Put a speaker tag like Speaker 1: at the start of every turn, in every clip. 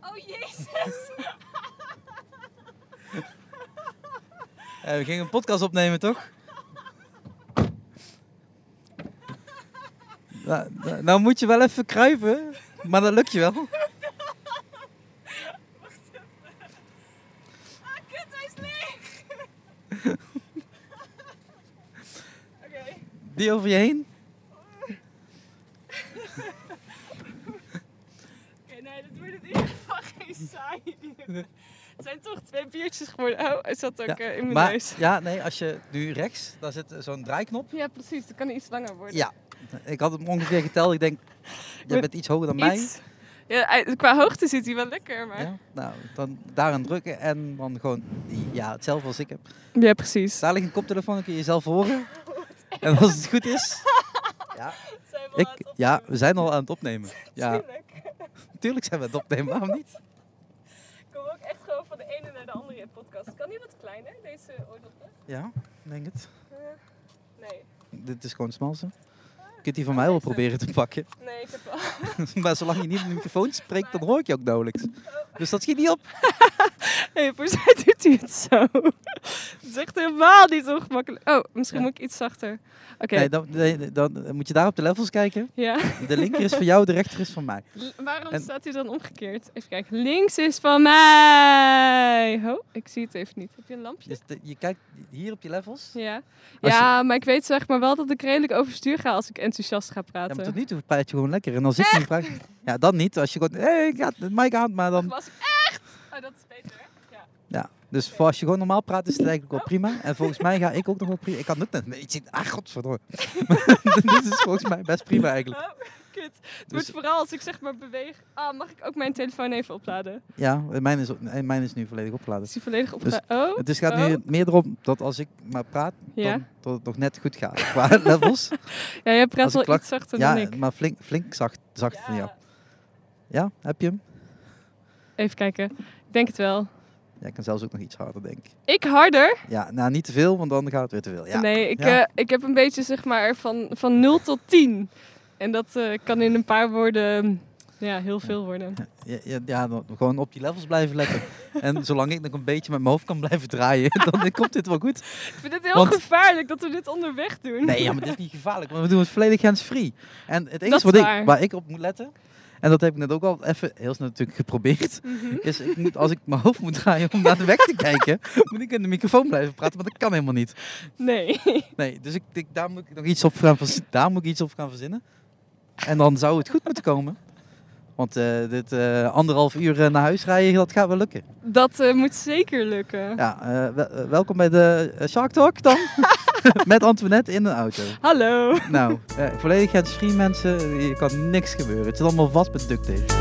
Speaker 1: Oh jezus.
Speaker 2: Eh, we gingen een podcast opnemen, toch? nou, nou- nou moet je wel even kruipen, maar dat lukt je wel.
Speaker 1: Ah, kut, hij is leeg. Oké.
Speaker 2: Die over je heen.
Speaker 1: Oké, nee, dat wordt in ieder geval geen saai. bier. Het zijn toch twee biertjes geworden. Oh, hij zat ook
Speaker 2: Ja,
Speaker 1: eh, in mijn
Speaker 2: maar
Speaker 1: neus.
Speaker 2: ja, nee, als je nu rechts, daar zit zo'n draaiknop.
Speaker 1: Ja, precies. Het kan iets langer worden.
Speaker 2: Ja, ik had hem ongeveer geteld. Ik denk, jij
Speaker 1: Met
Speaker 2: bent iets hoger dan mij.
Speaker 1: Iets. Ja, hij- qua hoogte zit hij wel lekker, maar... Ja,
Speaker 2: Ja, nou, dan daaraan drukken en dan gewoon ja, hetzelfde als ik heb.
Speaker 1: precies.
Speaker 2: Daar ligt een koptelefoon, dan kun je jezelf horen. En als het goed is, ja,
Speaker 1: Zijn we al aan het
Speaker 2: ik,
Speaker 1: opnemen?
Speaker 2: ja we zijn al aan het opnemen. Ja,
Speaker 1: Tuurlijk.
Speaker 2: natuurlijk zijn we aan het opnemen, waarom niet?
Speaker 1: Ik kom ook echt gewoon van de ene naar de andere in podcast. Kan die wat kleiner, deze oordoppen?
Speaker 2: Ja, ik denk het.
Speaker 1: Eh. Nee.
Speaker 2: Dit is gewoon smalse.
Speaker 1: Ah.
Speaker 2: Je kunt die van mij wel proberen te pakken.
Speaker 1: Nee, ik heb wel...
Speaker 2: Maar zolang je niet in de microfoon spreekt, dan hoor ik je ook nauwelijks. Dus dat schiet niet op.
Speaker 1: Hey, voor zij doet hij het zo. Het is echt helemaal niet ongemakkelijk. Oh, misschien
Speaker 2: Ja.
Speaker 1: moet ik iets zachter. Oké.
Speaker 2: Nee, dan, nee, dan moet je daar op de levels kijken.
Speaker 1: Ja.
Speaker 2: De linker is van jou, de rechter is van mij.
Speaker 1: L- Waarom
Speaker 2: En-
Speaker 1: staat hij dan omgekeerd? Even kijken. Links is van mij. Ho, ik zie het even niet. Heb je een lampje?
Speaker 2: Dus de- je kijkt hier op je levels.
Speaker 1: Ja.
Speaker 2: Als je-
Speaker 1: Ja, maar ik weet zeg maar wel dat ik redelijk overstuur ga als ik enthousiast ga
Speaker 2: Ja, maar
Speaker 1: praten.
Speaker 2: tot nu toe praat je gewoon lekker. En dan zit je in praat. Ja, dan niet. Als je gewoon, hé, hey, ik had de mic aan, maar dan...
Speaker 1: Was ik echt? Oh, dat is beter. hè? Ja.
Speaker 2: Ja, dus voor als je gewoon normaal praat, is het eigenlijk wel prima. En volgens mij ga ik ook nog wel prima. Ik kan het net een beetje... Ah, godverdomme. Dit is volgens mij best prima eigenlijk.
Speaker 1: Oh, kut. Het wordt
Speaker 2: Dus-
Speaker 1: vooral als ik zeg maar beweeg. Ah, mag ik ook mijn telefoon even opladen?
Speaker 2: Ja, mijn is, ook- nee, mijn is nu volledig opgeladen.
Speaker 1: Is die volledig
Speaker 2: Dus-
Speaker 1: opgeladen? Oh,
Speaker 2: Het is, gaat nu meer erom dat als ik maar praat, dan,
Speaker 1: ja.
Speaker 2: dat het nog net goed gaat. Qua levels.
Speaker 1: Ja, jij
Speaker 2: als
Speaker 1: praat
Speaker 2: ik
Speaker 1: wel
Speaker 2: plak-
Speaker 1: iets zachter
Speaker 2: Ja,
Speaker 1: dan ik.
Speaker 2: maar flink, flink zacht, zacht van jou. Ja, heb je hem?
Speaker 1: Even kijken. Ik denk het wel.
Speaker 2: Ja, ik kan zelfs ook nog iets harder, denk ik.
Speaker 1: Ik harder?
Speaker 2: Ja, nou niet te veel, want dan gaat het weer te veel. Ja.
Speaker 1: nee, ik,
Speaker 2: ja.
Speaker 1: eh, ik heb een beetje zeg maar van, van 0 tot 10. En dat eh, kan in een paar woorden mm, ja, heel veel worden.
Speaker 2: Ja, ja, ja, dan gewoon op die levels blijven letten. en zolang ik nog een beetje met mijn hoofd kan blijven draaien, dan komt dit wel goed.
Speaker 1: Ik vind het heel
Speaker 2: Want-
Speaker 1: gevaarlijk dat we dit onderweg doen.
Speaker 2: Nee, ja, maar dit is niet gevaarlijk, want we doen het volledig hands-free. En het
Speaker 1: Dat is
Speaker 2: enige wat ik,
Speaker 1: waar.
Speaker 2: waar ik op moet letten, en dat heb ik net ook al even heel snel natuurlijk geprobeerd,
Speaker 1: Mhm.
Speaker 2: is ik moet, als ik mijn hoofd moet draaien om naar de weg te kijken, moet ik in de microfoon blijven praten, maar dat kan helemaal niet.
Speaker 1: Nee.
Speaker 2: Nee, dus ik, ik, daar moet ik nog iets op gaan, verz- daar moet ik iets op gaan verzinnen. En dan zou het goed moeten komen. Want eh, dit eh, anderhalf uur eh, naar huis rijden, dat gaat wel lukken.
Speaker 1: Dat eh, moet zeker lukken.
Speaker 2: Ja, eh, wel- eh, welkom bij de eh, Shark Talk dan. Met Antoinette in een auto.
Speaker 1: Hallo.
Speaker 2: Nou, eh, volledig het free mensen, hier kan niks gebeuren. Het zit allemaal vast met duct tape.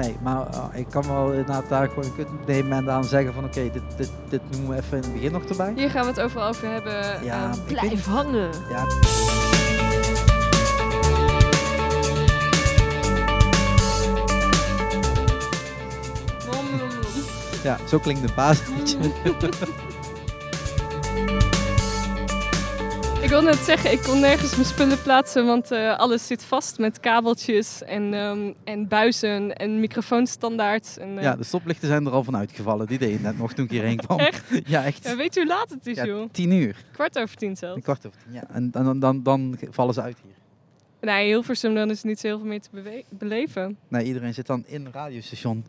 Speaker 2: Nee, maar eh, ik kan wel inderdaad daar gewoon een kut nemen en dan zeggen van oké, dit, dit, dit noemen we even in het begin nog erbij.
Speaker 1: Hier gaan we het overal over hebben.
Speaker 2: Ja,
Speaker 1: Eh,
Speaker 2: ik weet
Speaker 1: blijf
Speaker 2: niet.
Speaker 1: hangen.
Speaker 2: Ja.
Speaker 1: Nom, nom, nom.
Speaker 2: Ja, zo klinkt de baas. weet je.
Speaker 1: Ik wil net zeggen, ik kon nergens mijn spullen plaatsen, want eh, alles zit vast met kabeltjes en, ehm, en buizen en microfoonstandaards. En, eh,
Speaker 2: Ja, de stoplichten zijn er al van uitgevallen. Die deed je net nog toen ik hierheen kwam.
Speaker 1: Echt?
Speaker 2: Ja, echt.
Speaker 1: ja, weet je hoe laat het is,
Speaker 2: Ja,
Speaker 1: joh?
Speaker 2: tien uur.
Speaker 1: Kwart over tien zelfs.
Speaker 2: Een kwart over tien. Ja. En dan, dan, dan, dan vallen ze uit hier.
Speaker 1: Nee, Hilversum, dan is niet zo heel veel meer te bewe- beleven.
Speaker 2: Nee, iedereen zit dan in een radiostation.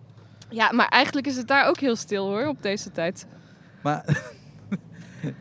Speaker 1: Ja, maar eigenlijk is het daar ook heel stil, hoor, op deze tijd.
Speaker 2: Maar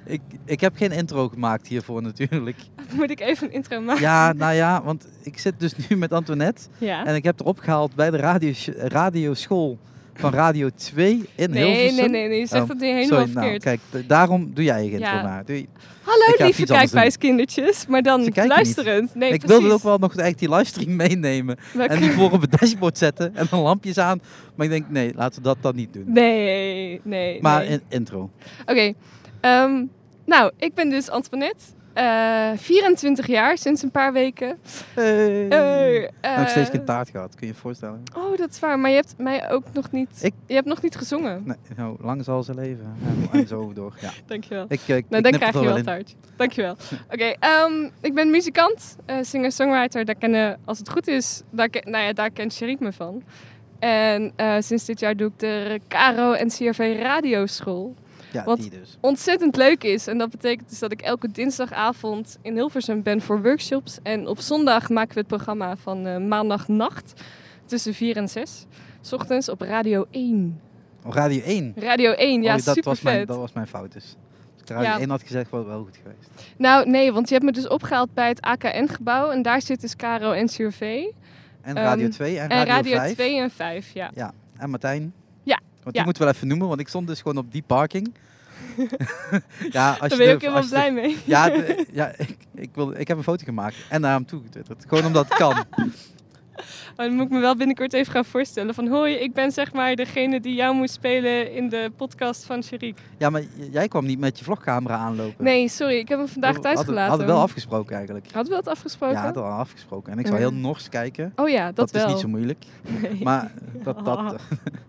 Speaker 2: ik, ik heb geen intro gemaakt hiervoor natuurlijk.
Speaker 1: Moet ik even een intro maken?
Speaker 2: Ja, nou ja, want ik zit dus nu met Antoinette.
Speaker 1: Ja.
Speaker 2: En ik heb erop gehaald bij de radio, radioschool van Radio 2 in
Speaker 1: Nee,
Speaker 2: Hilversum.
Speaker 1: nee, nee, nee, je zegt
Speaker 2: Oh,
Speaker 1: het nu helemaal
Speaker 2: Sorry, nou
Speaker 1: verkeerd.
Speaker 2: kijk, d- daarom doe jij je intro
Speaker 1: Ja.
Speaker 2: maar. Doe je- Ik ga
Speaker 1: Hallo,
Speaker 2: even
Speaker 1: lieve
Speaker 2: iets anders
Speaker 1: kijkwijskindertjes, maar
Speaker 2: Ze
Speaker 1: dan
Speaker 2: kijken
Speaker 1: luisterend. Nee,
Speaker 2: ik
Speaker 1: precies.
Speaker 2: wilde ook wel nog eigenlijk die livestream meenemen.
Speaker 1: We
Speaker 2: En die voor op het dashboard zetten en dan lampjes aan. Maar ik denk, nee, laten we dat dan niet doen.
Speaker 1: Nee, nee.
Speaker 2: Maar
Speaker 1: nee.
Speaker 2: in- intro.
Speaker 1: Oké. ehm, nou, ik ben dus Antoinette. Eh, 24 jaar, sinds een paar weken.
Speaker 2: Hey.
Speaker 1: Eh, eh,
Speaker 2: Nog steeds geen taart gehad, kun je je voorstellen.
Speaker 1: Oh, dat is waar. Maar je hebt mij ook nog niet...
Speaker 2: Ik-
Speaker 1: Je hebt nog niet gezongen.
Speaker 2: Nee, nou, lang zal ze leven. Ja, en zo door. Ja.
Speaker 1: Dankjewel.
Speaker 2: Ik, eh, ik
Speaker 1: Nou,
Speaker 2: knip
Speaker 1: dan
Speaker 2: het
Speaker 1: krijg je
Speaker 2: er
Speaker 1: wel
Speaker 2: in.
Speaker 1: taart. Dankjewel. Oké, ehm, ik ben muzikant, eh, singer-songwriter. Daar kennen, als het goed is, daar, ken- nou ja, daar kent Sherik me van. En eh, sinds dit jaar doe ik de Caro en CRV Radioschool.
Speaker 2: Ja,
Speaker 1: Want-
Speaker 2: die dus.
Speaker 1: Ontzettend leuk is. En dat betekent dus dat ik elke dinsdagavond in Hilversum ben voor workshops. En op zondag maken we het programma van eh, maandagnacht tussen 4 en 6. 's ochtends op Radio 1.
Speaker 2: Op Radio 1.
Speaker 1: Radio 1, ja,
Speaker 2: Oh, dat,
Speaker 1: super
Speaker 2: was
Speaker 1: vet.
Speaker 2: mijn, dat was mijn fout dus. Als ik Radio
Speaker 1: Ja.
Speaker 2: 1 had gezegd, was het wel goed geweest.
Speaker 1: Nou, nee, want je hebt me dus opgehaald bij het AKN-gebouw. En daar zit dus Caro en CRV.
Speaker 2: En
Speaker 1: Ehm,
Speaker 2: Radio 2 en,
Speaker 1: En
Speaker 2: Radio, 5.
Speaker 1: 2 en 5, ja.
Speaker 2: En Martijn.
Speaker 1: Ja,
Speaker 2: Want die
Speaker 1: ja.
Speaker 2: moeten we wel even noemen, want ik stond dus gewoon op die parking. ja, als
Speaker 1: Daar
Speaker 2: je
Speaker 1: ben je ook
Speaker 2: de-
Speaker 1: helemaal
Speaker 2: als je de-
Speaker 1: blij mee.
Speaker 2: Ja, de- ja ik, ik, wil, ik heb een foto gemaakt en naar hem toe getwitterd. Gewoon omdat het kan.
Speaker 1: Maar dan moet ik me wel binnenkort even gaan voorstellen. Van, hoi, ik ben zeg maar degene die jou moest spelen in de podcast van Sherik.
Speaker 2: Ja, maar j- jij kwam niet met je vlogcamera aanlopen.
Speaker 1: Nee, sorry, ik heb hem vandaag thuis
Speaker 2: hadden,
Speaker 1: gelaten.
Speaker 2: hadden we wel afgesproken eigenlijk.
Speaker 1: Hadden we dat afgesproken?
Speaker 2: Ja, hadden we al afgesproken. En ik zou
Speaker 1: Ja.
Speaker 2: heel nors kijken.
Speaker 1: Oh ja, dat,
Speaker 2: Dat,
Speaker 1: wel.
Speaker 2: is niet zo moeilijk.
Speaker 1: Nee.
Speaker 2: Maar eh, dat, dat,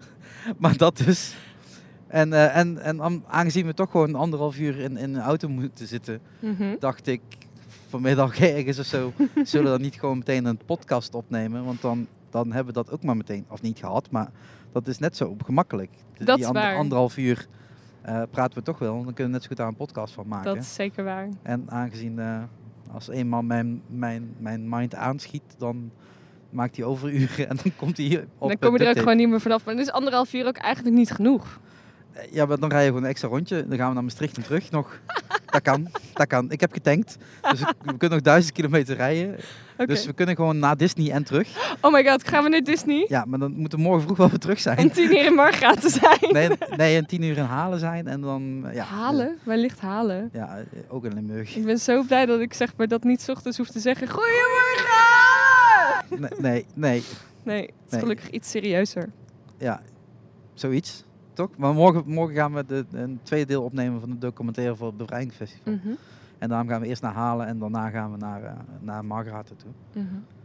Speaker 2: maar dat dus. En, eh, en, en am- aangezien we toch gewoon anderhalf uur in, in een auto moeten zitten,
Speaker 1: Mhm.
Speaker 2: dacht ik vanmiddag ergens of zo, zullen we dan niet gewoon meteen een podcast opnemen? Want dan, dan hebben we dat ook maar meteen, of niet gehad, maar dat is net zo gemakkelijk. Die
Speaker 1: Dat is
Speaker 2: ander-
Speaker 1: waar.
Speaker 2: anderhalf uur eh, praten we toch wel, dan kunnen we net zo goed daar een podcast van maken.
Speaker 1: Dat is zeker waar.
Speaker 2: En aangezien eh, als één man mijn, mijn, mijn mind aanschiet, dan maakt hij overuren en dan komt hij hier op
Speaker 1: dan
Speaker 2: het
Speaker 1: kom je er ook
Speaker 2: duct tape.
Speaker 1: gewoon niet meer vanaf. Maar dan is anderhalf uur ook eigenlijk niet genoeg.
Speaker 2: Eh, Ja, maar dan rij je gewoon een extra rondje. Dan gaan we naar Maastricht en terug nog. Dat kan, dat kan. Ik heb getankt, dus ik- we kunnen nog duizend kilometer rijden.
Speaker 1: Oké.
Speaker 2: Dus we kunnen gewoon naar Disney en terug.
Speaker 1: Oh my god, gaan we naar Disney?
Speaker 2: Ja, maar dan moeten we morgen vroeg wel weer terug
Speaker 1: Om
Speaker 2: zijn.
Speaker 1: tien uur in Marga te zijn.
Speaker 2: Nee, nee, en tien uur in Halen zijn en dan... eh, Ja,
Speaker 1: Halen? Wellicht halen.
Speaker 2: Ja, eh, ook in Limburg.
Speaker 1: Ik ben zo blij dat ik zeg maar dat niet 's ochtends hoef te zeggen. Goedemorgen!
Speaker 2: Nee, nee, nee,
Speaker 1: Nee, het is
Speaker 2: Nee.
Speaker 1: gelukkig iets serieuzer.
Speaker 2: ja, zoiets, toch? Maar morgen, morgen gaan we de, een tweede deel opnemen van de documentaire voor het Bevrijdingsfestival. En daarom gaan we eerst naar Halen en daarna gaan we naar, eh, naar Margarata toe.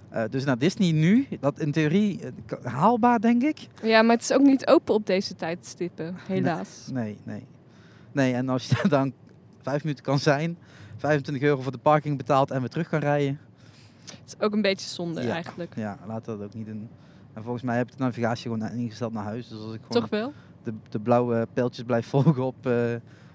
Speaker 2: Eh, dus naar Disney nu, dat in theorie eh, k- haalbaar, denk ik.
Speaker 1: Ja, maar het is ook niet open op deze tijdstippen, helaas.
Speaker 2: Nee, nee. Nee, en als je dan vijf minuten kan zijn, 25 euro voor de parking betaalt en weer terug kan rijden.
Speaker 1: Het is ook een beetje zonde
Speaker 2: Ja.
Speaker 1: eigenlijk.
Speaker 2: Ja, laten we dat ook niet doen. En volgens mij heb ik de navigatie gewoon ingesteld naar huis. Dus als ik gewoon
Speaker 1: Toch wel?
Speaker 2: de, de blauwe pijltjes blijf volgen op, eh,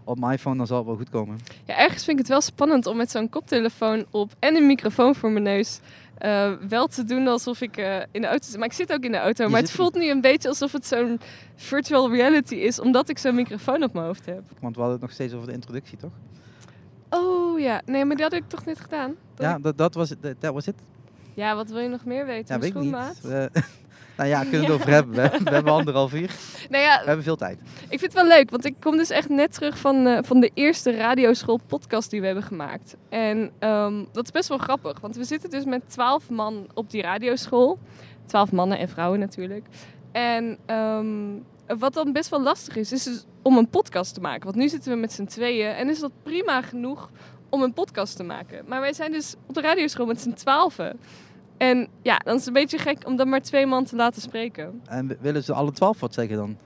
Speaker 2: op mijn iPhone, dan zal het wel goed komen.
Speaker 1: Ja, ergens vind ik het wel spannend om met zo'n koptelefoon op en een microfoon voor mijn neus eh, wel te doen alsof ik eh, in de auto zit. Maar ik zit ook in de auto,
Speaker 2: Je
Speaker 1: maar het
Speaker 2: zit-
Speaker 1: voelt nu een beetje alsof het zo'n virtual reality is, omdat ik zo'n microfoon op mijn hoofd heb.
Speaker 2: Want we hadden het nog steeds over de introductie, toch?
Speaker 1: Oh ja, nee, maar dat heb ik toch net gedaan? Dat
Speaker 2: ja, dat, dat was het. Dat dat was het.
Speaker 1: Ja, wat wil je nog meer weten?
Speaker 2: Ja,
Speaker 1: Mijn
Speaker 2: weet ik niet.
Speaker 1: schoenmaat?
Speaker 2: Eh, nou ja, kunnen we het over hebben. We, we hebben anderhalf uur.
Speaker 1: Nou
Speaker 2: We
Speaker 1: ja,
Speaker 2: hebben veel tijd.
Speaker 1: ik vind het wel leuk, want ik kom dus echt net terug van, eh, van de eerste radioschool podcast die we hebben gemaakt. En ehm, dat is best wel grappig, want we zitten dus met twaalf man op die radioschool. Twaalf mannen en vrouwen natuurlijk. En ehm, wat dan best wel lastig is, is dus om een podcast te maken. Want nu zitten we met z'n tweeën en is dat prima genoeg om een podcast te maken. Maar wij zijn dus op de radioschool met z'n twaalfen. En ja, dan is het een beetje gek om dan maar twee man te laten spreken.
Speaker 2: En we- willen ze alle twaalf wat zeggen dan?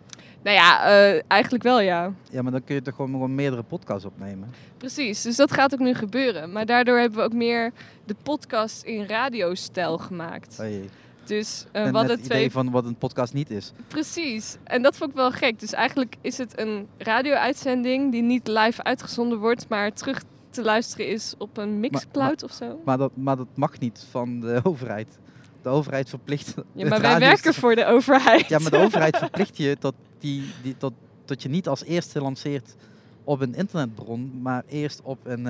Speaker 1: Nou ja, eh, eigenlijk wel ja.
Speaker 2: Ja, maar dan kun je toch gewoon, gewoon meerdere podcasts opnemen.
Speaker 1: Precies, dus dat gaat ook nu gebeuren. Maar daardoor hebben we ook meer de podcast in radiostijl gemaakt.
Speaker 2: Oh jee.
Speaker 1: Dus eh,
Speaker 2: En
Speaker 1: we hadden
Speaker 2: het
Speaker 1: twee...
Speaker 2: idee van wat een podcast niet is.
Speaker 1: Precies, en dat vond ik wel gek. Dus eigenlijk is het een radio-uitzending die niet live uitgezonden wordt... maar terug te luisteren is op een Mixcloud of zo.
Speaker 2: Maar dat, maar dat mag niet van de overheid. De overheid verplicht.
Speaker 1: Ja,
Speaker 2: het
Speaker 1: maar wij
Speaker 2: radio-
Speaker 1: werken voor de overheid.
Speaker 2: Ja, maar de overheid verplicht je dat, die, die, dat, dat je niet als eerste lanceert op een internetbron, maar eerst op, een,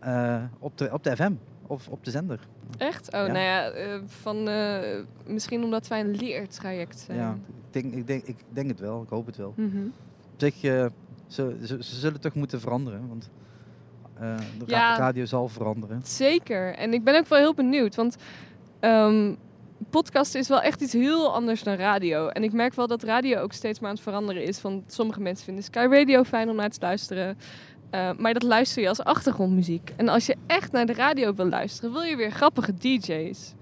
Speaker 2: eh, eh, op, de, op de FM of op de zender.
Speaker 1: Echt? Oh,
Speaker 2: Ja.
Speaker 1: nou ja, eh, van, eh, misschien omdat wij een leertraject zijn.
Speaker 2: Ja, ik denk, ik, denk, ik denk het wel, ik hoop het wel.
Speaker 1: Mhm.
Speaker 2: Op zich, eh, ze, ze, ze zullen toch moeten veranderen, want eh, de ra-
Speaker 1: Ja.
Speaker 2: radio zal veranderen.
Speaker 1: Zeker. En ik ben ook wel heel benieuwd, want ehm podcast is wel echt iets heel anders dan radio. En ik merk wel dat radio ook steeds maar aan het veranderen is. Van sommige mensen vinden Sky Radio fijn om naar te luisteren. Eh, maar dat luister je als achtergrondmuziek. En als je echt naar de radio wil luisteren, wil je weer grappige DJ's.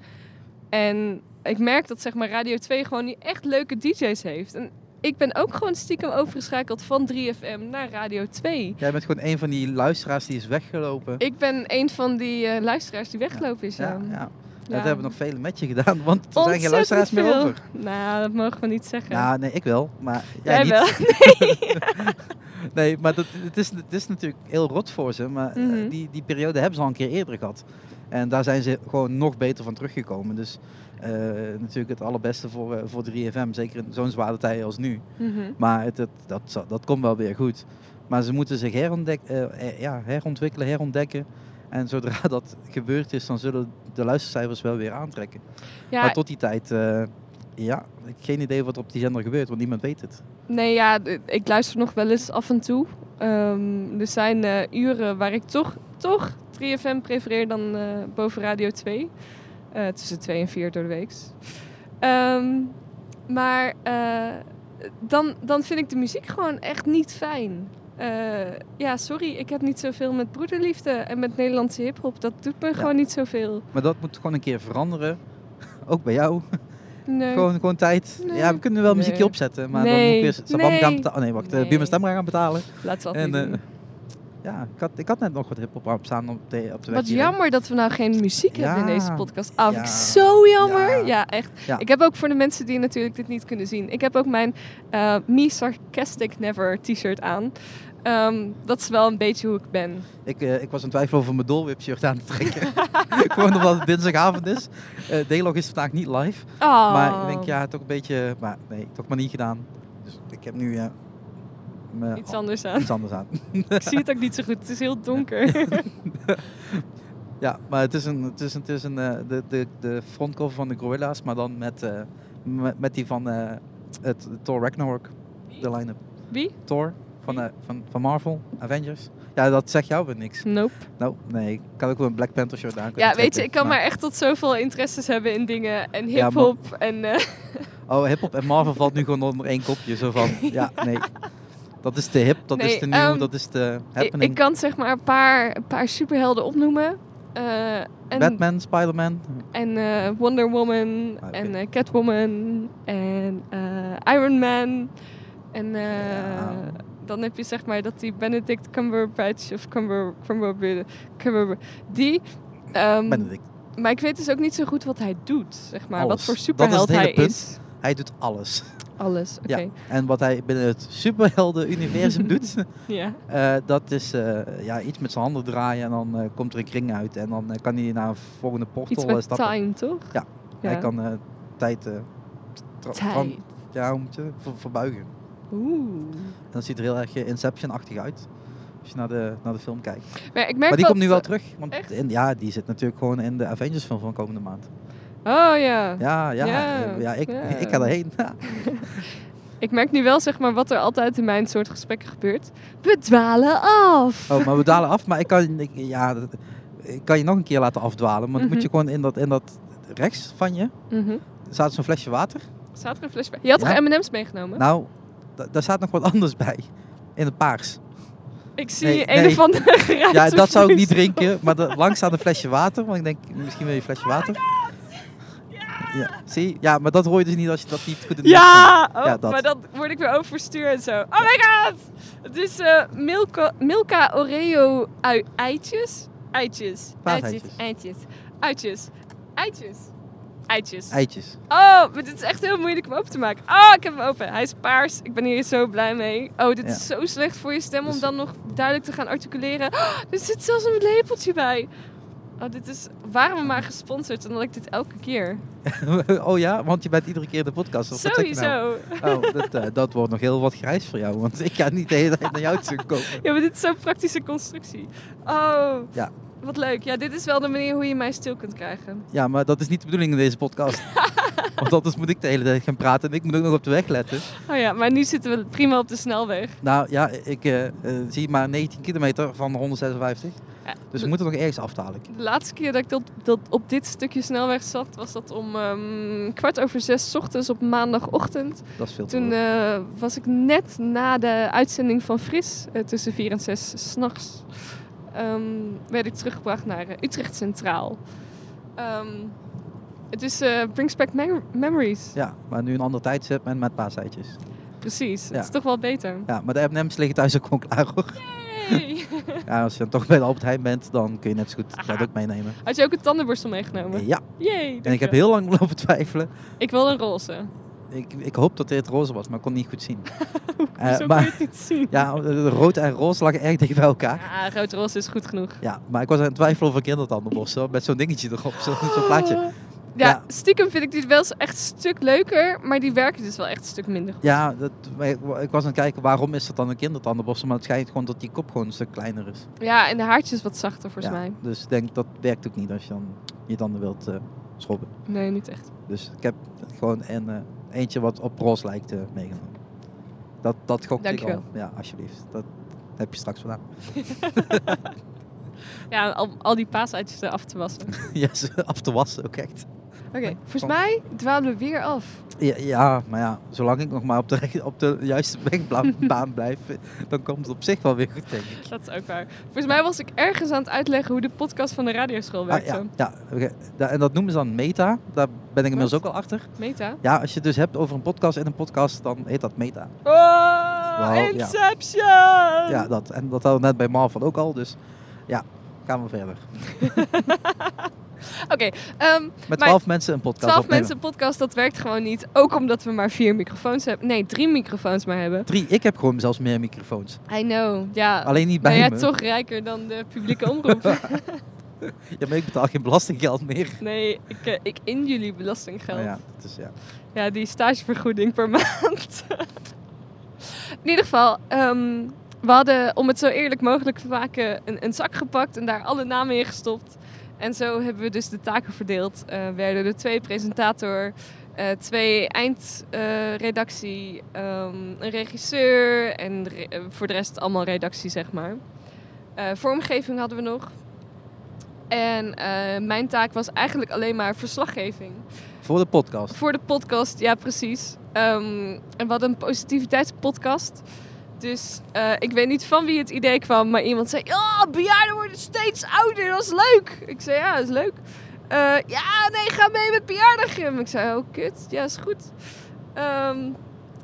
Speaker 1: En ik merk dat zeg maar Radio 2 gewoon niet echt leuke DJ's heeft. En ik ben ook gewoon stiekem overgeschakeld van 3FM naar Radio 2.
Speaker 2: Jij bent gewoon een van die luisteraars die is weggelopen.
Speaker 1: Ik ben een van die eh, luisteraars die weggelopen is.
Speaker 2: ja, ja.
Speaker 1: Ja.
Speaker 2: Dat hebben nog velen met je gedaan, want er zijn
Speaker 1: Ontzettend
Speaker 2: geen luisteraars meer
Speaker 1: veel.
Speaker 2: over.
Speaker 1: Nou, dat mogen we niet zeggen.
Speaker 2: Nou, nee, ik wel, maar jij,
Speaker 1: Jij
Speaker 2: niet.
Speaker 1: wel.
Speaker 2: Nee, maar dat, het, is, het is natuurlijk heel rot voor ze, maar eh,
Speaker 1: Mhm.
Speaker 2: die, die periode hebben ze al een keer eerder gehad. En daar zijn ze gewoon nog beter van teruggekomen. Dus eh, natuurlijk het allerbeste voor, eh, voor 3FM, zeker in zo'n zware tijden als nu.
Speaker 1: Mhm.
Speaker 2: Maar het, het- dat, zal- dat komt wel weer goed. Maar ze moeten zich herontdek, eh, eh, ja, herontwikkelen, herontdekken. En zodra dat gebeurd is, dan zullen de luistercijfers wel weer aantrekken.
Speaker 1: Ja,
Speaker 2: Maar tot die tijd, eh, ja, ik heb geen idee wat op die zender gebeurt, want niemand weet het.
Speaker 1: Nee, ja, d- ik luister nog wel eens af en toe. Ehm, er zijn eh, uren waar ik toch, toch 3FM prefereer dan eh, boven Radio 2. Eh, tussen 2 en 4 door de week. Ehm, maar eh, dan, dan vind ik de muziek gewoon echt niet fijn. Eh, ja, sorry, ik heb niet zoveel met broederliefde en met Nederlandse hiphop. Dat doet me gewoon niet zoveel.
Speaker 2: Maar dat moet gewoon een keer veranderen. Ook bij jou.
Speaker 1: Nee.
Speaker 2: Gewoon, gewoon tijd.
Speaker 1: Nee.
Speaker 2: Ja, we kunnen wel muziekje
Speaker 1: Nee.
Speaker 2: opzetten, maar dan
Speaker 1: Nee.
Speaker 2: moet ik weer Sabam gaan
Speaker 1: Nee.
Speaker 2: betalen. Nee, wacht,
Speaker 1: Nee.
Speaker 2: nee. Bima Stemra gaan betalen.
Speaker 1: Laten we dat
Speaker 2: En,
Speaker 1: niet
Speaker 2: eh,
Speaker 1: doen.
Speaker 2: ja, ik had, ik had net nog wat hip-hop op staan op de, op de weg
Speaker 1: Wat
Speaker 2: hierheen.
Speaker 1: jammer dat we nou geen muziek hebben in
Speaker 2: Ja.
Speaker 1: deze podcast. Ah, vind ik
Speaker 2: Ja.
Speaker 1: zo jammer. Ja,
Speaker 2: Ja.
Speaker 1: echt.
Speaker 2: Ja.
Speaker 1: Ik heb ook voor de mensen die natuurlijk dit niet kunnen zien. Ik heb ook mijn eh Me Sarcastic Never t-shirt aan. Ehm, dat is wel een beetje hoe ik ben.
Speaker 2: Ik, eh, ik was in twijfel over mijn Dolwip shirt aan te trekken. Gewoon omdat het dinsdagavond is. Eh Daylog is vandaag niet live.
Speaker 1: Ah.
Speaker 2: Maar ik denk, ja, toch een beetje... Maar nee, toch maar niet gedaan. Dus ik heb nu... eh, mijn-
Speaker 1: Iets anders aan.
Speaker 2: iets anders aan.
Speaker 1: ik zie het ook niet zo goed. Het is heel donker.
Speaker 2: Ja, maar het is, een, het is, het is een, eh, de, de, de frontcover van de Gorilla's, maar dan met, eh, met, met die van eh, het, Thor Ragnarok, de line-up.
Speaker 1: Wie?
Speaker 2: Thor van, eh, van, van Marvel, Avengers. Ja, dat zegt jou weer niks.
Speaker 1: Nope.
Speaker 2: Nou, nee, ik kan ook wel een Black Panther shirt aan.
Speaker 1: Hm. Ja, weet je, ik kan maar echt tot zoveel interesses hebben in dingen. En
Speaker 2: Ja, maar-
Speaker 1: hip-hop. en eh,
Speaker 2: Oh, hip-hop en Marvel valt nu gewoon onder één kopje. Zo van, ja, nee. Dat is te hip, dat
Speaker 1: Nee,
Speaker 2: is te nieuw,
Speaker 1: ehm,
Speaker 2: dat is te
Speaker 1: ik, ik
Speaker 2: happening.
Speaker 1: kan zeg maar een paar, een paar superhelden opnoemen. Eh, en
Speaker 2: Batman, Spider-Man.
Speaker 1: En eh, Wonder Woman.
Speaker 2: Ah, oké.
Speaker 1: En eh, Catwoman. En eh, Iron Man. En eh,
Speaker 2: Ja.
Speaker 1: dan heb je zeg maar dat die Benedict Cumberbatch of Cumber, Cumber, Cumber die. ehm,
Speaker 2: Benedict.
Speaker 1: maar ik weet dus ook niet zo goed wat hij doet, zeg maar. Wat
Speaker 2: Alles.
Speaker 1: voor
Speaker 2: Dat is het
Speaker 1: superheld
Speaker 2: hele
Speaker 1: hij
Speaker 2: punt.
Speaker 1: is.
Speaker 2: Hij doet alles.
Speaker 1: Alles, oké. Ja.
Speaker 2: Ja. En wat hij binnen het superhelden-universum doet,
Speaker 1: Ja.
Speaker 2: Eh, dat is eh, ja, iets met zijn handen draaien en dan eh, komt er een kring uit. En dan eh, kan hij naar een volgende portal
Speaker 1: Iets
Speaker 2: eh,
Speaker 1: met
Speaker 2: stappen.
Speaker 1: time, toch?
Speaker 2: Ja, Hij kan eh, tijd, eh, tra-
Speaker 1: Tijd.
Speaker 2: tran- ja, hoe moet je, dat? Ver- verbuigen.
Speaker 1: Oeh.
Speaker 2: En dat ziet er heel erg eh, Inception-achtig uit. Als je naar de, naar de film kijkt.
Speaker 1: Maar, ik merk
Speaker 2: maar die
Speaker 1: dat-
Speaker 2: komt nu wel terug. Want
Speaker 1: echt?
Speaker 2: in- ja, die zit natuurlijk gewoon in de Avengers-film van komende maand.
Speaker 1: Oh ja.
Speaker 2: Ja, ja,
Speaker 1: Ja,
Speaker 2: eh, ja, ik,
Speaker 1: ja.
Speaker 2: ik ga daarheen. Ja.
Speaker 1: Ik merk nu wel, zeg maar, wat er altijd in mijn soort gesprekken gebeurt. We dwalen af.
Speaker 2: Oh, maar we dalen af. Maar ik kan, ik, ja, dat- ik kan je nog een keer laten afdwalen. Maar dan moet je gewoon in dat, in dat rechts van je
Speaker 1: Mhm.
Speaker 2: staat zo'n flesje water.
Speaker 1: Staat er een flesje bij? Je had
Speaker 2: Ja.
Speaker 1: toch M&M's meegenomen?
Speaker 2: Nou, da- daar staat nog wat anders bij. In het paars.
Speaker 1: ik zie
Speaker 2: nee,
Speaker 1: een
Speaker 2: nee.
Speaker 1: of andere geruis
Speaker 2: Ja,
Speaker 1: op
Speaker 2: dat zou ik niet
Speaker 1: vloeistof.
Speaker 2: drinken. Maar da- langs staat een flesje water. Want ik denk, misschien wil je een
Speaker 1: Oh
Speaker 2: flesje water. Ja, zie? Ja, maar dat hoor je dus niet als je dat niet goed in de mond
Speaker 1: Ja, oh,
Speaker 2: Ja, dat.
Speaker 1: maar dan word ik weer overstuur en zo. Oh my god! Het is eh, Milka, Milka Oreo ui- eitjes. Eitjes. Eitjes.
Speaker 2: Paaseitjes.
Speaker 1: Eitjes. Eitjes. Eitjes. Eitjes.
Speaker 2: neemt. Eitjes.
Speaker 1: Oh, maar dit is echt heel moeilijk om open te maken. Oh, ik heb hem open. Hij is paars. Ik ben hier zo blij mee. Oh, dit
Speaker 2: Ja.
Speaker 1: is zo slecht voor je stem om
Speaker 2: Dus-
Speaker 1: dan nog duidelijk te gaan articuleren. Oh, er zit zelfs een lepeltje bij. Oh, dit is... Waren we maar gesponsord, dan had ik dit elke keer.
Speaker 2: oh ja, want je bent iedere keer in de podcast. of wat zeg je
Speaker 1: Sowieso.
Speaker 2: nou? Oh, dat, eh, dat wordt nog heel wat grijs voor jou. Want ik ga niet de hele tijd naar jou toe komen.
Speaker 1: Ja, maar dit is zo'n praktische constructie. Oh.
Speaker 2: Ja.
Speaker 1: Wat leuk. Ja, dit is wel de manier hoe je mij stil kunt krijgen.
Speaker 2: Ja, maar dat is niet de bedoeling in deze podcast. Want anders moet ik de hele tijd gaan praten. En ik moet ook nog op de weg letten.
Speaker 1: Oh ja, maar nu zitten we prima op de snelweg.
Speaker 2: Nou ja, ik eh, eh, zie maar 19 kilometer van de 156.
Speaker 1: Ja,
Speaker 2: Dus we moeten nog ergens af dadelijk.
Speaker 1: De laatste keer dat ik op, dat op dit stukje snelweg zat, was dat om ehm, kwart over zes 's ochtends op maandagochtend.
Speaker 2: Dat is veel te
Speaker 1: Toen
Speaker 2: vroeg.
Speaker 1: eh, was ik net na de uitzending van Fris, eh, tussen vier en zes s'nachts, ehm werd ik teruggebracht naar eh, Utrecht Centraal. Ehm, het is eh, Brings Back mem- Memories,
Speaker 2: Ja, maar nu een ander tijdstip en met paaseitjes.
Speaker 1: precies.
Speaker 2: Ja.
Speaker 1: Het is toch wel beter.
Speaker 2: Ja, maar de M&M's liggen thuis ook gewoon klaar hoor.
Speaker 1: Hey.
Speaker 2: Ja, als je dan toch bij de Albert Heijn bent, dan kun je net zo goed dat ook meenemen.
Speaker 1: Had je ook een tandenborstel meegenomen?
Speaker 2: Ja,
Speaker 1: Yay,
Speaker 2: en ik heb
Speaker 1: dankjewel.
Speaker 2: heel lang lopen twijfelen.
Speaker 1: ik wil een roze.
Speaker 2: Ik, ik hoop dat dit roze was, maar ik kon het niet goed zien. Eh,
Speaker 1: Zo kun je
Speaker 2: maar
Speaker 1: het niet zien.
Speaker 2: ja, de rood en roze lagen erg dicht bij elkaar.
Speaker 1: Ja, rood roze is goed genoeg.
Speaker 2: Ja, maar ik was aan het twijfelen of ik kindertandenborstel had, met zo'n dingetje erop, zo- zo'n
Speaker 1: Oh.
Speaker 2: plaatje.
Speaker 1: Ja,
Speaker 2: Ja.
Speaker 1: stiekem vind ik die wel eens echt een stuk leuker, maar die werken dus wel echt een stuk minder goed.
Speaker 2: Ja, dat, maar ik, ik was aan het kijken waarom is dat dan een kindertandenborstel, maar het schijnt gewoon dat die kop gewoon een stuk kleiner is.
Speaker 1: Ja, en de haartjes wat zachter volgens
Speaker 2: Ja,
Speaker 1: mij.
Speaker 2: Dus ik denk dat werkt ook niet als je dan je tanden wilt eh, schrobben.
Speaker 1: Nee, niet echt.
Speaker 2: Dus ik heb gewoon een, eh, eentje wat op roze lijkt eh, meegenomen. Dat, dat gok ik
Speaker 1: Dankjewel.
Speaker 2: al. Ja, alsjeblieft. Dat heb je straks gedaan.
Speaker 1: Ja, al, al die paasuitjes eraf te wassen. Oké,
Speaker 2: ja, ze af te wassen ook echt.
Speaker 1: volgens mij dwalen we weer af.
Speaker 2: Ja, ja, maar ja, zolang ik nog maar op de, recht- op de juiste wegbla- baan blijf, eh, dan komt het op zich wel weer goed, denk ik.
Speaker 1: Dat is ook waar. Volgens mij was ik ergens aan het uitleggen hoe de podcast van de radioschool
Speaker 2: Ah,
Speaker 1: werkte.
Speaker 2: ja, ja, oké. Da- en dat noemen ze dan meta. Daar ben ik inmiddels
Speaker 1: Wat?
Speaker 2: ook al achter.
Speaker 1: Meta.
Speaker 2: Ja, als je het dus hebt over een podcast en een podcast, dan heet dat meta.
Speaker 1: Oh,
Speaker 2: Wauw, ja.
Speaker 1: Inception! Oh.
Speaker 2: Ja, dat. En dat hadden we net bij Marvel ook al, dus ja, gaan we verder.
Speaker 1: Oké, ehm,
Speaker 2: Met
Speaker 1: Maar-
Speaker 2: twaalf mensen een podcast
Speaker 1: 12
Speaker 2: opnemen.
Speaker 1: mensen podcast, dat werkt gewoon niet. Ook omdat we maar vier microfoons hebben. Nee, drie microfoons maar hebben.
Speaker 2: Drie, ik heb gewoon zelfs meer microfoons.
Speaker 1: I know, Ah, nou ja.
Speaker 2: Alleen niet
Speaker 1: Ben
Speaker 2: bij
Speaker 1: jij
Speaker 2: me.
Speaker 1: toch rijker dan de publieke omroep?
Speaker 2: Ja, maar ik betaal geen belastinggeld meer.
Speaker 1: nee, ik, eh, ik in jullie belastinggeld.
Speaker 2: Maar
Speaker 1: ja.
Speaker 2: Oh ja, dat is ja.
Speaker 1: die stagevergoeding per maand. in ieder geval, ehm, we hadden, om het zo eerlijk mogelijk te maken, een, een zak gepakt en daar alle namen in gestopt. En zo hebben we dus de taken verdeeld. Eh, werden er twee presentator, eh, twee eindredactie, ehm, een regisseur en re- eh, voor de rest allemaal redactie, zeg maar. Eh, vormgeving hadden we nog. En eh, mijn taak was eigenlijk alleen maar verslaggeving.
Speaker 2: Voor de podcast.
Speaker 1: Voor de podcast, ja precies. Ehm, en we hadden een positiviteitspodcast. Dus eh, ik weet niet van wie het idee kwam, maar iemand zei... Ja, bejaarden worden steeds ouder, dat is leuk. Ik zei, ja, dat is leuk. Eh, ja, nee, ga mee met bejaardengym. Ik zei, oh kut, ja, is goed. Ehm,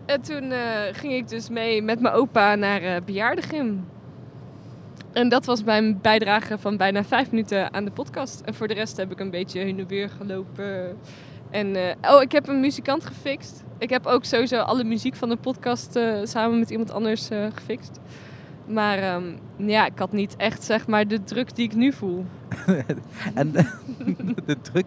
Speaker 1: en toen eh, ging ik dus mee met mijn opa naar eh bejaardengym. En dat was mijn bijdrage van bijna vijf minuten aan de podcast. En voor de rest heb ik een beetje heen en weer gelopen... En eh, oh, ik heb een muzikant gefixt. Ik heb ook sowieso alle muziek van de podcast eh, samen met iemand anders eh, gefixt. Maar ehm, ja, ik had niet echt zeg maar de druk die ik nu voel.
Speaker 2: en de druk.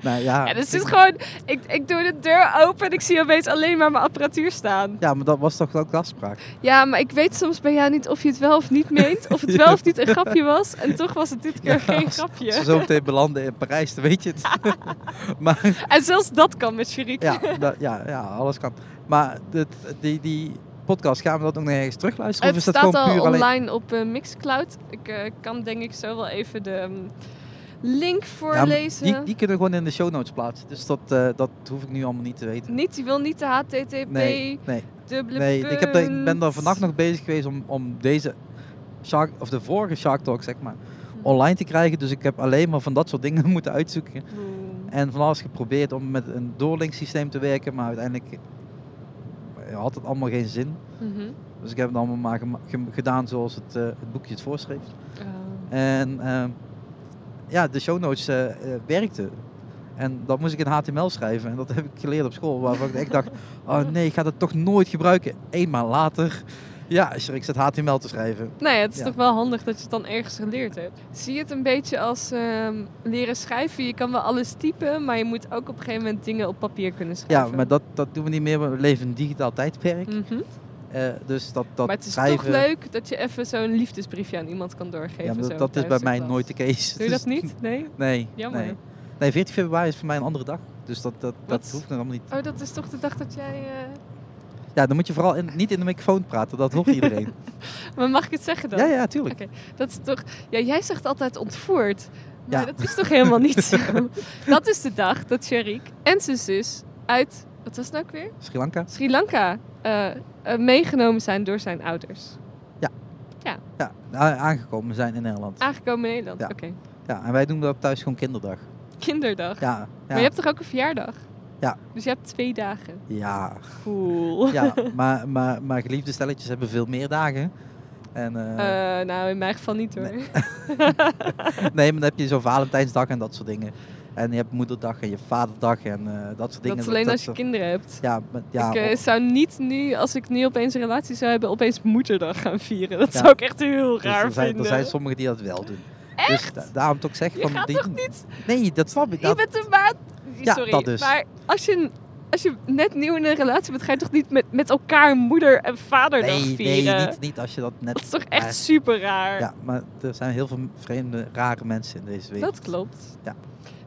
Speaker 2: Nou ja.
Speaker 1: Ja, dus het
Speaker 2: ik-
Speaker 1: is gewoon, ik, ik doe de deur open en ik zie opeens alleen maar mijn apparatuur staan.
Speaker 2: ja, maar dat was toch ook de afspraak?
Speaker 1: Ja, maar ik weet soms bij jou niet of je het wel of niet meent. Of het wel of niet een grapje was. En toch was het dit keer
Speaker 2: Ja,
Speaker 1: geen
Speaker 2: als-
Speaker 1: grapje.
Speaker 2: Als we zo meteen belanden in Parijs, dan weet je het. maar
Speaker 1: En zelfs dat kan met Shariq.
Speaker 2: ja, dat, ja, ja, alles kan. Maar dit, die, die podcast, gaan we dat ook nog ergens terugluisteren?
Speaker 1: Het
Speaker 2: of is dat
Speaker 1: staat
Speaker 2: gewoon
Speaker 1: al
Speaker 2: puur alleen...
Speaker 1: online op eh, Mixcloud. Ik eh, kan denk ik zo wel even de ehm, link
Speaker 2: Ja, maar
Speaker 1: voorlezen.
Speaker 2: die, die kunnen we gewoon in de show notes plaatsen. Dus dat, eh, dat hoef ik nu allemaal niet te weten.
Speaker 1: Niet, die wil niet de HTTP
Speaker 2: Nee, nee.
Speaker 1: dubbele
Speaker 2: Nee, ik, heb,
Speaker 1: punt.
Speaker 2: ik ben daar vannacht nog bezig geweest om, om deze Shark, of de vorige Shark Talk, zeg maar,
Speaker 1: Mhm.
Speaker 2: online te krijgen. Dus ik heb alleen maar van dat soort dingen moeten uitzoeken.
Speaker 1: Oeh.
Speaker 2: En van alles geprobeerd om met een doorlinksysteem te werken, maar uiteindelijk eh, had het allemaal geen zin.
Speaker 1: Mhm.
Speaker 2: Dus ik heb het allemaal maar gema- gem- gedaan zoals het, eh, het boekje het voorschreef.
Speaker 1: Eh,
Speaker 2: En ehm, ja, de show notes eh, eh, werkten. En dat moest ik in HTML schrijven. En dat heb ik geleerd op school. Waarvan ik echt dacht, oh nee, ik ga dat toch nooit gebruiken. Eenmaal later, ja, ik zat HTML te schrijven.
Speaker 1: nou ja, het is
Speaker 2: Ja.
Speaker 1: toch wel handig dat je het dan ergens geleerd hebt. Zie je het een beetje als ehm, leren schrijven? Je kan wel alles typen, maar je moet ook op een gegeven moment dingen op papier kunnen
Speaker 2: Ja,
Speaker 1: schrijven.
Speaker 2: maar dat, dat doen we niet meer. We leven in een digitaal tijdperk.
Speaker 1: Mhm.
Speaker 2: Eh, dus dat, dat
Speaker 1: maar het is
Speaker 2: schrijven...
Speaker 1: toch leuk dat je even zo'n liefdesbriefje aan iemand kan doorgeven.
Speaker 2: ja, maar
Speaker 1: zo
Speaker 2: dat, dat is bij
Speaker 1: tijdens de
Speaker 2: mij
Speaker 1: klas.
Speaker 2: nooit de case.
Speaker 1: Doe je
Speaker 2: Dus-
Speaker 1: dat niet? Nee?
Speaker 2: Nee.
Speaker 1: Jammer.
Speaker 2: Nee. nee, 14 februari is voor mij een andere dag. Dus dat, dat, dat
Speaker 1: Wat?
Speaker 2: hoeft nog allemaal niet.
Speaker 1: Oh, dat is toch de dag dat jij... eh,
Speaker 2: Ja, dan moet je vooral in- niet in de microfoon praten, dat hoort iedereen.
Speaker 1: Maar mag ik het zeggen dan?
Speaker 2: ja, ja, tuurlijk.
Speaker 1: Dat is toch... Ja, jij zegt altijd ontvoerd. Maar
Speaker 2: Ja.
Speaker 1: dat is toch helemaal niet zo? Dat is de dag dat Sharik en zijn zus uit... Wat was het nou ook weer?
Speaker 2: Sri Lanka.
Speaker 1: Sri Lanka eh, eh, meegenomen zijn door zijn ouders.
Speaker 2: Ja, a- aangekomen zijn in Nederland.
Speaker 1: Aangekomen in Nederland.
Speaker 2: Ja.
Speaker 1: Oké.
Speaker 2: Ja, en wij doen dat thuis gewoon kinderdag.
Speaker 1: Kinderdag.
Speaker 2: Ja, ja.
Speaker 1: Maar je hebt toch ook een verjaardag?
Speaker 2: Ja.
Speaker 1: Dus je hebt twee dagen.
Speaker 2: ja,
Speaker 1: Cool.
Speaker 2: ja maar, maar, maar geliefde stelletjes hebben veel meer dagen. En, eh,
Speaker 1: Eh, nou, in mijn geval niet hoor.
Speaker 2: Nee. Nee, maar dan heb je zo Valentijnsdag en dat soort dingen. En je hebt moederdag en je hebt vaderdag en eh, dat soort dingen.
Speaker 1: dat is alleen als je
Speaker 2: soort-
Speaker 1: kinderen hebt.
Speaker 2: Ja, maar- ja,
Speaker 1: ik eh,
Speaker 2: o-
Speaker 1: zou niet nu, als ik nu opeens een relatie zou hebben, opeens moederdag gaan vieren. Dat
Speaker 2: Ja.
Speaker 1: zou ik echt heel
Speaker 2: dus
Speaker 1: raar
Speaker 2: er, zijn, er
Speaker 1: vinden.
Speaker 2: zijn sommigen die dat wel doen.
Speaker 1: Echt?
Speaker 2: Dus da- daarom toch zeg
Speaker 1: Je
Speaker 2: van...
Speaker 1: gaat
Speaker 2: die,
Speaker 1: toch niet...
Speaker 2: Nee, dat snap ik.
Speaker 1: Je
Speaker 2: Dat,
Speaker 1: bent een maat...
Speaker 2: Ja,
Speaker 1: Sorry,
Speaker 2: dat dus.
Speaker 1: maar als je, als je net nieuw in een relatie bent, ga je toch niet met, met elkaar moeder en vaderdag
Speaker 2: nee, nee
Speaker 1: vieren?
Speaker 2: niet, niet als je dat net...
Speaker 1: Dat is toch echt
Speaker 2: Eh,
Speaker 1: super raar?
Speaker 2: Ja, maar er zijn heel veel vreemde, rare mensen in deze wereld.
Speaker 1: Dat klopt.
Speaker 2: Ja.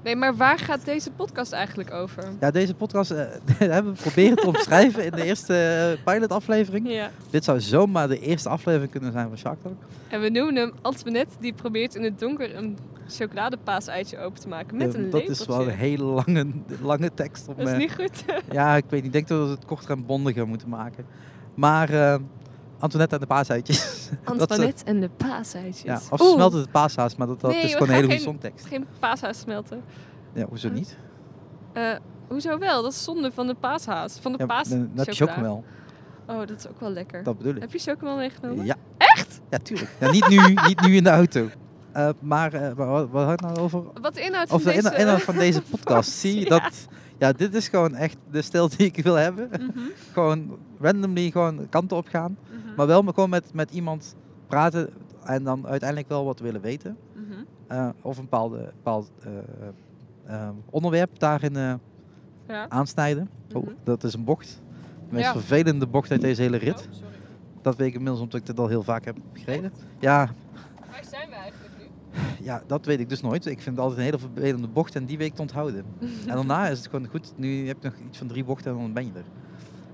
Speaker 1: Nee, maar waar gaat deze podcast eigenlijk over?
Speaker 2: Ja, deze podcast eh, hebben we proberen te omschrijven in de eerste eh, pilotaflevering.
Speaker 1: Ja.
Speaker 2: Dit zou zomaar de eerste aflevering kunnen zijn van Shark Tank.
Speaker 1: En we noemen hem Antoinette, die probeert in het donker een chocoladepaas-eitje open te maken met
Speaker 2: Eh,
Speaker 1: een
Speaker 2: dat is wel een
Speaker 1: lepeltje.
Speaker 2: hele lange, lange tekst. Om,
Speaker 1: Dat is
Speaker 2: eh,
Speaker 1: niet goed.
Speaker 2: Ja, ik weet niet. Ik denk dat we het korter en bondiger moeten maken. Maar eh, Antoinette en de paaseitjes. dat ze-
Speaker 1: Antoinette en de paaseitjes.
Speaker 2: ja, of
Speaker 1: Oeh,
Speaker 2: smelt het het paashaas, maar dat, dat
Speaker 1: Nee,
Speaker 2: is
Speaker 1: we
Speaker 2: gewoon een
Speaker 1: gaan
Speaker 2: hele goede
Speaker 1: geen-
Speaker 2: songtekst.
Speaker 1: Geen paashaas smelten.
Speaker 2: Ja, hoezo niet?
Speaker 1: Eh, hoezo wel? Dat is zonde van de paashaas. Van de
Speaker 2: Ja,
Speaker 1: paas.
Speaker 2: dan- dan heb je
Speaker 1: chocola.
Speaker 2: chocomel.
Speaker 1: Oh, dat is ook wel lekker.
Speaker 2: Dat bedoel ik.
Speaker 1: Heb je chocomel meegenomen?
Speaker 2: Ja. Echt? Ja, tuurlijk. Ja, niet, nu, niet nu in de auto. Eh, maar eh, wa- wat, wat had ik nou over?
Speaker 1: Wat de inhoud
Speaker 2: Of
Speaker 1: van
Speaker 2: de inho-
Speaker 1: deze...
Speaker 2: inhoud van deze podcast. Zie je dat? Ja, dit is gewoon echt de stijl die ik wil hebben.
Speaker 1: Mhm,
Speaker 2: Gewoon randomly gewoon kanten op gaan.
Speaker 1: mhm,
Speaker 2: Maar wel me- gewoon met, met iemand praten en dan uiteindelijk wel wat willen weten.
Speaker 1: mhm.
Speaker 2: Eh, of een bepaalde, bepaald eh, eh, onderwerp daarin eh,
Speaker 1: Ja.
Speaker 2: aansnijden. Oh,
Speaker 1: Mhm.
Speaker 2: dat is een bocht. De meest
Speaker 1: Ja.
Speaker 2: vervelende bocht uit deze hele rit.
Speaker 1: Oh, sorry.
Speaker 2: Dat weet ik inmiddels omdat ik dit al heel vaak heb gereden. Ja,
Speaker 1: Waar zijn we eigenlijk nu?
Speaker 2: ja, dat weet ik dus nooit. Ik vind het altijd een hele vervelende bocht en die weet ik te onthouden. en daarna is het gewoon goed. Nu heb je nog iets van drie bochten en dan ben je er.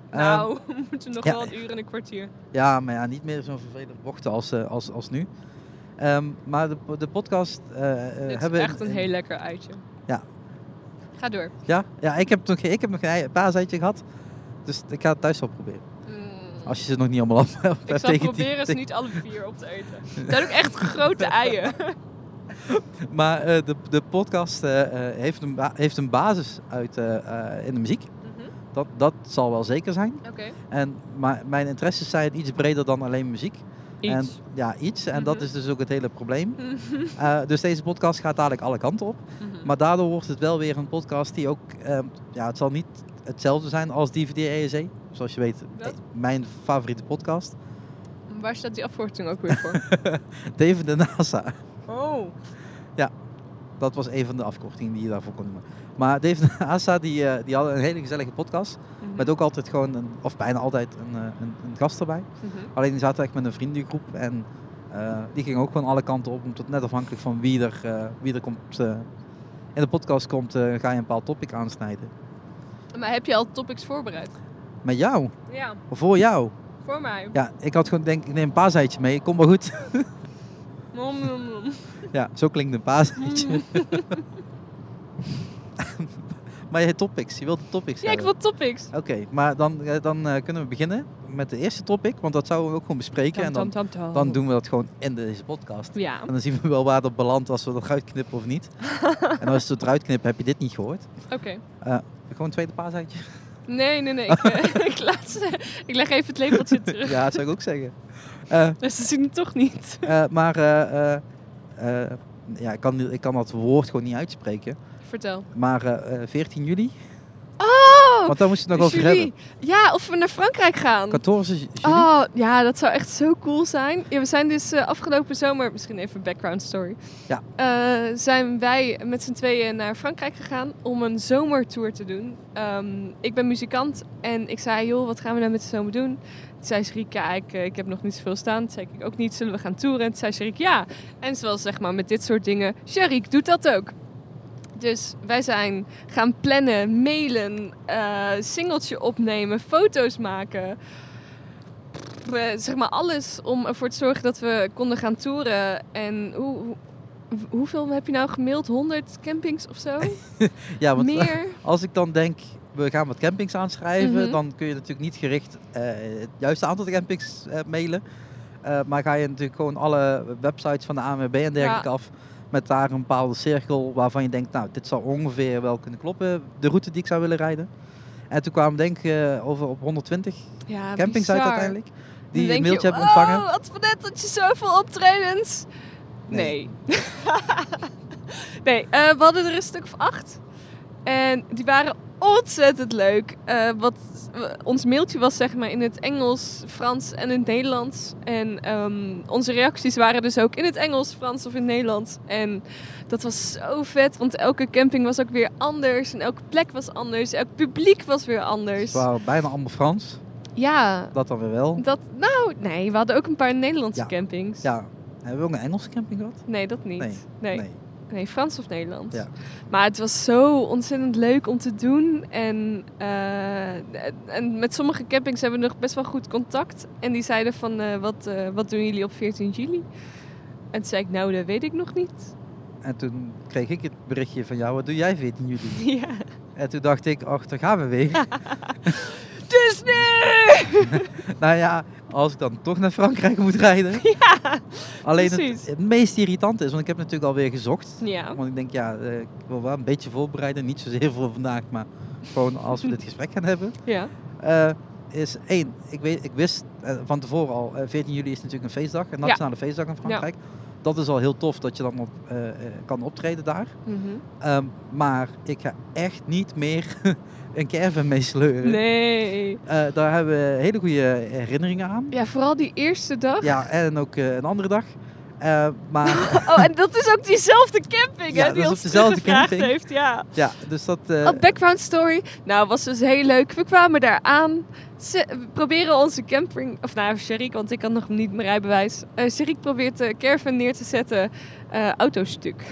Speaker 2: Ehm,
Speaker 1: nou, we moeten nog
Speaker 2: ja. Eh,
Speaker 1: wel een uur en een kwartier.
Speaker 2: Ja, maar ja, niet meer zo'n vervelende bochten als, eh, als, als nu. Ehm, maar de, po- de podcast eh, eh,
Speaker 1: Dit
Speaker 2: hebben...
Speaker 1: is echt een heel lekker uitje.
Speaker 2: Ja.
Speaker 1: Ga door.
Speaker 2: Ja, ja ik, heb nog, geen- ik heb nog geen ei- paaseitje gehad. Dus ik ga het thuis wel proberen.
Speaker 1: Mm.
Speaker 2: Als je ze nog niet allemaal af hebt.
Speaker 1: Ik zal
Speaker 2: tegen die-
Speaker 1: proberen ze
Speaker 2: tegen-
Speaker 1: niet alle vier op te eten. Het zijn ook echt grote eieren.
Speaker 2: Maar eh, de, de podcast eh, eh, heeft, een ba- heeft een basis uit, eh, eh, in de muziek.
Speaker 1: Mhm,
Speaker 2: Dat, dat zal wel zeker zijn.
Speaker 1: Oké.
Speaker 2: En, maar mijn interesses zijn iets breder dan alleen muziek. En,
Speaker 1: Iets.
Speaker 2: ja, iets. En dat
Speaker 1: Mhm.
Speaker 2: is dus ook het hele probleem.
Speaker 1: Mhm,
Speaker 2: Eh, dus deze podcast gaat dadelijk alle kanten op.
Speaker 1: mhm.
Speaker 2: Maar daardoor wordt het wel weer een podcast die ook... eh, ja, het zal niet hetzelfde zijn als DVD ESE. Zoals je weet, eh,
Speaker 1: Wat?
Speaker 2: mijn favoriete podcast.
Speaker 1: Waar staat die afkorting ook weer voor?
Speaker 2: David de NASA.
Speaker 1: Oh.
Speaker 2: Dat was een van de afkortingen die je daarvoor kon noemen. Maar Dave en Asa die, eh, die hadden een hele gezellige podcast.
Speaker 1: Mhm.
Speaker 2: Met ook altijd gewoon, een, of bijna altijd, een, eh, een, een gast erbij.
Speaker 1: Mhm.
Speaker 2: Alleen die zaten echt met een vriendengroep. En eh, die gingen ook gewoon alle kanten op. Omdat net afhankelijk van wie er, eh, wie er komt, eh, in de podcast komt, eh, ga je een bepaald topic aansnijden.
Speaker 1: Maar heb je al topics voorbereid?
Speaker 2: Met jou,
Speaker 1: Ja,
Speaker 2: voor jou.
Speaker 1: voor mij.
Speaker 2: Ja, ik had gewoon denk ik neem een paaseitje mee. Kom maar goed.
Speaker 1: Nom, nom, nom.
Speaker 2: ja, zo klinkt een
Speaker 1: Mm.
Speaker 2: paaseitje. maar je hebt topics, je wilt de topics
Speaker 1: Ja, ik
Speaker 2: hebben.
Speaker 1: wil topics.
Speaker 2: Oké, maar dan, eh, dan eh, kunnen we beginnen met de eerste topic, want dat zouden we ook gewoon bespreken. en dan, dan doen we dat gewoon in deze podcast.
Speaker 1: Ja,
Speaker 2: En dan zien we wel waar dat belandt als we dat eruit knippen of niet. en als we het eruit knippen, heb je dit niet gehoord.
Speaker 1: oké.
Speaker 2: Gewoon een tweede paaseitje.
Speaker 1: Nee, nee, nee. Ik, eh, ik, laat ze- ik leg even het lepeltje terug.
Speaker 2: ja, dat zou ik ook zeggen. Eh,
Speaker 1: Dus ze zien het toch niet.
Speaker 2: eh, maar eh, eh, eh, ja, ik, kan, niet- ik kan dat woord gewoon niet uitspreken.
Speaker 1: Vertel.
Speaker 2: Maar eh, eh, 14 juli,
Speaker 1: Oh,
Speaker 2: want daar moest je het nog over
Speaker 1: Julie.
Speaker 2: hebben.
Speaker 1: Ja, of we naar Frankrijk gaan.
Speaker 2: 14 juli.
Speaker 1: Oh, ja, dat zou echt zo cool zijn. Ja, we zijn dus eh, afgelopen zomer, misschien even een background story.
Speaker 2: Ja.
Speaker 1: Eh, zijn wij met z'n tweeën naar Frankrijk gegaan om een zomertour te doen. Ehm, ik ben muzikant en ik zei, joh, wat gaan we nou met de zomer doen? Toen zei Sherik, ja, ik, eh, ik heb nog niet zoveel staan. Toen zei ik, ik ook niet, zullen we gaan toeren? Toen zei Sherik, ja. En zoals zeg maar met dit soort dingen, Sherik doet dat ook. Dus wij zijn gaan plannen, mailen, eh singeltje opnemen, foto's maken. Eh, zeg maar alles om ervoor te zorgen dat we konden gaan toeren. En hoe, hoe- hoeveel heb je nou gemaild? 100 campings of zo?
Speaker 2: Ja, want
Speaker 1: Meer?
Speaker 2: als ik dan denk, we gaan wat campings aanschrijven,
Speaker 1: Mhm.
Speaker 2: dan kun je natuurlijk niet gericht eh, het juiste aantal campings eh, mailen. Eh, maar ga je natuurlijk gewoon alle websites van de ANWB en dergelijke af met daar een bepaalde cirkel waarvan je denkt, nou, dit zou ongeveer wel kunnen kloppen, de route die ik zou willen rijden. En toen kwamen denk ik eh, over op 120
Speaker 1: Ja,
Speaker 2: campings uit
Speaker 1: bizar.
Speaker 2: uiteindelijk,
Speaker 1: Dan
Speaker 2: die
Speaker 1: denk
Speaker 2: een
Speaker 1: je, "Oh,
Speaker 2: mailtje hebben
Speaker 1: "Wow,
Speaker 2: ontvangen.
Speaker 1: wat voor net dat je zoveel optredens. Nee.
Speaker 2: Nee.
Speaker 1: Nee, eh, we hadden er een stuk of acht. En die waren ontzettend leuk. Eh, wat, ons mailtje was zeg maar in het Engels, Frans en in het Nederlands. En ehm, onze reacties waren dus ook in het Engels, Frans of in het Nederlands. En dat was zo vet, want elke camping was ook weer anders. En elke plek was anders. Elk publiek was weer
Speaker 2: Ze
Speaker 1: anders.
Speaker 2: waren bijna allemaal Frans,
Speaker 1: Ja,
Speaker 2: dat dan weer wel.
Speaker 1: dat, nou, nee, we hadden ook een paar Nederlandse
Speaker 2: Ja.
Speaker 1: campings.
Speaker 2: Ja, hebben we ook een Engelse camping gehad?
Speaker 1: Nee, dat niet.
Speaker 2: Nee,
Speaker 1: Nee. nee. Frans of Nederlands.
Speaker 2: Ja.
Speaker 1: Maar het was zo ontzettend leuk om te doen. En, eh, en met sommige campings hebben we nog best wel goed contact. En die zeiden van, eh, wat, eh, wat doen jullie op 14 juli? En toen zei ik, nou, dat weet ik nog niet.
Speaker 2: En toen kreeg ik het berichtje van jou, wat doe jij 14 juli?
Speaker 1: ja.
Speaker 2: En toen dacht ik, ach, daar gaan we weer.
Speaker 1: Dus Disney!
Speaker 2: nou ja, als ik dan toch naar Frankrijk moet rijden. Alleen
Speaker 1: precies.
Speaker 2: het, het meest irritant is, want ik heb natuurlijk alweer gezocht.
Speaker 1: ja.
Speaker 2: Want ik denk, ja, eh, ik wil wel een beetje voorbereiden. Niet zozeer voor vandaag, maar gewoon als we dit gesprek gaan hebben.
Speaker 1: Ja.
Speaker 2: Eh, is één, ik, weet, ik wist eh, van tevoren al, eh, 14 juli is natuurlijk een feestdag, een nationale feestdag in Frankrijk. Dat is al heel tof dat je dan op, eh, eh, kan optreden daar.
Speaker 1: Mhm.
Speaker 2: Ehm, maar ik ga echt niet meer een caravan mee sleuren.
Speaker 1: Nee.
Speaker 2: Eh, daar hebben we hele goede herinneringen aan.
Speaker 1: Ja, vooral die eerste dag.
Speaker 2: Ja, en ook eh, een andere dag. Eh, maar
Speaker 1: Oh, en dat is ook diezelfde camping,
Speaker 2: Ja,
Speaker 1: hè?
Speaker 2: dat
Speaker 1: Die
Speaker 2: is
Speaker 1: ons
Speaker 2: op dezelfde
Speaker 1: teruggevraagd
Speaker 2: camping.
Speaker 1: heeft, ja.
Speaker 2: ja, dus dat... eh,
Speaker 1: Oh, background story. Nou, was dus heel leuk. We kwamen daar aan. Ze- we proberen onze camping... Of nou, Sherik, want ik had nog niet mijn rijbewijs. Eh Sherik probeert de caravan neer te zetten. eh auto stuk.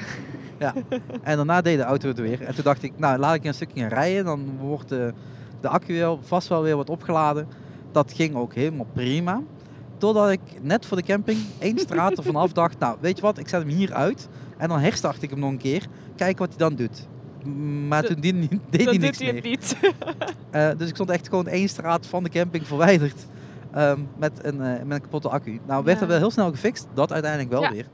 Speaker 2: en daarna deed de auto het weer. En toen dacht ik, nou laat ik een stukje gaan rijden. Dan wordt de, de accu wel, vast wel weer wat opgeladen. Dat ging ook helemaal prima. Totdat ik net voor de camping één straat ervan af dacht... Nou, weet je wat, ik zet hem hier uit. En dan herstart ik hem nog een keer. Kijk wat hij dan doet. Maar
Speaker 1: Dat-
Speaker 2: toen die, deed hij
Speaker 1: Dan
Speaker 2: niks
Speaker 1: doet hij het
Speaker 2: meer.
Speaker 1: niet.
Speaker 2: Eh, dus ik stond echt gewoon één straat van de camping verwijderd. ehm, met, een, eh, met een kapotte accu. Nou werd
Speaker 1: Ja.
Speaker 2: dat wel heel snel gefixt. Dat uiteindelijk wel
Speaker 1: Ja.
Speaker 2: weer.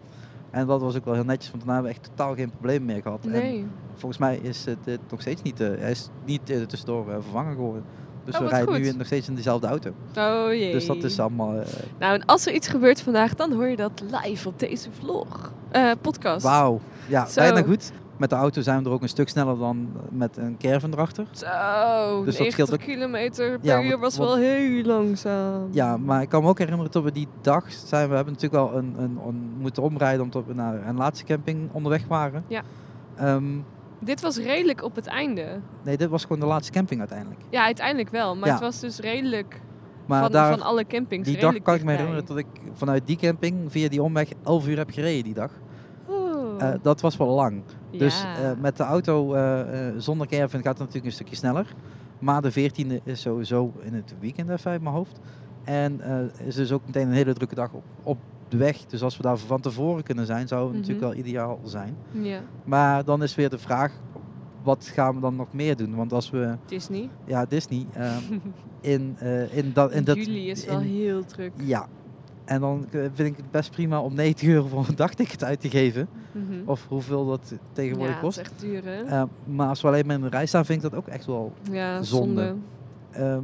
Speaker 2: En dat was ook wel heel netjes. Want daarna hebben we echt totaal geen problemen meer gehad. En
Speaker 1: Nee.
Speaker 2: volgens mij is het eh, nog steeds niet... eh, hij is niet eh, tussendoor eh, vervangen geworden. Dus
Speaker 1: Oh,
Speaker 2: we
Speaker 1: wat
Speaker 2: rijden
Speaker 1: goed.
Speaker 2: nu in- nog steeds in dezelfde auto.
Speaker 1: Oh jee.
Speaker 2: Dus dat is allemaal... eh,
Speaker 1: Nou, en als er iets gebeurt vandaag, dan hoor je dat live op deze vlog. Eh, podcast.
Speaker 2: Wauw. Ja,
Speaker 1: Zo.
Speaker 2: bijna goed. Met de auto zijn we er ook een stuk sneller dan eh, met een caravan erachter.
Speaker 1: Zo,
Speaker 2: Dus dat scheelt
Speaker 1: 90
Speaker 2: ook-
Speaker 1: kilometer per
Speaker 2: Ja,
Speaker 1: uur
Speaker 2: want-
Speaker 1: was
Speaker 2: want-
Speaker 1: wel heel langzaam.
Speaker 2: Ja, maar ik kan me ook herinneren dat we die dag zijn. We hebben natuurlijk wel een, een, een- moeten omrijden omdat we naar een laatste camping onderweg waren.
Speaker 1: Ja.
Speaker 2: Ehm,
Speaker 1: Dit was redelijk op het einde.
Speaker 2: nee, dit was gewoon de laatste camping uiteindelijk.
Speaker 1: Ja, uiteindelijk wel. Maar
Speaker 2: Ja.
Speaker 1: het was dus redelijk
Speaker 2: Maar
Speaker 1: van,
Speaker 2: daar,
Speaker 1: van alle campings.
Speaker 2: die dag
Speaker 1: redelijk
Speaker 2: kan ik me
Speaker 1: dichtbij.
Speaker 2: herinneren dat ik vanuit die camping via die omweg 11 uur heb gereden die dag.
Speaker 1: Oeh.
Speaker 2: Eh, dat was wel lang. Dus
Speaker 1: Ja.
Speaker 2: eh, met de auto eh, eh, zonder caravan gaat het natuurlijk een stukje sneller. Maar de 14e is sowieso in het weekend even uit mijn hoofd. En eh is dus ook meteen een hele drukke dag op, op de weg. Dus als we daar van tevoren kunnen zijn, zou het
Speaker 1: Mhm.
Speaker 2: natuurlijk wel ideaal zijn.
Speaker 1: ja,
Speaker 2: Maar dan is weer de vraag, wat gaan we dan nog meer doen? Want als we,
Speaker 1: Disney.
Speaker 2: ja, Disney, ehm, in, eh, in, dat, in dat...
Speaker 1: Juli is wel
Speaker 2: in-
Speaker 1: heel druk.
Speaker 2: Ja. En dan eh, vind ik het best prima om 90 euro voor een dagticket uit te geven.
Speaker 1: Mhm.
Speaker 2: Of hoeveel dat Oh, tegenwoordig
Speaker 1: ja, het is
Speaker 2: kost.
Speaker 1: echt duur, hè?
Speaker 2: Eh, maar als we alleen maar in de rij staan, vind ik dat ook echt wel.
Speaker 1: ja, zonde.
Speaker 2: zonde. ehm,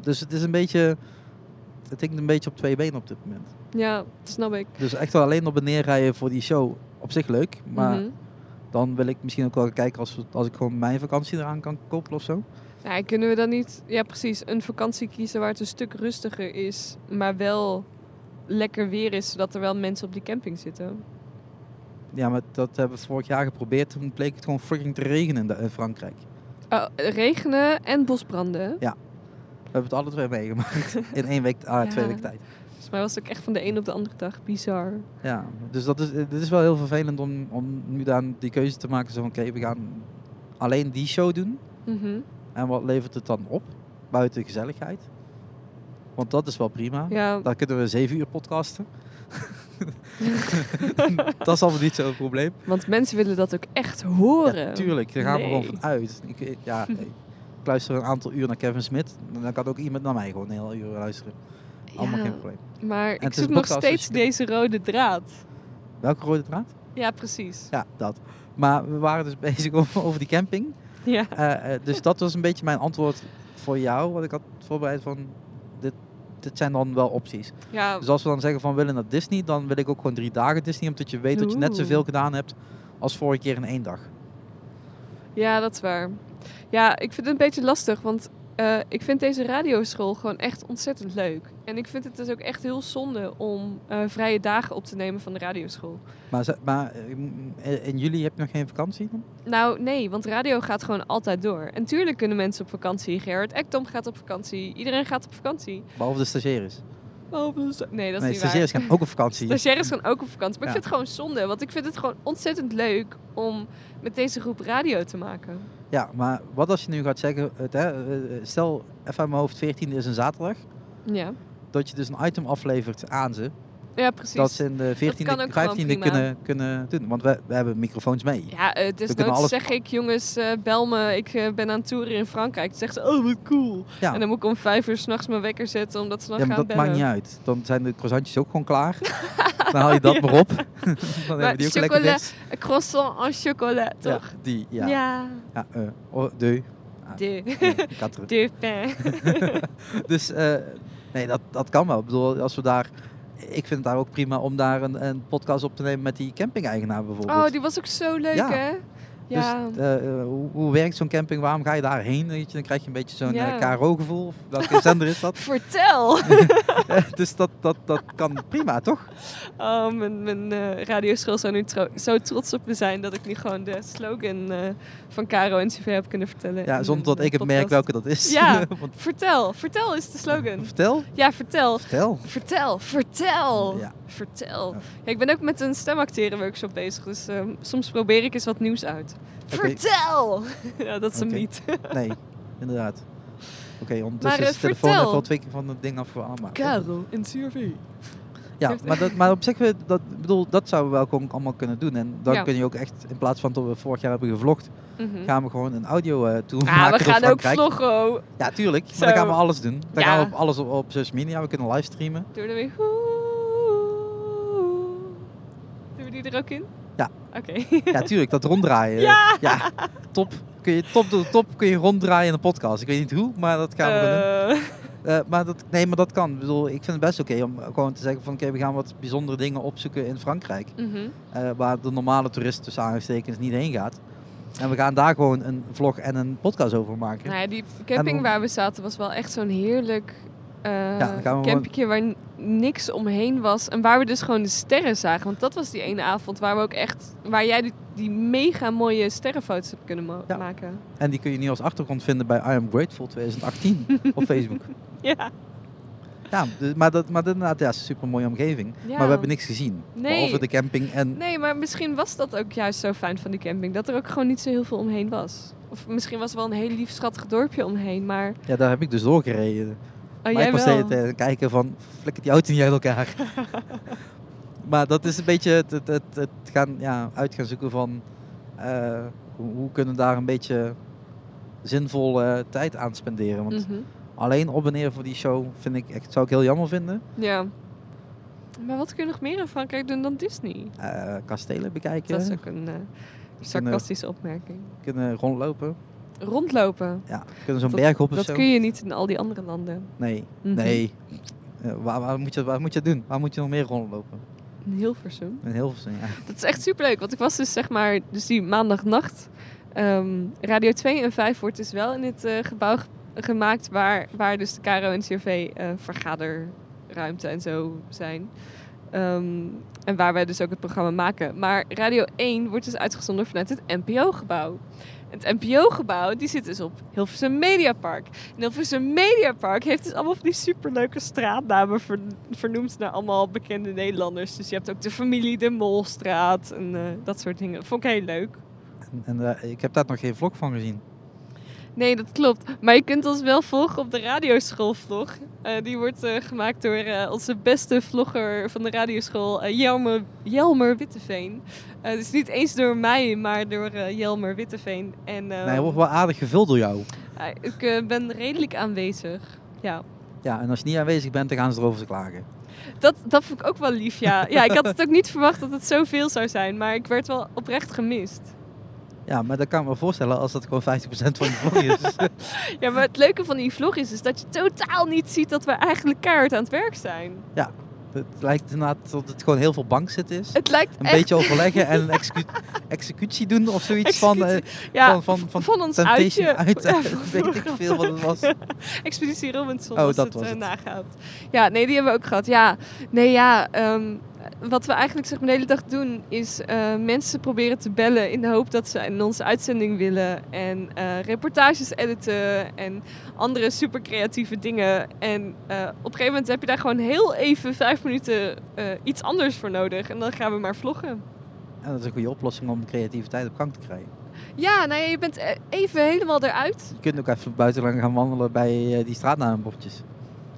Speaker 2: dus het is een beetje. Het hinkt een beetje op twee benen op dit moment.
Speaker 1: Ja, snap ik.
Speaker 2: Dus echt wel alleen op en neer rijden voor die show. Op zich leuk, maar
Speaker 1: Mhm.
Speaker 2: dan wil ik misschien ook wel kijken als, we- als ik gewoon mijn vakantie eraan kan koppelen of zo.
Speaker 1: Ja, kunnen we dan niet... Ja, precies. Een vakantie kiezen waar het een stuk rustiger is, maar wel lekker weer is, zodat er wel mensen op die camping zitten.
Speaker 2: Ja, maar dat hebben we vorig jaar geprobeerd. Toen bleek het gewoon freaking te regenen in, de- in Frankrijk.
Speaker 1: Oh, regenen en bosbranden.
Speaker 2: We hebben het alle twee meegemaakt in één week, ah,
Speaker 1: Ja.
Speaker 2: twee weken tijd.
Speaker 1: Volgens mij was het ook echt van de een op de andere dag bizar.
Speaker 2: Ja, dus dat is, dit is wel heel vervelend om, om nu dan die keuze te maken. Zo van, oké, we gaan alleen die show doen.
Speaker 1: Mhm.
Speaker 2: En wat levert het dan op? Buiten gezelligheid. Want dat is wel prima.
Speaker 1: Ja,
Speaker 2: Dan kunnen we zeven uur podcasten. dat is allemaal niet zo'n probleem.
Speaker 1: want mensen willen dat ook echt horen.
Speaker 2: Ja, tuurlijk, daar gaan we gewoon
Speaker 1: Nee.
Speaker 2: van uit. Ik, ik- ja, ik luister een aantal uur naar Kevin Smit. Dan kan ook iemand naar mij gewoon een heel uur luisteren. Allemaal
Speaker 1: Ja,
Speaker 2: geen probleem.
Speaker 1: Maar
Speaker 2: het
Speaker 1: ik
Speaker 2: is een
Speaker 1: zoek nog
Speaker 2: podcast, dus
Speaker 1: steeds
Speaker 2: je-
Speaker 1: deze rode draad.
Speaker 2: Welke rode draad?
Speaker 1: Ja, precies.
Speaker 2: Ja, dat. Maar we waren dus bezig over, over die camping.
Speaker 1: Ja.
Speaker 2: Eh, eh, dus dat was een beetje mijn antwoord voor jou. Wat ik had voorbereid van... Dit, dit zijn dan wel opties.
Speaker 1: Ja,
Speaker 2: Dus als we dan zeggen van we willen naar Disney... dan wil ik ook gewoon drie dagen Disney. Omdat je weet dat je net
Speaker 1: Oeh.
Speaker 2: zoveel gedaan hebt... als vorige keer in één dag.
Speaker 1: ja, dat is waar. Ja, ik vind het een beetje lastig, want eh, ik vind deze radioschool gewoon echt ontzettend leuk. En ik vind het dus ook echt heel zonde om eh, vrije dagen op te nemen van de radioschool.
Speaker 2: Maar, ze- maar eh, m- eh, in juli heb je nog geen vakantie? dan?
Speaker 1: Nou, nee, want radio gaat gewoon altijd door. En tuurlijk kunnen mensen op vakantie. Gerard Ekdom gaat op vakantie. Iedereen gaat op vakantie. Oh,
Speaker 2: Behalve de stagiaires.
Speaker 1: Behalve de sta- Nee, dat is
Speaker 2: nee,
Speaker 1: niet waar.
Speaker 2: stagiaires gaan ook op vakantie.
Speaker 1: Stagiaires gaan ook op vakantie. Maar ik
Speaker 2: Ja.
Speaker 1: vind het gewoon zonde, want ik vind het gewoon ontzettend leuk om met deze groep radio te maken.
Speaker 2: Ja, maar wat als je nu gaat zeggen... Het, hè, eh, eh, stel, even uit mijn hoofd, 14e is een zaterdag...
Speaker 1: Ja,
Speaker 2: dat je dus een item aflevert aan ze...
Speaker 1: ja precies.
Speaker 2: dat ze in de 14e,
Speaker 1: kan ook gewoon
Speaker 2: 15e
Speaker 1: prima.
Speaker 2: kunnen, kunnen doen. Want we, we hebben microfoons mee.
Speaker 1: Ja, eh, dus
Speaker 2: kunnen
Speaker 1: dan
Speaker 2: alles-
Speaker 1: zeg ik, jongens, eh, bel me, ik eh, ben aan het toeren in Frankrijk. Dan zegt ze, oh, wat cool.
Speaker 2: Ja.
Speaker 1: En dan moet ik om vijf uur s'nachts mijn wekker zetten, omdat ze dan
Speaker 2: Ja, maar
Speaker 1: gaan
Speaker 2: dat
Speaker 1: bellen.
Speaker 2: maakt niet uit. Dan zijn de croissantjes ook gewoon klaar. Dan haal je dat maar op. Dan hebben die ook lekker
Speaker 1: chocola,
Speaker 2: vers.
Speaker 1: Een croissant en chocola,
Speaker 2: Ja,
Speaker 1: toch?
Speaker 2: die, ja. ja.
Speaker 1: Ja.
Speaker 2: eh, oh, de,
Speaker 1: De,
Speaker 2: eh, quatre.
Speaker 1: de pain.
Speaker 2: Dus eh, nee, dat, dat kan wel. Ik bedoel, als we daar... Ik vind het daar ook prima om daar een, een podcast op te nemen met die camping-eigenaar bijvoorbeeld.
Speaker 1: Oh, die was ook zo leuk,
Speaker 2: Ja.
Speaker 1: hè? Ja.
Speaker 2: Dus eh, eh, hoe, hoe werkt zo'n camping? Waarom ga je daarheen? Weet je, dan krijg je een beetje zo'n
Speaker 1: Ja.
Speaker 2: eh, KRO-gevoel. Of Welke zender is dat?
Speaker 1: Vertel!
Speaker 2: dus dat, dat, dat kan prima, toch?
Speaker 1: Oh, mijn, mijn eh, radioschool zou nu tro- zo trots op me zijn dat ik nu gewoon de slogan eh, van Caro en CV heb kunnen vertellen.
Speaker 2: Ja,
Speaker 1: in
Speaker 2: zonder
Speaker 1: mijn,
Speaker 2: dat ik
Speaker 1: eh,
Speaker 2: het merk
Speaker 1: podcast.
Speaker 2: welke dat is.
Speaker 1: Ja.
Speaker 2: Want,
Speaker 1: Vertel, vertel is de slogan.
Speaker 2: vertel.
Speaker 1: Ja, vertel.
Speaker 2: Vertel.
Speaker 1: Vertel, vertel.
Speaker 2: Ja.
Speaker 1: Vertel.
Speaker 2: Ja.
Speaker 1: Ja, ik ben ook met een stemacteren workshop bezig, dus ehm, soms probeer ik eens wat nieuws uit. Vertel! ja, dat is
Speaker 2: Oké.
Speaker 1: hem niet.
Speaker 2: Nee, inderdaad. Oké,
Speaker 1: Maar,
Speaker 2: ondertussen
Speaker 1: eh,
Speaker 2: is de telefoon
Speaker 1: vertel.
Speaker 2: even al twee keer van het ding af voor allemaal.
Speaker 1: Caro en CV.
Speaker 2: Ja,
Speaker 1: heeft-
Speaker 2: maar, dat, maar op zich, eh, dat, ik bedoel, dat zouden we wel gewoon allemaal kunnen doen. En dan
Speaker 1: Ja. Hm.
Speaker 2: kun je ook echt, in plaats van dat we vorig jaar hebben gevlogd, gaan we gewoon een audio eh toe
Speaker 1: Mhm. Ah,
Speaker 2: maken
Speaker 1: we
Speaker 2: door
Speaker 1: gaan ook
Speaker 2: Frankrijk.
Speaker 1: vloggen. oh.
Speaker 2: Ja, tuurlijk. Maar dan
Speaker 1: Zo.
Speaker 2: gaan we alles doen. Dan
Speaker 1: Ja.
Speaker 2: gaan we op alles op, op social media. We kunnen livestreamen.
Speaker 1: Doen we er weer. Doen we die er ook in?
Speaker 2: Ja.
Speaker 1: Oké.
Speaker 2: Ja, tuurlijk, dat ronddraaien.
Speaker 1: Ja!
Speaker 2: ja top. Kun je, top door top kun je ronddraaien in een podcast. Ik weet niet hoe, maar dat gaan we gewoon doen.
Speaker 1: Eh,
Speaker 2: Eh, maar dat, nee, maar dat kan. Ik, bedoel, ik vind het best oké om gewoon te zeggen van oké, we gaan wat bijzondere dingen opzoeken in Frankrijk.
Speaker 1: mhm.
Speaker 2: eh, waar de normale toerist tussen aangestekens niet heen gaat. En we gaan daar gewoon een vlog en een podcast over maken.
Speaker 1: Nou ja, die
Speaker 2: En
Speaker 1: camping
Speaker 2: dan-
Speaker 1: waar we zaten was wel echt zo'n heerlijk eh
Speaker 2: dan gaan we
Speaker 1: campingje waar n- niks omheen was. En waar we dus gewoon de sterren zagen. Want dat was die ene avond waar we ook echt, waar jij die, die mega mooie sterrenfoto's hebt kunnen mo-
Speaker 2: Ja.
Speaker 1: maken.
Speaker 2: En die kun je nu als achtergrond vinden bij I Am Grateful 2018 op Facebook.
Speaker 1: Ja.
Speaker 2: Ja, dus, maar, dat, maar dat, inderdaad, ja, super mooie omgeving.
Speaker 1: Ja.
Speaker 2: Maar we hebben niks gezien.
Speaker 1: Nee.
Speaker 2: Behalve de camping en
Speaker 1: Nee, maar misschien was dat ook juist zo fijn van die camping. Dat er ook gewoon niet zo heel veel omheen was. Of misschien was er wel een heel lief schattig dorpje omheen, maar...
Speaker 2: ja, daar heb ik dus doorgereden.
Speaker 1: Oh,
Speaker 2: maar
Speaker 1: jij
Speaker 2: ik was
Speaker 1: wel.
Speaker 2: steeds aan het eh, kijken van, flikker die auto niet uit elkaar. maar dat is een beetje het, het, het, het gaan, ja, uit gaan zoeken van, eh, hoe, hoe kunnen we daar een beetje zinvol eh, tijd aan spenderen. Want
Speaker 1: Mhm.
Speaker 2: alleen op en neer voor die show vind ik echt, zou ik heel jammer vinden.
Speaker 1: Ja. Maar wat kun je nog meer in Frankrijk doen dan Disney?
Speaker 2: Eh, kastelen bekijken,
Speaker 1: Dat is ook een eh, sarcastische opmerking.
Speaker 2: kunnen rondlopen.
Speaker 1: Rondlopen.
Speaker 2: Ja, kunnen zo'n berg op of
Speaker 1: Dat
Speaker 2: zo.
Speaker 1: kun je niet in al die andere landen.
Speaker 2: Nee,
Speaker 1: Mhm.
Speaker 2: nee. Eh, waar, waar, moet je, waar moet je het doen? Waar moet je nog meer rondlopen?
Speaker 1: In Hilversum.
Speaker 2: In Hilversum, ja.
Speaker 1: Dat is echt superleuk, want ik was dus zeg maar, dus die maandagnacht. ehm, Radio 2 en 5 wordt dus wel in het eh, gebouw ge- gemaakt waar, waar dus de KRO en CRV eh, vergaderruimte en zo zijn. Ehm, en waar wij dus ook het programma maken. Maar Radio 1 wordt dus uitgezonden vanuit het NPO-gebouw. Het NPO-gebouw die zit dus op Hilversum Mediapark. En Hilversum Mediapark heeft dus allemaal van die superleuke straatnamen ver- vernoemd naar allemaal bekende Nederlanders. Dus je hebt ook de familie de Molstraat en eh, dat soort dingen. Vond ik heel leuk.
Speaker 2: En, en, eh, ik heb daar nog geen vlog van gezien.
Speaker 1: Nee, dat klopt. Maar je kunt ons wel volgen op de radioschoolvlog. Eh, die wordt eh, gemaakt door eh, onze beste vlogger van de radioschool, eh, Jelmer, Jelmer Witteveen. Eh dus niet eens door mij, maar door eh, Jelmer Witteveen. En, eh,
Speaker 2: Nee, hij wordt wel aardig gevuld door jou.
Speaker 1: hij- ik eh, ben redelijk aanwezig. Ja,
Speaker 2: Ja, en als je niet aanwezig bent, dan gaan ze erover klagen.
Speaker 1: dat, dat vond ik ook wel lief, ja. Ja, ik had het ook niet verwacht dat het zoveel zou zijn, maar ik werd wel oprecht gemist.
Speaker 2: Ja, maar dat kan ik me voorstellen als dat gewoon 50% van je vlog is.
Speaker 1: Ja, maar het leuke van die vlog is, is dat je totaal niet ziet dat we eigenlijk keihard aan het werk zijn.
Speaker 2: het lijkt inderdaad dat het gewoon heel veel bankzit is.
Speaker 1: Het lijkt
Speaker 2: Een
Speaker 1: echt...
Speaker 2: beetje overleggen en een execu- executie doen of zoiets van, eh,
Speaker 1: ja,
Speaker 2: van, van, van
Speaker 1: van ons
Speaker 2: Temptation
Speaker 1: uitje.
Speaker 2: uit.
Speaker 1: Ja,
Speaker 2: weet ik veel wat het was.
Speaker 1: Expeditie Robinson
Speaker 2: Oh,
Speaker 1: was
Speaker 2: dat
Speaker 1: het,
Speaker 2: was
Speaker 1: eh,
Speaker 2: het.
Speaker 1: nagehaald. Ja, nee, die hebben we ook gehad. Ja, nee, ja. ehm, wat we eigenlijk zeg maar, de hele dag doen is eh, mensen proberen te bellen in de hoop dat ze in onze uitzending willen. En eh, reportages editen en andere super creatieve dingen. En eh, op een gegeven moment heb je daar gewoon heel even vijf minuten eh, iets anders voor nodig. En dan gaan we maar vloggen.
Speaker 2: En dat is een goede oplossing om creativiteit op gang te krijgen.
Speaker 1: Ja, nou ja, je bent eh, even helemaal eruit.
Speaker 2: Je kunt ook even buiten lang gaan wandelen bij eh, die straatnaambordjes.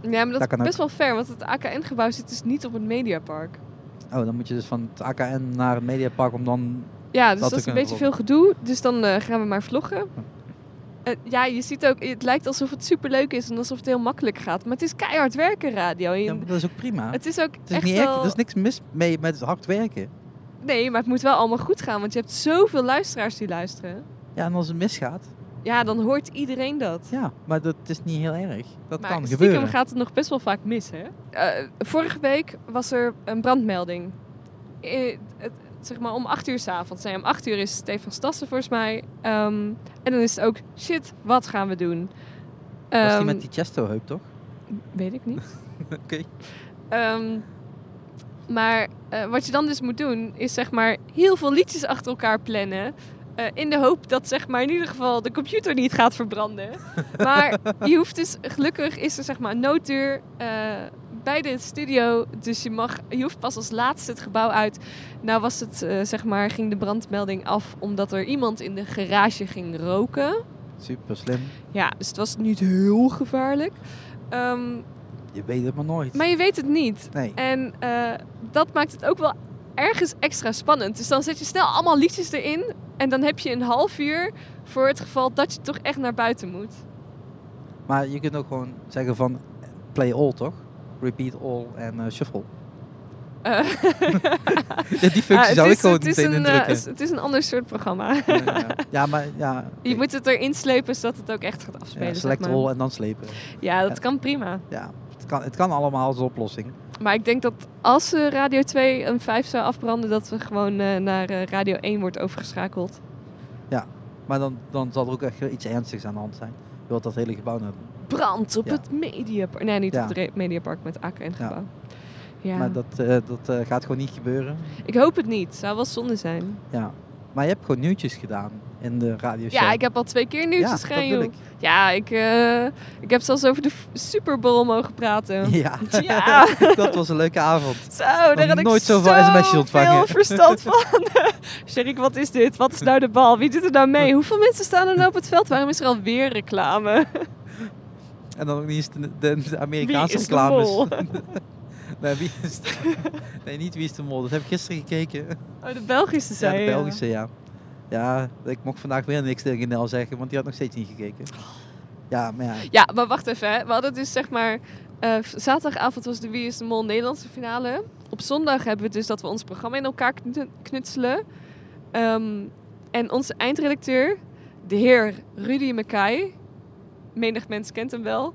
Speaker 1: Ja, maar dat,
Speaker 2: Dat kan
Speaker 1: is
Speaker 2: ook.
Speaker 1: best wel ver, want het AKN-gebouw zit dus niet op het Mediapark.
Speaker 2: Oh, dan moet je dus van het AKN naar het Mediapark om dan...
Speaker 1: Ja, dus dat,
Speaker 2: Dat
Speaker 1: is
Speaker 2: te
Speaker 1: een
Speaker 2: kunnen
Speaker 1: beetje veel gedoe. Dus dan eh, gaan we maar vloggen. Eh, ja, je ziet ook, het lijkt alsof het superleuk is en alsof het heel makkelijk gaat. Maar het is keihard werken, radio. En
Speaker 2: Ja, maar dat is ook prima. Het
Speaker 1: het is ook
Speaker 2: is
Speaker 1: echt
Speaker 2: niet erg,
Speaker 1: wel...
Speaker 2: er is niks mis mee met het hard werken.
Speaker 1: Nee, maar het moet wel allemaal goed gaan, want je hebt zoveel luisteraars die luisteren.
Speaker 2: Ja, en als het misgaat,
Speaker 1: Ja, dan hoort iedereen dat.
Speaker 2: ja, maar dat is niet heel erg. Dat
Speaker 1: maar
Speaker 2: kan
Speaker 1: stiekem
Speaker 2: gebeuren.
Speaker 1: gaat het nog best wel vaak mis, hè? Eh, vorige week was er een brandmelding. Eh, het- zeg maar om 8 uur s'avonds. Nee, om 8 uur is Stefan Stassen volgens mij. Ehm, en dan is het ook, shit, wat gaan we doen?
Speaker 2: Was die
Speaker 1: Ehm,
Speaker 2: met die Chesto-heup, toch?
Speaker 1: Weet ik niet.
Speaker 2: Oké.
Speaker 1: Ehm, maar eh, wat je dan dus moet doen, is zeg maar heel veel liedjes achter elkaar plannen. eh, in de hoop dat zeg maar in ieder geval de computer niet gaat verbranden. maar je hoeft dus, gelukkig is er zeg maar een nooddeur eh, bij de studio. Dus je, mag, je hoeft pas als laatste het gebouw uit. Nou was het, eh, zeg maar, ging de brandmelding af omdat er iemand in de garage ging roken.
Speaker 2: Super slim.
Speaker 1: Ja, dus het was niet heel gevaarlijk. Ehm,
Speaker 2: Je weet het maar nooit.
Speaker 1: maar je weet het niet.
Speaker 2: Nee.
Speaker 1: En eh, dat maakt het ook wel ergens extra spannend. Dus dan zet je snel allemaal liedjes erin. En dan heb je een half uur voor het geval dat je toch echt naar buiten moet.
Speaker 2: Maar je kunt ook gewoon zeggen van play all, toch? Repeat all en eh, shuffle.
Speaker 1: Eh,
Speaker 2: Ja, die functie
Speaker 1: ah, het
Speaker 2: zou
Speaker 1: is-
Speaker 2: ik gewoon
Speaker 1: het is een,
Speaker 2: meteen
Speaker 1: eh,
Speaker 2: indrukken.
Speaker 1: het is- het is een ander soort programma.
Speaker 2: Ja, ja. ja, maar ja.
Speaker 1: Je
Speaker 2: oké.
Speaker 1: moet het erin slepen zodat het ook echt gaat
Speaker 2: Ja,
Speaker 1: afspelen. zeg
Speaker 2: select
Speaker 1: maar.
Speaker 2: all en dan slepen.
Speaker 1: Ja, dat kan prima.
Speaker 2: Ja, het kan, het kan allemaal als oplossing.
Speaker 1: Maar ik denk dat als eh, Radio 2 een 5 zou afbranden, dat we gewoon eh, naar eh, Radio 1 wordt overgeschakeld.
Speaker 2: Maar dan, dan zal er ook echt iets ernstigs aan de hand zijn. Je wilt dat hele gebouw net.
Speaker 1: Brand op
Speaker 2: Ja.
Speaker 1: het Mediapark. Nee, niet
Speaker 2: Ja.
Speaker 1: op het re- Mediapark met en gebouw. Ja.
Speaker 2: Maar dat, eh, dat eh, gaat gewoon niet gebeuren.
Speaker 1: Ik hoop het niet. Zou wel zonde zijn.
Speaker 2: Ja. Maar je hebt gewoon nieuwtjes gedaan in de radioshow.
Speaker 1: Ja, ik heb al twee keer
Speaker 2: Dus Ja,
Speaker 1: nieuwtjes
Speaker 2: dat
Speaker 1: gedaan,
Speaker 2: bedoel
Speaker 1: joh. Ja, ik, eh, ik heb zelfs over de f- Super Bowl mogen praten.
Speaker 2: Ja,
Speaker 1: Ja.
Speaker 2: dat was een leuke avond.
Speaker 1: Zo, daar had ik
Speaker 2: nooit zoveel sms'jes ontvangen.
Speaker 1: zoveel verstand van. Sherik, wat is dit? Wat is nou de bal? Wie doet er nou mee? Hoeveel mensen staan er nou op het veld? Waarom is er alweer reclame?
Speaker 2: En dan ook niet eens de, de- de
Speaker 1: Wie
Speaker 2: Amerikaanse
Speaker 1: is de
Speaker 2: reclames.
Speaker 1: mol?
Speaker 2: nee, wie is de- nee, niet wie is de mol. Dat heb ik gisteren gekeken.
Speaker 1: Oh, de Belgische
Speaker 2: Ja,
Speaker 1: zei
Speaker 2: de
Speaker 1: je.
Speaker 2: Belgische, ja. Ja, ik mocht vandaag weer niks tegen Nel zeggen, want die had nog steeds niet gekeken. Ja, maar ja.
Speaker 1: Ja, maar wacht even. Hè. We hadden dus zeg maar... eh, v- zaterdagavond was de Wie is de Mol Nederlandse finale. Op zondag hebben we dus dat we ons programma in elkaar knu- knutselen. Ehm, en onze eindredacteur, de heer Rudy Mackay... Menig mens kent hem wel.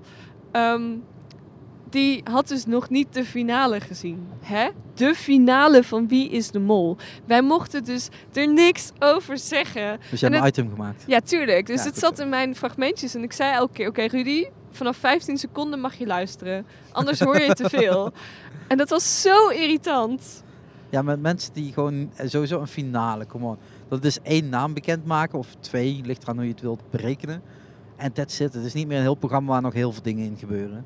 Speaker 1: ehm, die had dus nog niet de finale gezien. Hè? De finale van Wie is de Mol. Wij mochten dus er niks over zeggen.
Speaker 2: Dus je hebt
Speaker 1: En
Speaker 2: een item gemaakt.
Speaker 1: Ja, tuurlijk. Dus
Speaker 2: Ja,
Speaker 1: het
Speaker 2: goed
Speaker 1: zat
Speaker 2: zo.
Speaker 1: in mijn fragmentjes en ik zei elke keer, oké Rudy, vanaf 15 seconden mag je luisteren. Anders hoor je te veel. En dat was zo irritant.
Speaker 2: Ja, met mensen die gewoon eh, sowieso een finale, come on. Dat is één naam bekendmaken of twee, ligt eraan hoe je het wilt berekenen. En that's it. Het is niet meer een heel programma waar nog heel veel dingen in gebeuren.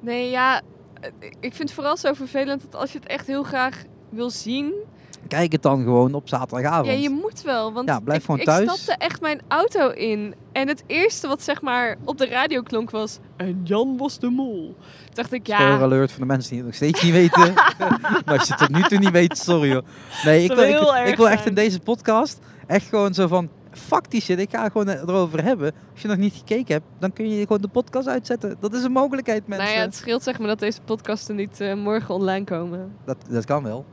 Speaker 1: Nee, ja, eh, ik vind het vooral zo vervelend dat als je het echt heel graag wil zien,
Speaker 2: Kijk het dan gewoon op zaterdagavond.
Speaker 1: Ja, je moet wel. Want
Speaker 2: Ja, blijf
Speaker 1: ik,
Speaker 2: gewoon
Speaker 1: ik
Speaker 2: thuis.
Speaker 1: stapte echt mijn auto in. En het eerste wat zeg maar op de radio klonk was... En Jan was de mol. Toen dacht ik, ja,
Speaker 2: Spoiler alert voor de mensen die het nog steeds niet weten. maar als je het tot nu toe niet weet, sorry hoor. Nee, ik
Speaker 1: Zou
Speaker 2: wil, ik,
Speaker 1: heel
Speaker 2: ik
Speaker 1: erg
Speaker 2: wil echt in
Speaker 1: zijn.
Speaker 2: deze podcast echt gewoon zo van... Fuck die shit, ik ga gewoon erover hebben. Als je nog niet gekeken hebt, dan kun je gewoon de podcast uitzetten. Dat is een mogelijkheid, mensen.
Speaker 1: nou ja, het scheelt zeg maar dat deze podcasten niet eh, morgen online komen.
Speaker 2: dat, dat kan wel.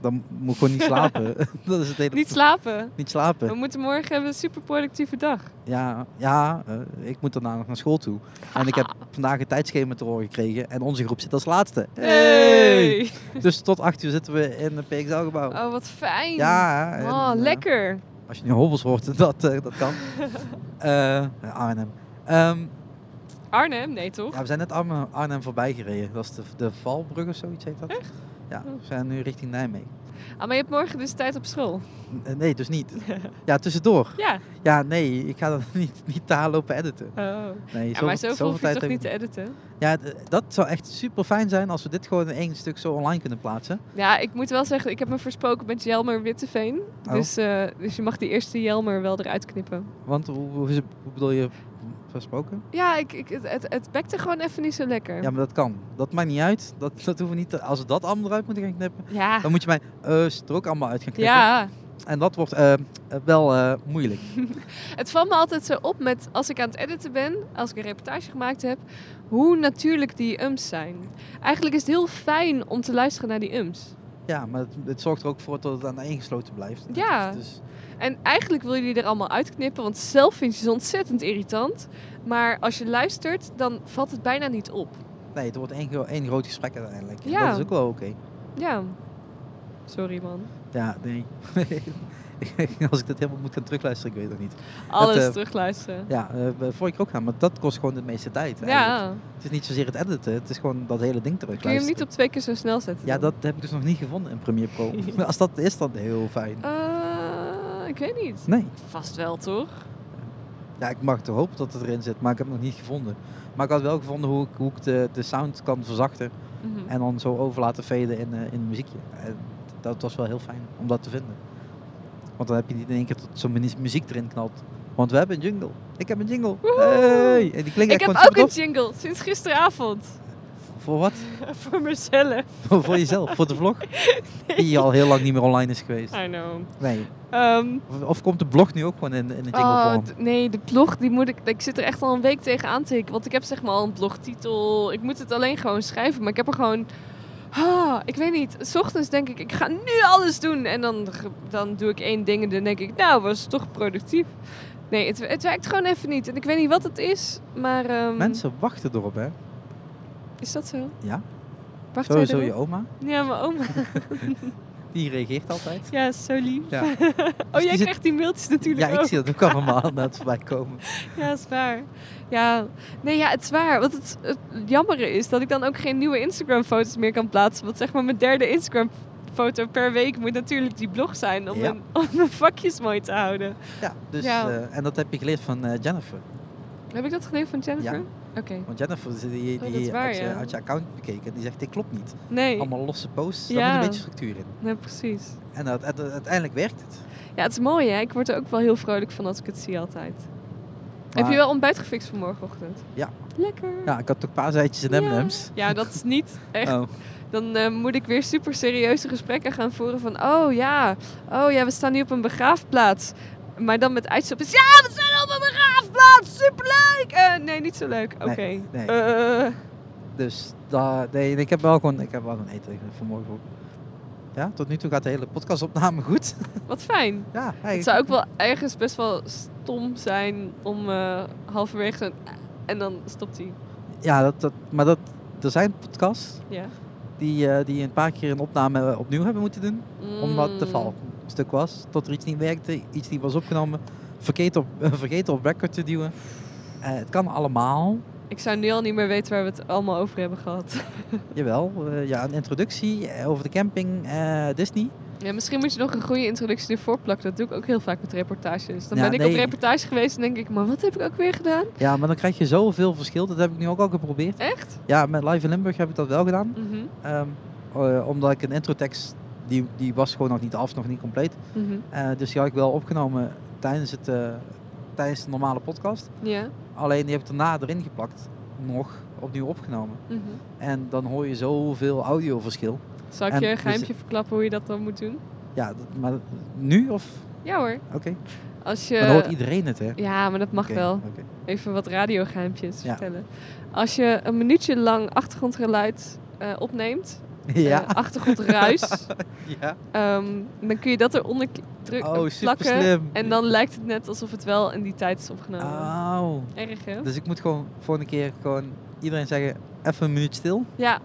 Speaker 2: Dan moet ik gewoon niet slapen. dat is het hele...
Speaker 1: Niet slapen.
Speaker 2: niet slapen.
Speaker 1: We moeten morgen hebben een superproductieve dag.
Speaker 2: Ja, ja eh, ik moet daarna nog naar school toe. En ik heb vandaag een tijdschema te horen gekregen. En onze groep zit als laatste.
Speaker 1: Hey!
Speaker 2: Dus tot 8 uur zitten we in het PXL-gebouw.
Speaker 1: Oh, wat fijn.
Speaker 2: Ja, en,
Speaker 1: Oh,
Speaker 2: eh,
Speaker 1: lekker.
Speaker 2: als je nu hobbels hoort, dat, eh, dat kan. Eh Arnhem. Ehm,
Speaker 1: Arnhem? Nee, toch?
Speaker 2: ja, we zijn net Arnhem, Arnhem voorbij gereden. Dat is de, de Valbrug of zoiets heet dat. Ja,
Speaker 1: Oh.
Speaker 2: we zijn nu richting Nijmegen.
Speaker 1: Ah, maar je hebt morgen dus tijd op school.
Speaker 2: N- Nee, dus niet. Ja, tussendoor.
Speaker 1: Ja.
Speaker 2: Ja, nee, ik ga dat niet, niet daar lopen editen.
Speaker 1: Oh.
Speaker 2: Nee,
Speaker 1: Ja, maar zoveel hoef je toch
Speaker 2: heb
Speaker 1: niet
Speaker 2: ik
Speaker 1: te editen?
Speaker 2: Ja, d- eh, dat zou echt super fijn zijn als we dit gewoon in één stuk zo online kunnen plaatsen.
Speaker 1: Ja, ik moet wel zeggen, ik heb me versproken met Jelmer Witteveen.
Speaker 2: Oh.
Speaker 1: Dus, eh, dus je mag die eerste Jelmer wel eruit knippen.
Speaker 2: Want hoe, hoe, is het- hoe bedoel je versproken?
Speaker 1: Ja, ik, ik, het, het, het bekte gewoon even niet zo lekker.
Speaker 2: Ja, maar dat kan. Dat maakt niet uit. Dat, dat hoeven we niet te- als we dat allemaal eruit moeten gaan knippen,
Speaker 1: Ja.
Speaker 2: dan moet je mijn eh er ook allemaal uit gaan knippen.
Speaker 1: Ja.
Speaker 2: En dat wordt eh, eh, wel eh, moeilijk.
Speaker 1: het valt me altijd zo op met als ik aan het editen ben, als ik een reportage gemaakt heb, hoe natuurlijk die ums zijn. Eigenlijk is het heel fijn om te luisteren naar die ums.
Speaker 2: Ja, maar het, het zorgt er ook voor dat het aan één gesloten blijft.
Speaker 1: Ja.
Speaker 2: Dus, dus-
Speaker 1: En eigenlijk wil je die er allemaal uitknippen, want zelf vind je ze ontzettend irritant. Maar als je luistert, dan valt het bijna niet op.
Speaker 2: nee, het wordt één, gro- één groot gesprek uiteindelijk. En
Speaker 1: Ja.
Speaker 2: Dat is ook wel oké.
Speaker 1: Ja. Sorry man.
Speaker 2: Ja, nee. als ik dit helemaal moet gaan terugluisteren, ik weet het niet.
Speaker 1: Alles
Speaker 2: eh,
Speaker 1: terugluisteren.
Speaker 2: Ja, eh voor ik ook gaan, maar dat kost gewoon de meeste tijd. eigenlijk.
Speaker 1: Ja.
Speaker 2: Het is niet zozeer het editen, het is gewoon dat hele ding
Speaker 1: Kun je hem
Speaker 2: terugluisteren.
Speaker 1: niet op twee keer zo snel zetten?
Speaker 2: Ja,
Speaker 1: dan?
Speaker 2: dat heb ik dus nog niet gevonden in Premiere Pro. Als dat is, dan heel fijn.
Speaker 1: Eh, ik weet niet.
Speaker 2: Nee.
Speaker 1: Vast wel, toch?
Speaker 2: Ja, ik mag toch hopen dat het erin zit, maar ik heb het nog niet gevonden. Maar ik had wel gevonden hoe ik, hoe ik de, de sound kan verzachten
Speaker 1: Mhm.
Speaker 2: en dan zo over laten veden in, eh, in een muziekje. En dat was wel heel fijn om dat te vinden. Want dan heb je niet in één keer tot zo'n mu- muziek erin knalt. Want we hebben een jingle. Ik heb een jingle.
Speaker 1: Woehoe.
Speaker 2: Hey! En die klinkt
Speaker 1: Ik
Speaker 2: echt
Speaker 1: heb
Speaker 2: gewoon
Speaker 1: ook een
Speaker 2: supertof.
Speaker 1: jingle sinds gisteravond.
Speaker 2: Voor wat?
Speaker 1: Voor mezelf.
Speaker 2: voor, voor jezelf? Voor de vlog? Die al heel lang niet meer online is geweest.
Speaker 1: I know.
Speaker 2: Nee.
Speaker 1: Ehm,
Speaker 2: Of, of komt de blog nu ook gewoon in, in een jingle
Speaker 1: oh,
Speaker 2: vorm?
Speaker 1: d- nee, de blog, die moet ik, ik zit er echt al een week tegen aan te hikken. Want ik heb zeg maar al een blogtitel. Ik moet het alleen gewoon schrijven. Maar ik heb er gewoon... Ah, ik weet niet. 's ochtends denk ik, ik ga nu alles doen. En dan, ge- dan doe ik één ding en dan denk ik, nou, was toch productief. Nee, het, het werkt gewoon even niet. En ik weet niet wat het is, maar... ehm,
Speaker 2: Mensen wachten erop, hè?
Speaker 1: Is dat zo?
Speaker 2: Ja.
Speaker 1: Wacht
Speaker 2: Sowieso
Speaker 1: jij
Speaker 2: je
Speaker 1: erop?
Speaker 2: oma.
Speaker 1: Ja, mijn oma.
Speaker 2: Die reageert altijd.
Speaker 1: Ja, is zo lief.
Speaker 2: Ja.
Speaker 1: Oh,
Speaker 2: die
Speaker 1: jij
Speaker 2: zit-
Speaker 1: krijgt die mailtjes natuurlijk
Speaker 2: ja, ik
Speaker 1: ook.
Speaker 2: zie dat ook allemaal naar het voorbij komen.
Speaker 1: Ja, is waar. Ja, nee, ja, het is waar. Wat het, het jammere is dat ik dan ook geen nieuwe Instagram-foto's meer kan plaatsen. Want zeg maar, mijn derde Instagram-foto per week moet natuurlijk die blog zijn om,
Speaker 2: Ja.
Speaker 1: mijn, om mijn vakjes mooi te houden.
Speaker 2: Ja, dus,
Speaker 1: Ja.
Speaker 2: eh, en dat heb je geleerd van eh, Jennifer.
Speaker 1: Heb ik dat geleerd van Jennifer?
Speaker 2: Ja.
Speaker 1: Oké.
Speaker 2: Want Jennifer die, die,
Speaker 1: Oh, dat
Speaker 2: die
Speaker 1: is waar,
Speaker 2: had, je,
Speaker 1: ja.
Speaker 2: had je account bekeken en die zegt, dit klopt niet.
Speaker 1: Nee,
Speaker 2: Allemaal losse posts, daar
Speaker 1: Ja.
Speaker 2: moet een beetje structuur in.
Speaker 1: nee, precies.
Speaker 2: En dat, uite- uiteindelijk werkt het.
Speaker 1: Ja, het is mooi hè. Ik word er ook wel heel vrolijk van als ik het zie altijd. Heb
Speaker 2: Maar-
Speaker 1: je wel ontbijt gefixt vanmorgenochtend?
Speaker 2: Ja.
Speaker 1: Lekker.
Speaker 2: Ja, ik had toch paaseitjes en
Speaker 1: Ja.
Speaker 2: M&M's.
Speaker 1: Ja, dat is niet echt.
Speaker 2: Oh,
Speaker 1: Dan eh, moet ik weer super serieuze gesprekken gaan voeren van... Oh ja, oh ja, we staan nu op een begraafplaats. Maar dan met uitstapjes. Ja, we zijn op een begraafplaats! Superleuk! Eh, nee, niet zo leuk. Oké.
Speaker 2: Nee, nee.
Speaker 1: Eh,
Speaker 2: dus daar, nee, ik heb wel gewoon, ik heb wel gewoon eten vanmorgen ook. Ja, tot nu toe gaat de hele podcastopname goed.
Speaker 1: wat fijn.
Speaker 2: ja,
Speaker 1: Het
Speaker 2: eigenlijk.
Speaker 1: zou ook wel ergens best wel stom zijn om eh, halverwege zo'n... En dan stopt hij.
Speaker 2: ja dat, dat, maar dat, er zijn podcasts
Speaker 1: Ja.
Speaker 2: die, eh, die een paar keer een opname eh, opnieuw hebben moeten doen. Omdat de
Speaker 1: Mm.
Speaker 2: val een stuk was, tot er iets niet werkte, iets niet was opgenomen, vergeten op, vergeten op record te duwen. Eh, het kan allemaal,
Speaker 1: Ik zou nu al niet meer weten waar we het allemaal over hebben gehad.
Speaker 2: Jawel, eh, ja, een introductie eh, over de camping, eh, Disney.
Speaker 1: Ja, misschien moet je nog een goede introductie ervoor plakken. Dat doe ik ook heel vaak met reportages. Dan
Speaker 2: Ja,
Speaker 1: ben ik op
Speaker 2: nee.
Speaker 1: reportage geweest en denk ik, maar wat heb ik ook weer gedaan?
Speaker 2: Ja, maar dan krijg je zoveel verschil. Dat heb ik nu ook al geprobeerd.
Speaker 1: Echt?
Speaker 2: Ja, met Live in Limburg heb ik dat wel gedaan.
Speaker 1: Mhm,
Speaker 2: Ehm, eh, omdat ik een introtekst, die, die was gewoon nog niet af, nog niet compleet.
Speaker 1: mhm.
Speaker 2: Eh, dus die had ik wel opgenomen tijdens, het, eh, tijdens de normale podcast.
Speaker 1: Ja.
Speaker 2: Alleen die heb ik daarna erin geplakt, nog opnieuw opgenomen.
Speaker 1: mhm.
Speaker 2: En dan hoor je zoveel audioverschil.
Speaker 1: Zal ik
Speaker 2: En
Speaker 1: je een
Speaker 2: dus-
Speaker 1: geheimtje verklappen hoe je dat dan moet doen?
Speaker 2: Ja, dat- maar nu of?
Speaker 1: Ja hoor.
Speaker 2: Oké.
Speaker 1: Als
Speaker 2: Maar dan hoort
Speaker 1: je...
Speaker 2: iedereen het, hè?
Speaker 1: Ja, maar dat Eh, mag
Speaker 2: Oké,
Speaker 1: wel.
Speaker 2: oké.
Speaker 1: Even wat radiogeheimtjes
Speaker 2: Ja.
Speaker 1: vertellen. Als je een minuutje lang achtergrondgeluid eh, opneemd,
Speaker 2: Ja.
Speaker 1: eh, achtergrondruis,
Speaker 2: ja.
Speaker 1: ehm, dan kun je dat eronder k- druk-
Speaker 2: Oh, super
Speaker 1: Eh, plakken.
Speaker 2: slim.
Speaker 1: En dan eh, lijkt het net alsof het wel in die tijd is opgenomen.
Speaker 2: Ah. Auw.
Speaker 1: Erg hè?
Speaker 2: Dus ik moet gewoon volgende keer gewoon iedereen zeggen, even een minuut stil.
Speaker 1: Ja,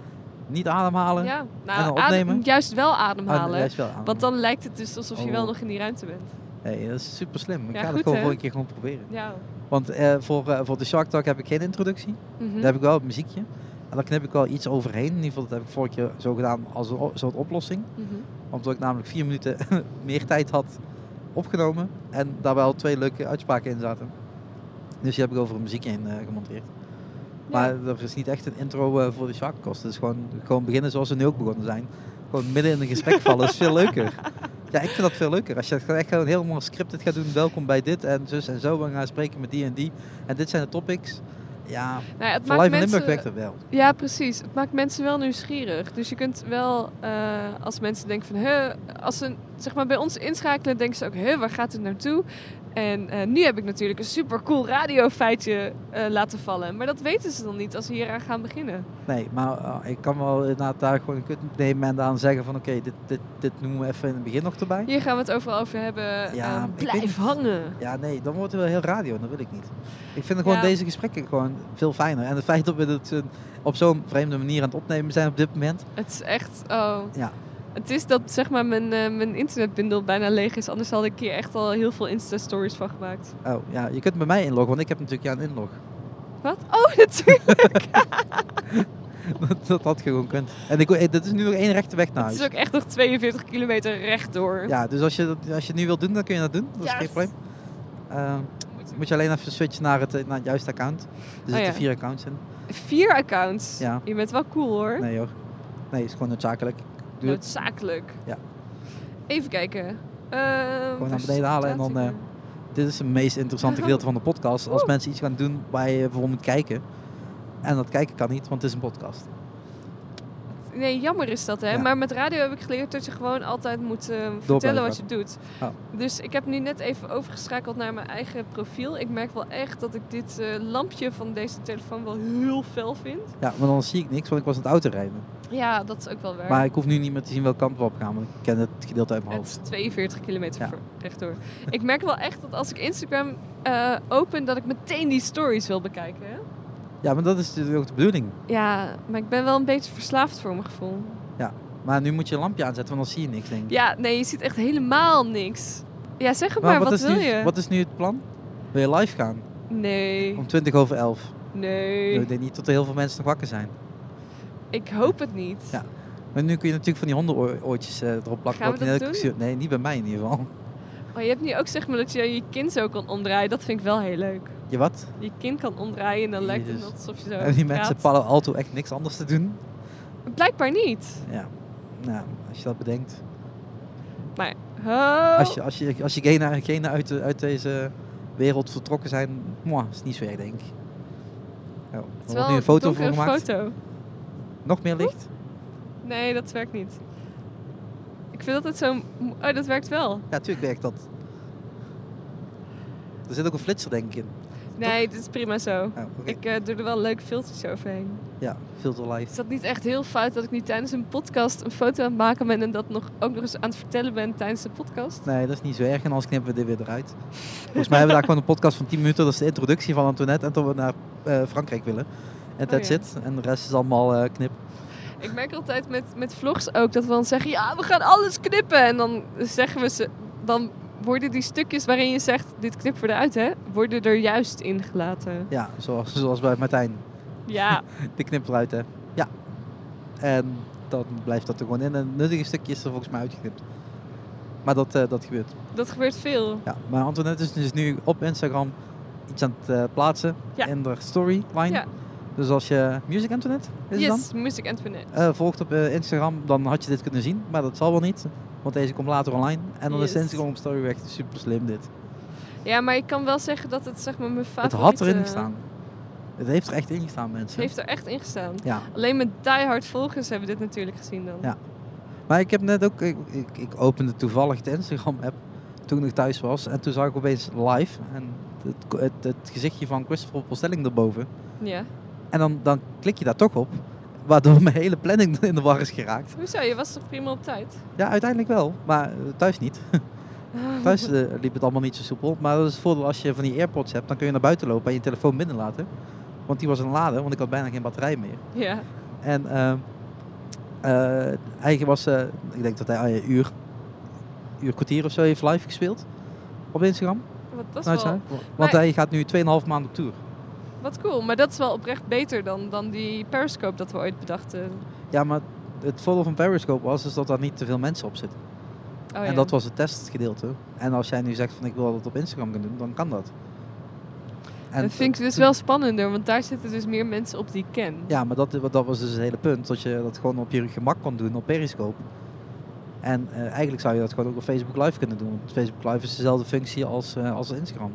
Speaker 2: Niet ademhalen.
Speaker 1: ja.
Speaker 2: En dan
Speaker 1: Nou,
Speaker 2: opnemen?
Speaker 1: adem, juist wel
Speaker 2: Ah, nee,
Speaker 1: ademhalen.
Speaker 2: hij is wel ademen.
Speaker 1: want dan lijkt het dus alsof je wel
Speaker 2: Oh.
Speaker 1: nog in die ruimte bent.
Speaker 2: Hey, dat is super slim. Ik
Speaker 1: Ja,
Speaker 2: ga
Speaker 1: goed,
Speaker 2: dat gewoon
Speaker 1: hè?
Speaker 2: volgende keer gewoon proberen.
Speaker 1: Ja.
Speaker 2: Want eh, voor, eh, voor de Shark Talk heb ik geen introductie.
Speaker 1: Mhm.
Speaker 2: Daar heb ik wel het muziekje. En daar knip ik wel iets overheen. In ieder geval, dat heb ik vorige keer zo gedaan als een o- soort oplossing.
Speaker 1: Mhm.
Speaker 2: Omdat ik namelijk vier minuten meer tijd had opgenomen. En daar wel twee leuke uitspraken in zaten. Dus die heb ik over een muziekje heen eh, gemonteerd. Maar er is niet echt een intro eh, voor de Sharkcast. Het is gewoon, gewoon beginnen zoals we nu ook begonnen zijn. Gewoon midden in een gesprek vallen is veel leuker. Ja, ik vind dat veel leuker. Als je het gewoon echt gewoon heel mooi scripted gaat doen. Welkom bij dit en zus en zo. We gaan spreken met die en die. En dit zijn de topics. Ja,
Speaker 1: Nou, ja, het
Speaker 2: voor
Speaker 1: maakt
Speaker 2: Live in
Speaker 1: mensen...
Speaker 2: Limburg werkt dat wel.
Speaker 1: Ja, precies. Het maakt mensen wel nieuwsgierig. Dus je kunt wel, eh, als mensen denken van, hè, als ze zeg maar, bij ons inschakelen, denken ze ook, hè, waar gaat het naartoe? En eh, nu heb ik natuurlijk een super cool radiofeitje eh, laten vallen. Maar dat weten ze dan niet als ze hieraan gaan beginnen.
Speaker 2: Nee, maar eh, ik kan wel inderdaad daar gewoon een kut nemen en dan zeggen van oké, dit, dit, dit noemen we even in het begin nog erbij.
Speaker 1: Hier gaan we het overal over hebben.
Speaker 2: Ja,
Speaker 1: Eh,
Speaker 2: ik weet
Speaker 1: blijf
Speaker 2: niet.
Speaker 1: hangen.
Speaker 2: Ja, nee, dan wordt het wel heel radio en dat wil ik niet. Ik vind gewoon
Speaker 1: Ja.
Speaker 2: deze gesprekken gewoon veel fijner. En het feit dat we het eh, op zo'n vreemde manier aan het opnemen zijn op dit moment.
Speaker 1: Het is echt, oh.
Speaker 2: Ja.
Speaker 1: Het is dat zeg maar mijn, eh, mijn internetbundel bijna leeg is. Anders had ik hier echt al heel veel Insta-stories van gemaakt.
Speaker 2: Oh ja, je kunt bij mij inloggen, want ik heb natuurlijk jouw inlog.
Speaker 1: Wat? Oh, natuurlijk.
Speaker 2: dat, dat had je gewoon kunt. En ik, eh, dit is nu nog één rechte weg
Speaker 1: Het
Speaker 2: naar huis.
Speaker 1: is ook echt nog 42 kilometer rechtdoor.
Speaker 2: Ja, dus als je, dat- als je het nu wilt doen, dan kun je dat doen. Dat is geen
Speaker 1: Yes.
Speaker 2: probleem. Ehm, moet je alleen even switchen naar het, eh, naar het juiste account. Er zitten
Speaker 1: Oh, ja.
Speaker 2: vier accounts in.
Speaker 1: Vier accounts.
Speaker 2: Ja.
Speaker 1: Je bent wel cool hoor.
Speaker 2: Nee hoor. Nee, is gewoon noodzakelijk. Ik Doe het
Speaker 1: Noodzakelijk.
Speaker 2: Ja.
Speaker 1: Even kijken. Ehm,
Speaker 2: Gewoon
Speaker 1: waar
Speaker 2: naar beneden halen en dan,
Speaker 1: staat hij?
Speaker 2: eh, Dit is het meest interessante gedeelte van de podcast. Als
Speaker 1: Oeh.
Speaker 2: mensen iets gaan doen waar je voor moet kijken. En dat kijken kan niet, want het is een podcast.
Speaker 1: Nee, jammer is dat hè.
Speaker 2: Ja.
Speaker 1: Maar met radio heb ik geleerd dat je gewoon altijd moet eh, vertellen
Speaker 2: blijven
Speaker 1: wat je doet.
Speaker 2: Oh.
Speaker 1: Dus ik heb nu net even overgeschakeld naar mijn eigen profiel. Ik merk wel echt dat ik dit eh, lampje van deze telefoon wel heel fel vind.
Speaker 2: Ja, maar dan zie ik niks, want ik was aan het auto rijden.
Speaker 1: Ja, dat is ook wel waar.
Speaker 2: Maar ik hoef nu niet meer te zien welke kant we op gaan, want ik ken het gedeelte uit mijn
Speaker 1: Het is
Speaker 2: hoofd.
Speaker 1: 42 kilometer
Speaker 2: Ja.
Speaker 1: voor, rechtdoor. ik merk wel echt dat als ik Instagram eh, open, dat ik meteen die stories wil bekijken. hè.
Speaker 2: Ja, maar dat is natuurlijk ook de bedoeling.
Speaker 1: Ja, maar ik ben wel een beetje verslaafd voor mijn gevoel.
Speaker 2: Maar nu moet je een lampje aanzetten, want dan zie je niks, denk ik.
Speaker 1: Ja, nee, je ziet echt helemaal niks. Ja, zeg het
Speaker 2: Maar
Speaker 1: maar, wat,
Speaker 2: is
Speaker 1: wil
Speaker 2: nu,
Speaker 1: je?
Speaker 2: Wat is nu het plan? Wil je live gaan?
Speaker 1: Nee,
Speaker 2: Om 20 over 11.
Speaker 1: nee.
Speaker 2: Ik denk niet dat er heel veel mensen nog wakker zijn.
Speaker 1: Ik hoop het niet.
Speaker 2: Ja. Maar nu kun je natuurlijk van die hondenoortjes eh, erop plakken.
Speaker 1: Gaan we
Speaker 2: wat
Speaker 1: dat
Speaker 2: in elke
Speaker 1: doen?
Speaker 2: stuur- Nee, niet bij mij in ieder geval.
Speaker 1: Maar je hebt nu ook zeg maar dat je je kin zo kan omdraaien. Dat vind ik wel heel leuk.
Speaker 2: Je wat?
Speaker 1: Je kin kan omdraaien en dan lijkt het
Speaker 2: Jezus.
Speaker 1: net alsof je zo
Speaker 2: Hebben die mensen
Speaker 1: eh, praat.
Speaker 2: Palo Alto echt niks anders te doen?
Speaker 1: Blijkbaar niet.
Speaker 2: Ja, nou, als je dat bedenkt.
Speaker 1: Maar, oh.
Speaker 2: Als, je, als, je, als je genen, genen uit, de- uit deze wereld vertrokken zijn, mwah, is niet zo erg, denk ik. Oh, er
Speaker 1: het is
Speaker 2: wordt
Speaker 1: wel
Speaker 2: nu een foto van
Speaker 1: donkere
Speaker 2: gemaakt.
Speaker 1: foto.
Speaker 2: Nog meer licht.
Speaker 1: Nee, dat werkt niet. Ik vind altijd zo... Oh, dat werkt wel.
Speaker 2: Ja, natuurlijk werkt dat. Er zit ook een flitser, denk ik, in.
Speaker 1: Nee, dit is prima zo.
Speaker 2: Oh, oké.
Speaker 1: Ik eh, doe er wel een leuk filtertje overheen.
Speaker 2: Ja, filter live.
Speaker 1: Is dat niet echt heel fout dat ik nu tijdens een podcast een foto aan het maken ben en dat nog, ook nog eens aan het vertellen ben tijdens de podcast?
Speaker 2: Nee, dat is niet zo erg. En anders knippen we dit weer eruit. Volgens mij hebben we daar gewoon een podcast van 10 minuten. Dat is de introductie van Antoinette. En dat we naar eh, Frankrijk willen. En
Speaker 1: Oh,
Speaker 2: that's
Speaker 1: ja.
Speaker 2: it. En de rest is allemaal eh, knip.
Speaker 1: Ik merk altijd met, met vlogs ook dat we dan zeggen, ja, we gaan alles knippen. En dan zeggen we ze, dan worden die stukjes waarin je zegt, dit knippen we eruit, hè, worden er juist ingelaten.
Speaker 2: Ja, zoals, zoals bij Martijn.
Speaker 1: Ja,
Speaker 2: De knip eruit, hè. Ja. En dan blijft dat er gewoon in. En het nuttige stukje is er volgens mij uitgeknipt. Maar dat, eh, dat gebeurt.
Speaker 1: dat gebeurt veel.
Speaker 2: Ja. Maar Antoinette is dus nu op Instagram iets aan het eh, plaatsen
Speaker 1: Ja.
Speaker 2: in haar storyline.
Speaker 1: Ja.
Speaker 2: Dus als je Music Antoinette is het dan,
Speaker 1: Yes, Music Antoinette.
Speaker 2: eh, volgt op eh, Instagram, dan had je dit kunnen zien. Maar dat zal wel niet, want deze komt later online. En dan is de
Speaker 1: Yes.
Speaker 2: Instagram story weg. Super slim dit.
Speaker 1: Ja, maar ik kan wel zeggen dat het zeg maar mijn favoriete...
Speaker 2: Het had erin gestaan. Het heeft er echt in gestaan, mensen.
Speaker 1: eh, Heeft er echt in gestaan.
Speaker 2: Ja.
Speaker 1: Alleen mijn diehard volgers hebben dit natuurlijk gezien dan.
Speaker 2: Ja. Maar ik heb net ook, ik, ik, ik opende toevallig de Instagram-app toen ik thuis was. En toen zag ik opeens live en het, ko- het, het gezichtje van Christopher Postelling erboven.
Speaker 1: Ja.
Speaker 2: En dan, dan klik je daar toch op, waardoor mijn hele planning in de war is geraakt.
Speaker 1: Hoezo, je was toch prima op tijd?
Speaker 2: Ja, uiteindelijk wel, maar eh, thuis niet. Thuis eh, liep het allemaal niet zo soepel. Maar dat is het voordeel als je van die AirPods hebt, dan kun je naar buiten lopen en je telefoon binnen laten. Want die was een lader, want ik had bijna geen batterij meer.
Speaker 1: Ja.
Speaker 2: En ehm, eh, hij was, eh, ik denk dat hij eh, een uur, uur kwartier of zo heeft live gespeeld op Instagram.
Speaker 1: Wat, dat is
Speaker 2: Nou,
Speaker 1: wel,
Speaker 2: zei hij. Want
Speaker 1: Maar-
Speaker 2: hij gaat nu 2,5 maand op tour.
Speaker 1: wat cool. Maar dat is wel oprecht beter dan, dan die Periscope dat we ooit bedachten.
Speaker 2: Ja, maar het voordeel van Periscope was is dat daar niet te veel mensen op zitten.
Speaker 1: Oh, ja.
Speaker 2: En dat was het testgedeelte. En als jij nu zegt van ik wil dat op Instagram gaan doen, dan kan dat. En
Speaker 1: dat vind ik dus
Speaker 2: toen-
Speaker 1: wel spannender, want daar zitten dus meer mensen op die ik ken.
Speaker 2: Ja, maar dat, dat was dus het hele punt. Dat je dat gewoon op je gemak kon doen op Periscope. En eh, eigenlijk zou je dat gewoon ook op Facebook Live kunnen doen. Want Facebook Live is dezelfde functie als, eh, als Instagram.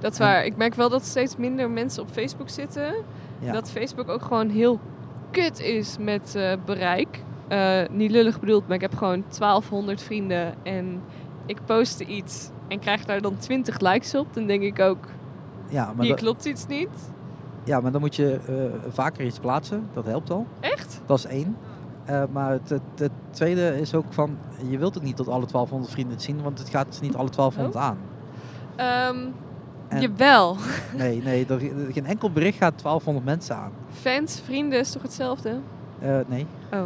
Speaker 1: Dat is
Speaker 2: Ja.
Speaker 1: waar. Ik merk wel dat steeds minder mensen op Facebook zitten.
Speaker 2: Ja.
Speaker 1: Dat Facebook ook gewoon heel kut is met eh, bereik. Eh, niet lullig bedoeld, maar ik heb gewoon 1200 vrienden en ik poste iets en krijg daar dan 20 likes op. Dan denk ik ook,
Speaker 2: Ja, maar,
Speaker 1: hier
Speaker 2: dat-
Speaker 1: klopt iets niet.
Speaker 2: ja, maar dan moet je eh, vaker iets plaatsen. Dat helpt al.
Speaker 1: Echt?
Speaker 2: Dat is één. Eh, maar het, het, het tweede is ook van, je wilt ook niet dat alle 1200 vrienden het zien, want het gaat dus niet alle 1200 aan.
Speaker 1: Ehm
Speaker 2: En-
Speaker 1: Jawel.
Speaker 2: Nee, nee, er, geen enkel bericht gaat 1200 mensen aan.
Speaker 1: Fans, vrienden is toch hetzelfde?
Speaker 2: Eh, nee.
Speaker 1: Oh.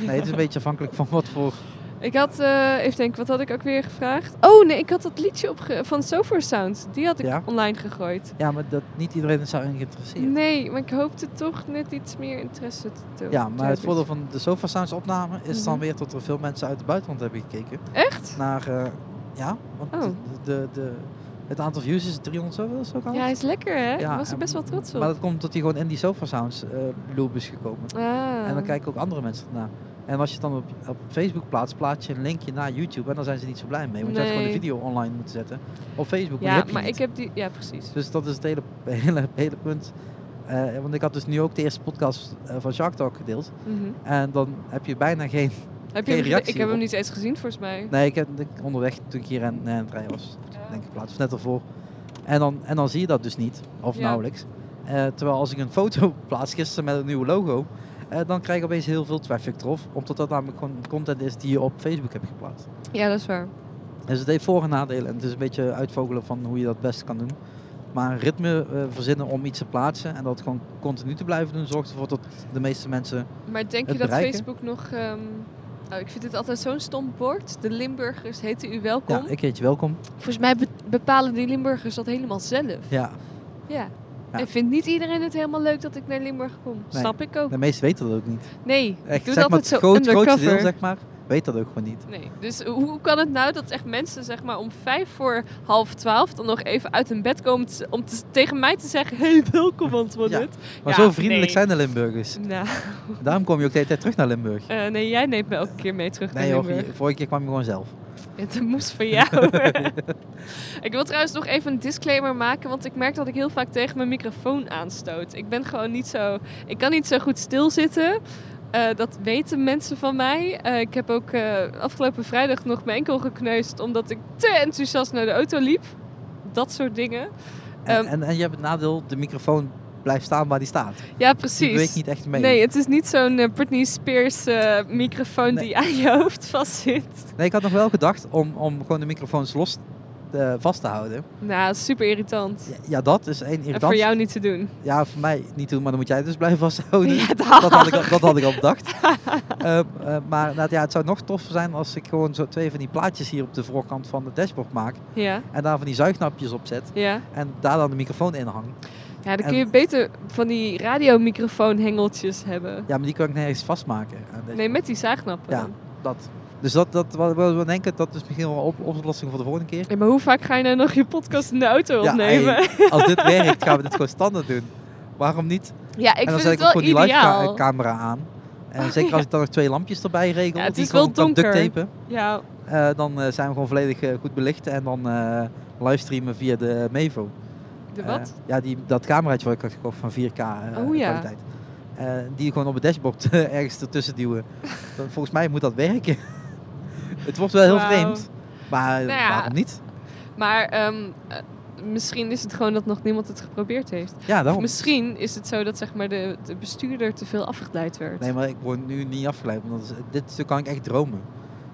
Speaker 2: nee, het is een beetje afhankelijk van wat voor...
Speaker 1: Ik had, eh even denken, wat had ik ook weer gevraagd? Oh nee, ik had dat liedje opge- van Software Sound. Die had ik
Speaker 2: Ja?
Speaker 1: online gegooid.
Speaker 2: Ja, maar dat, niet iedereen is daarin geïnteresseerd.
Speaker 1: Nee, maar ik hoopte toch net iets meer interesse te tonen.
Speaker 2: Ja, maar het
Speaker 1: Heb
Speaker 2: voordeel
Speaker 1: ik.
Speaker 2: van de Sofa Sounds opname is dan
Speaker 1: Mhm.
Speaker 2: weer dat er veel mensen uit het buitenland hebben gekeken.
Speaker 1: Echt?
Speaker 2: Naar, eh, ja, want
Speaker 1: Oh.
Speaker 2: de, de, de, het aantal views is 300 zoveel, is ook al.
Speaker 1: Ja, hij is lekker hè?
Speaker 2: Ja,
Speaker 1: ik was er
Speaker 2: en-
Speaker 1: best wel trots op.
Speaker 2: Maar dat komt omdat hij gewoon in die Sofa Sounds eh, loop is gekomen.
Speaker 1: Ah.
Speaker 2: En dan kijken ook andere mensen ernaar. En als je het dan op, op Facebook plaatst, plaats je een linkje naar YouTube en dan zijn ze niet zo blij mee. Want je had gewoon de
Speaker 1: Nee.
Speaker 2: video online moeten zetten op Facebook. maar die
Speaker 1: Ja,
Speaker 2: heb je
Speaker 1: maar
Speaker 2: niet.
Speaker 1: ik heb die... Ja, precies.
Speaker 2: Dus dat is het hele, hele, hele punt. Eh, want ik had dus nu ook de eerste podcast eh, van Shark Talk gedeeld.
Speaker 1: Mhm.
Speaker 2: En dan heb je bijna
Speaker 1: Heb
Speaker 2: geen
Speaker 1: je
Speaker 2: Geen
Speaker 1: hem gede-
Speaker 2: reactie
Speaker 1: ik heb hem
Speaker 2: op.
Speaker 1: niet eens gezien volgens mij.
Speaker 2: Nee, ik heb ik, onderweg toen ik hier aan, eh, aan het rijden was,
Speaker 1: Ja.
Speaker 2: denk ik plaats, of net ervoor. En dan, en dan zie je dat dus niet, of
Speaker 1: Ja.
Speaker 2: nauwelijks. Eh, terwijl als ik een foto plaats gisteren met een nieuwe logo, eh, dan krijg ik opeens heel veel traffic erop. Omdat dat namelijk gewoon content is die je op Facebook hebt geplaatst.
Speaker 1: Ja, dat is waar.
Speaker 2: Dus het heeft voor- en nadelen. En het is een beetje uitvogelen van hoe je dat best kan doen. Maar een ritme eh, verzinnen om iets te plaatsen en dat gewoon continu te blijven doen, zorgt ervoor dat de meeste mensen...
Speaker 1: Maar denk
Speaker 2: Het
Speaker 1: je dat
Speaker 2: bereiken?
Speaker 1: Facebook nog... ehm, Oh, ik vind dit altijd zo'n stom bord. De Limburgers heten u welkom.
Speaker 2: Ja, ik heet je welkom.
Speaker 1: Volgens mij be- bepalen die Limburgers dat helemaal zelf.
Speaker 2: Ja,
Speaker 1: Ja.
Speaker 2: Ja.
Speaker 1: En vindt niet iedereen het helemaal leuk dat ik naar Limburg kom?
Speaker 2: Nee.
Speaker 1: Snap ik ook.
Speaker 2: de meesten weten dat ook niet.
Speaker 1: Nee, ik
Speaker 2: Echt,
Speaker 1: doe
Speaker 2: Eh,
Speaker 1: dat
Speaker 2: zeg maar,
Speaker 1: altijd
Speaker 2: het
Speaker 1: zo
Speaker 2: groot, grootste
Speaker 1: undercover.
Speaker 2: deel, zeg maar, weet dat ook gewoon niet.
Speaker 1: Nee, dus hoe kan het nou dat echt mensen zeg maar om vijf voor half twaalf dan nog even uit hun bed komen te- om te- tegen mij te zeggen, hey welkom Antoinette.
Speaker 2: Maar
Speaker 1: Ja,
Speaker 2: zo vriendelijk
Speaker 1: nee.
Speaker 2: zijn de Limburgers.
Speaker 1: Nou,
Speaker 2: Daarom kom je ook de hele tijd terug naar Limburg.
Speaker 1: eh, nee, jij neemt me elke keer mee terug
Speaker 2: Nee
Speaker 1: naar
Speaker 2: hoor,
Speaker 1: Limburg.
Speaker 2: je- vorige keer kwam je gewoon zelf.
Speaker 1: Het moest van jou. ik wil trouwens nog even een disclaimer maken, want ik merk dat ik heel vaak tegen mijn microfoon aanstoot. Ik ben gewoon niet zo, ik kan niet zo goed stilzitten. Eh, dat weten mensen van mij. Eh, ik heb ook eh, afgelopen vrijdag nog mijn enkel gekneusd omdat ik te enthousiast naar de auto liep. Dat soort dingen.
Speaker 2: En,
Speaker 1: Ehm.
Speaker 2: en, en je hebt het nadeel, de microfoon blijft staan waar die staat.
Speaker 1: Ja,
Speaker 2: Die
Speaker 1: precies.
Speaker 2: weet niet echt mee.
Speaker 1: Nee, het is niet zo'n eh, Britney Spears eh, microfoon
Speaker 2: Nee.
Speaker 1: die aan je hoofd vastzit.
Speaker 2: Nee, ik had nog wel gedacht om, om gewoon de microfoons los eh, vast te houden.
Speaker 1: Nou, super irritant.
Speaker 2: Ja, ja, dat is één
Speaker 1: En
Speaker 2: irritant.
Speaker 1: voor jou niet te doen.
Speaker 2: Ja, voor mij niet doen, maar dan moet jij het dus blijven vasthouden.
Speaker 1: Ja,
Speaker 2: dat, had ik al, dat had ik al bedacht. Eh, eh, maar nou, ja, het zou nog toffer zijn als ik gewoon zo twee van die plaatjes hier op de voorkant van het dashboard maak.
Speaker 1: Ja,
Speaker 2: En daar van die zuignapjes op zet.
Speaker 1: ja.
Speaker 2: En daar dan de microfoon in hang.
Speaker 1: Ja, dan
Speaker 2: En-
Speaker 1: kun je beter van die radiomicrofoonhengeltjes hebben.
Speaker 2: Ja, maar die kan ik nergens vastmaken. aan deze-
Speaker 1: Nee, met die zaagnappen.
Speaker 2: Ja.
Speaker 1: dan.
Speaker 2: Dat. Dus dat, dat wat wat we denken, dat is misschien wel een op, oplossing voor de volgende keer.
Speaker 1: Ja, maar hoe vaak ga je nou nog je podcast in de auto
Speaker 2: Ja,
Speaker 1: opnemen?
Speaker 2: Als dit werkt, gaan we dit gewoon standaard doen. Waarom niet?
Speaker 1: Ja, ik
Speaker 2: en dan
Speaker 1: vind
Speaker 2: zet
Speaker 1: het
Speaker 2: ik ook
Speaker 1: wel
Speaker 2: gewoon die live
Speaker 1: ideaal.
Speaker 2: ca- camera aan. En
Speaker 1: Oh,
Speaker 2: zeker
Speaker 1: ja.
Speaker 2: als ik dan nog twee lampjes erbij regel,
Speaker 1: Ja, het
Speaker 2: die
Speaker 1: is
Speaker 2: ik gewoon
Speaker 1: wel
Speaker 2: kan
Speaker 1: donker.
Speaker 2: ducttapen,
Speaker 1: ja,
Speaker 2: eh, dan eh, zijn we gewoon volledig eh, goed belicht en dan eh, livestreamen via de Mevo.
Speaker 1: de
Speaker 2: Eh,
Speaker 1: wat?
Speaker 2: ja, die, dat cameraatje wat ik had gekocht van 4K eh,
Speaker 1: Oh, ja.
Speaker 2: kwaliteit. Eh, die gewoon op het dashboard eh, ergens ertussen duwen. Dan, volgens mij moet dat werken. het wordt wel heel
Speaker 1: Wauw.
Speaker 2: vreemd, maar eh,
Speaker 1: Nou ja.
Speaker 2: waarom niet?
Speaker 1: Maar ehm, eh, misschien is het gewoon dat nog niemand het geprobeerd heeft.
Speaker 2: Ja,
Speaker 1: Of
Speaker 2: daarom.
Speaker 1: misschien is het zo dat zeg maar, de, de bestuurder te veel afgeleid werd.
Speaker 2: Nee, maar ik word nu niet afgeleid, want dat is- dit stuk kan ik echt dromen.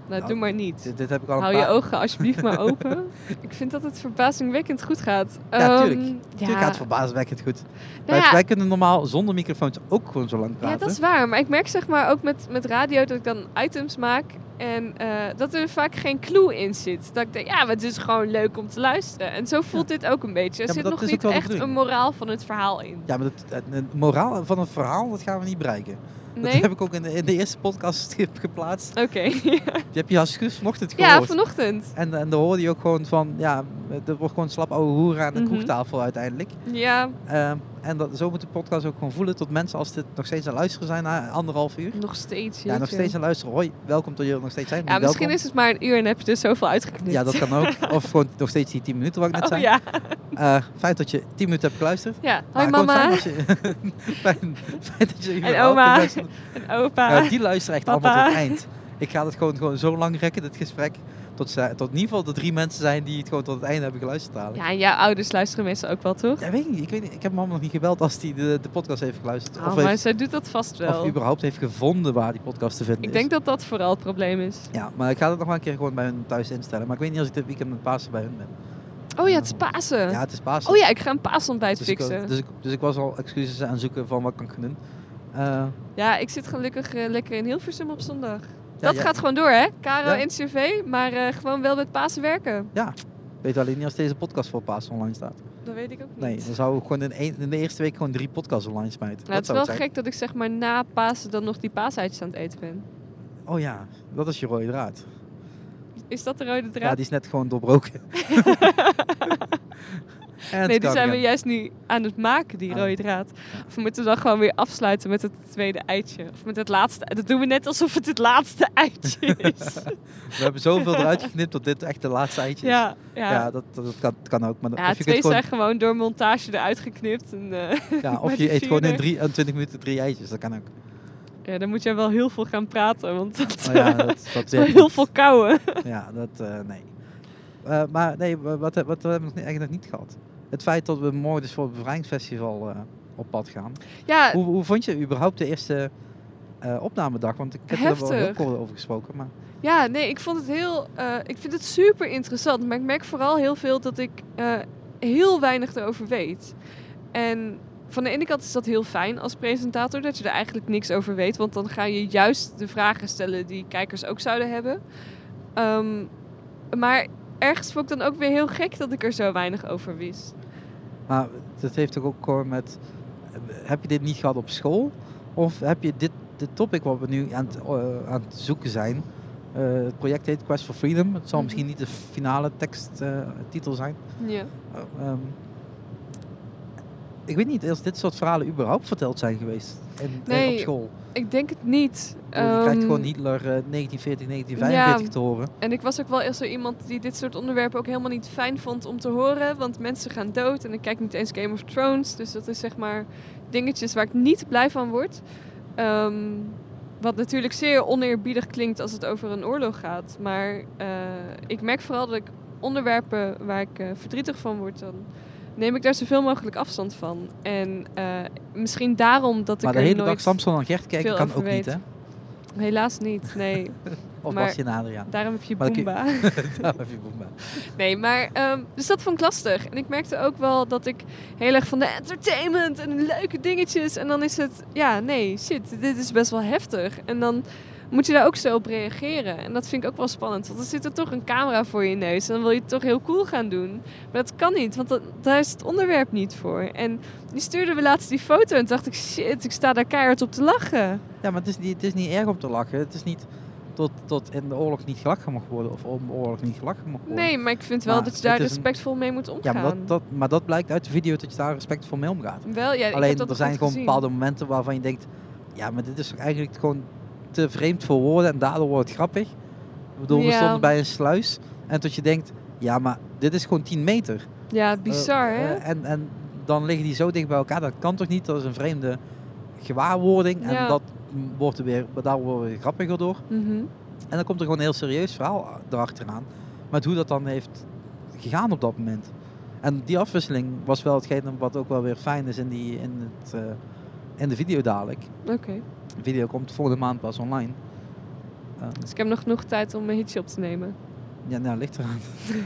Speaker 1: nou, doe maar niet.
Speaker 2: Dit, dit heb ik al een
Speaker 1: Hou je
Speaker 2: paar-
Speaker 1: ogen alsjeblieft maar open. ik vind dat het verbazingwekkend goed gaat.
Speaker 2: Ja,
Speaker 1: Ehm,
Speaker 2: tuurlijk.
Speaker 1: Ja,
Speaker 2: Natuurlijk gaat het verbazingwekkend goed.
Speaker 1: Nou
Speaker 2: Wij,
Speaker 1: ja,
Speaker 2: wij kunnen normaal zonder microfoons ook gewoon zo lang praten.
Speaker 1: ja, dat is waar. Maar ik merk zeg maar ook met, met radio dat ik dan items maak. En eh, dat er vaak geen clue in zit. Dat ik denk, ja, maar het is gewoon leuk om te luisteren. En zo voelt dit ook een beetje. Er
Speaker 2: Ja, maar
Speaker 1: zit
Speaker 2: dat
Speaker 1: nog
Speaker 2: is ook
Speaker 1: niet
Speaker 2: wel de
Speaker 1: echt een
Speaker 2: bedoeling.
Speaker 1: moraal van het verhaal in.
Speaker 2: Ja, maar dat, het, het moraal van een verhaal, dat gaan we niet bereiken. Dat
Speaker 1: Nee?
Speaker 2: heb ik ook in de, in de eerste podcast geplaatst.
Speaker 1: Oké.
Speaker 2: Je hebt je hartstikke mocht het gehoord.
Speaker 1: ja, vanochtend.
Speaker 2: en, en dan hoorde je ook gewoon van, ja, er wordt gewoon slap ouwe hoeren aan de
Speaker 1: Mhm.
Speaker 2: kroegtafel uiteindelijk.
Speaker 1: Ja,
Speaker 2: Ehm, en dat, zo moet de podcast ook gewoon voelen tot mensen als dit nog steeds aan het luisteren zijn na anderhalf uur.
Speaker 1: nog steeds.
Speaker 2: Ja, nog
Speaker 1: jeetje.
Speaker 2: steeds aan het luisteren. Hoi, welkom dat jullie er nog steeds zijn.
Speaker 1: Ja, misschien
Speaker 2: Welkom.
Speaker 1: is het maar een uur en heb je dus zoveel uitgeknipt.
Speaker 2: Ja, dat kan ook. Of gewoon nog steeds die 10 minuten wat ik net
Speaker 1: Oh
Speaker 2: zei.
Speaker 1: ja.
Speaker 2: Eh, feit dat je 10 minuten hebt geluisterd.
Speaker 1: Ja,
Speaker 2: Maar
Speaker 1: hoi
Speaker 2: gewoon
Speaker 1: mama
Speaker 2: Fijn, dat je, fijn, fijn dat je überhaupt
Speaker 1: oma.
Speaker 2: de mensen-
Speaker 1: en opa.
Speaker 2: Nou, die luisteren echt
Speaker 1: Papa.
Speaker 2: allemaal tot het eind. Ik ga het gewoon, gewoon zo lang rekken, dit gesprek. Tot, ze, tot in ieder geval de drie mensen zijn die het gewoon tot het einde hebben geluisterd. dadelijk.
Speaker 1: Ja, en jouw ouders luisteren meestal ook wel, toch?
Speaker 2: Ja, weet ik, niet, ik weet niet. Ik heb mama nog niet gebeld als die de, de podcast heeft geluisterd.
Speaker 1: Oh,
Speaker 2: of,
Speaker 1: maar
Speaker 2: heeft,
Speaker 1: zij doet dat vast
Speaker 2: of
Speaker 1: wel.
Speaker 2: überhaupt heeft gevonden waar die podcast te vinden
Speaker 1: Ik
Speaker 2: is.
Speaker 1: denk dat dat vooral het probleem is.
Speaker 2: Ja, maar ik ga dat nog wel een keer gewoon bij hun thuis instellen. Maar ik weet niet als ik dit weekend met Pasen bij hun ben.
Speaker 1: Oh ja, het is Pasen.
Speaker 2: Ja, het is Pasen.
Speaker 1: Oh ja, ik ga een paasontbijt
Speaker 2: dus ik,
Speaker 1: fixen.
Speaker 2: dus, ik, dus ik was al excuses aan het zoeken van wat kan ik gaan doen. Eh,
Speaker 1: Ja, ik zit gelukkig eh, lekker in Hilversum op zondag. dat
Speaker 2: ja.
Speaker 1: gaat gewoon door, hè? Caro
Speaker 2: Ja.
Speaker 1: en CV, maar eh, gewoon wel met Pasen werken.
Speaker 2: ik weet alleen niet als deze podcast voor Pasen online staat.
Speaker 1: Dat weet ik ook niet.
Speaker 2: Nee, dan zou ik gewoon in, één- in de eerste week gewoon drie podcasts online smijten.
Speaker 1: Nou, het is
Speaker 2: zou
Speaker 1: wel
Speaker 2: zijn.
Speaker 1: gek dat ik zeg maar na Pasen dan nog die paasuitjes aan het eten ben.
Speaker 2: Oh ja, dat is je rode draad.
Speaker 1: Is dat de rode draad?
Speaker 2: Ja, die is net gewoon doorbroken. En
Speaker 1: nee, die
Speaker 2: cardigan.
Speaker 1: zijn we juist nu aan het maken, die
Speaker 2: Ah.
Speaker 1: rode draad. Of we moeten dan gewoon weer afsluiten met het tweede eitje. Of met het laatste. Dat doen we net alsof het het laatste eitje is.
Speaker 2: We hebben zoveel eruit geknipt dat dit echt de laatste eitje is.
Speaker 1: ja, ja.
Speaker 2: Ja,
Speaker 1: ja.
Speaker 2: dat, dat kan, kan ook. Maar of je,
Speaker 1: twee
Speaker 2: kunt gewoon,
Speaker 1: zijn gewoon door montage eruit geknipt. En, eh,
Speaker 2: ja,
Speaker 1: maar
Speaker 2: of
Speaker 1: die
Speaker 2: je eet gewoon in,
Speaker 1: vierde.
Speaker 2: drie, in 20 minuten drie eitjes, dat kan ook.
Speaker 1: ja, dan moet jij wel heel veel gaan praten, want dat,
Speaker 2: Oh ja,
Speaker 1: eh,
Speaker 2: dat, dat
Speaker 1: is wel
Speaker 2: werkt
Speaker 1: heel
Speaker 2: niet.
Speaker 1: veel kouwen.
Speaker 2: Ja, dat, eh, nee. Eh, maar nee, wa- wat, wat, wat hebben we nog niet- eigenlijk nog niet gehad? Het feit dat we morgen dus voor het bevrijdingsfestival eh, op pad gaan.
Speaker 1: Ja,
Speaker 2: Hoe, hoe vond je überhaupt de eerste eh, opnamedag? Want ik heb er wel heel
Speaker 1: Heftig.
Speaker 2: kort over gesproken. Maar
Speaker 1: Ja, nee, ik vond het heel. eh, ik vind het super interessant. Maar ik merk vooral heel veel dat ik eh, heel weinig erover weet. En van de ene kant is dat heel fijn als presentator, dat je er eigenlijk niks over weet. Want dan ga je juist de vragen stellen die kijkers ook zouden hebben. Ehm, maar ergens vond ik dan ook weer heel gek dat ik er zo weinig over wist.
Speaker 2: Maar dat heeft toch ook gewoon met... Heb je dit niet gehad op school? Of heb je dit, dit topic wat we nu aan het, eh, aan het zoeken zijn... eh, het project heet Quest for Freedom. Het zal
Speaker 1: Mhm.
Speaker 2: misschien niet de finale teksttitel zijn.
Speaker 1: Ja.
Speaker 2: Eh, ehm, ik weet niet als dit soort verhalen überhaupt verteld zijn geweest in, in-
Speaker 1: Nee,
Speaker 2: op school.
Speaker 1: Ik denk het niet.
Speaker 2: Ik bedoel, je krijgt
Speaker 1: Ehm,
Speaker 2: gewoon Hitler eh, 1940, 1945
Speaker 1: ja.
Speaker 2: te horen.
Speaker 1: En ik was ook wel echt zo iemand die dit soort onderwerpen ook helemaal niet fijn vond om te horen. Want mensen gaan dood en ik kijk niet eens Game of Thrones. Dus dat is zeg maar dingetjes waar ik niet blij van word. Ehm, wat natuurlijk zeer oneerbiedig klinkt als het over een oorlog gaat. Maar eh, ik merk vooral dat ik onderwerpen waar ik eh, verdrietig van word, dan neem ik daar zoveel mogelijk afstand van. En eh, misschien daarom dat
Speaker 2: Maar
Speaker 1: ik
Speaker 2: de
Speaker 1: er
Speaker 2: hele dag
Speaker 1: nooit...
Speaker 2: Samson en Gert kijken
Speaker 1: veel
Speaker 2: kan
Speaker 1: over
Speaker 2: ook niet,
Speaker 1: weet.
Speaker 2: hè?
Speaker 1: Helaas niet, nee.
Speaker 2: Of
Speaker 1: Maar-
Speaker 2: Bastien en Adriaan.
Speaker 1: Daarom heb je
Speaker 2: Maar dan kun je-
Speaker 1: Boomba.
Speaker 2: Daar heb je boem bij.
Speaker 1: Nee, maar ehm, dus dat vond ik lastig. En ik merkte ook wel dat ik heel erg van de entertainment en de leuke dingetjes. En dan is het, ja, nee, shit, dit is best wel heftig. En dan moet je daar ook zo op reageren. En dat vind ik ook wel spannend, want dan zit er toch een camera voor je neus en dan wil je het toch heel cool gaan doen. Maar dat kan niet, want dat, daar is het onderwerp niet voor. En die stuurde we laatst die foto en toen dacht ik, shit, ik sta daar keihard op te lachen.
Speaker 2: Ja, maar het is niet, het is niet erg om te lachen. Het is niet tot, tot in de oorlog niet gelachen mag worden of om de oorlog niet gelachen mag worden.
Speaker 1: Nee, maar ik vind wel
Speaker 2: Maar
Speaker 1: dat je daar
Speaker 2: het is een-
Speaker 1: respectvol mee moet
Speaker 2: Ja,
Speaker 1: omgaan.
Speaker 2: maar dat, dat, maar dat blijkt uit de video dat je daar respectvol mee omgaat.
Speaker 1: wel, ja, ik heb
Speaker 2: Alleen
Speaker 1: dat
Speaker 2: er
Speaker 1: goed
Speaker 2: zijn gewoon
Speaker 1: gezien.
Speaker 2: bepaalde momenten waarvan je denkt, ja, maar dit is toch eigenlijk gewoon te vreemd voor woorden en daardoor wordt het grappig. Ik bedoel, we
Speaker 1: Ja.
Speaker 2: stonden bij een sluis en tot je denkt, ja, maar dit is gewoon 10 meter.
Speaker 1: Ja, bizar
Speaker 2: Eh,
Speaker 1: hè?
Speaker 2: eh, en, en dan liggen die zo dicht bij elkaar, dat kan toch niet? Dat is een vreemde gewaarwording en
Speaker 1: Ja.
Speaker 2: dat wordt er weer, daar worden we weer grappiger door.
Speaker 1: Mhm.
Speaker 2: En dan komt er gewoon een heel serieus verhaal erachteraan. Met hoe dat dan heeft gegaan op dat moment. En die afwisseling was wel hetgeen wat ook wel weer fijn is in, die, in, het, eh, in de video dadelijk.
Speaker 1: Oké,
Speaker 2: De video komt volgende maand pas online. Ehm,
Speaker 1: dus ik heb nog genoeg tijd om mijn hitje op te nemen.
Speaker 2: ja, nou, ligt eraan.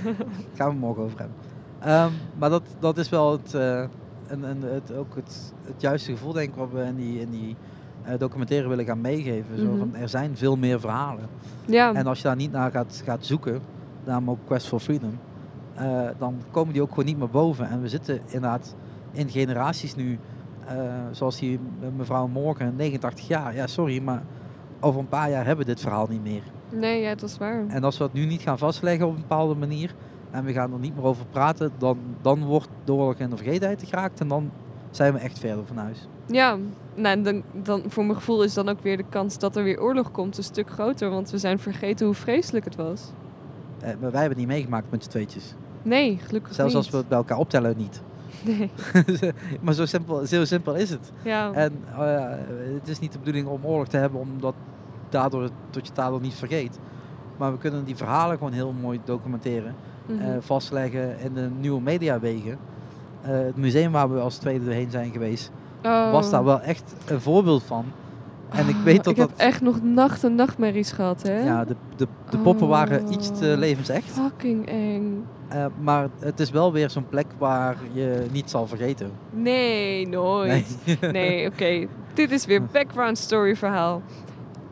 Speaker 2: Daar gaan we morgen over hebben. Ehm, maar dat, dat is wel het, eh, en, en het, ook het, het juiste gevoel, denk ik, wat we in die, in die eh, documentaire willen gaan meegeven. Zo
Speaker 1: Mhm.
Speaker 2: van, er zijn veel meer verhalen.
Speaker 1: Ja,
Speaker 2: En als je daar niet naar gaat, gaat zoeken, namelijk Quest for Freedom, eh, dan komen die ook gewoon niet meer boven. En we zitten inderdaad in generaties nu, eh, zoals die mevrouw Morgan, 89 jaar. Ja, sorry, maar over een paar jaar hebben we dit verhaal niet meer.
Speaker 1: nee, ja, dat is waar.
Speaker 2: En als we dat nu niet gaan vastleggen op een bepaalde manier, en we gaan er niet meer over praten, dan, dan wordt de oorlog in de vergetenheid geraakt en dan zijn we echt verder van huis.
Speaker 1: Ja, nou, en dan, dan, voor mijn gevoel is dan ook weer de kans dat er weer oorlog komt een stuk groter. Want we zijn vergeten hoe vreselijk het was.
Speaker 2: Eh, maar wij hebben het niet meegemaakt met z'n tweetjes.
Speaker 1: Nee, gelukkig
Speaker 2: Zelfs
Speaker 1: niet.
Speaker 2: als we het bij elkaar optellen, niet.
Speaker 1: Nee,
Speaker 2: maar zo simpel, zo simpel is het.
Speaker 1: ja.
Speaker 2: En eh, het is niet de bedoeling om oorlog te hebben, omdat daardoor, dat je het daardoor niet vergeet. Maar we kunnen die verhalen gewoon heel mooi documenteren,
Speaker 1: mhm.
Speaker 2: eh, vastleggen in de nieuwe mediawegen. Eh, het museum waar we als tweede doorheen zijn geweest,
Speaker 1: Oh.
Speaker 2: was daar wel echt een voorbeeld van. En ik weet dat
Speaker 1: ik heb
Speaker 2: dat...
Speaker 1: echt nog nacht en nachtmerries gehad, hè?
Speaker 2: Ja, de, de, de poppen waren
Speaker 1: Oh.
Speaker 2: iets te levensecht.
Speaker 1: Fucking eng.
Speaker 2: Eh, maar het is wel weer zo'n plek waar je niet zal vergeten.
Speaker 1: Nee, nooit.
Speaker 2: Nee.
Speaker 1: Nee, oké. Dit is weer background story verhaal.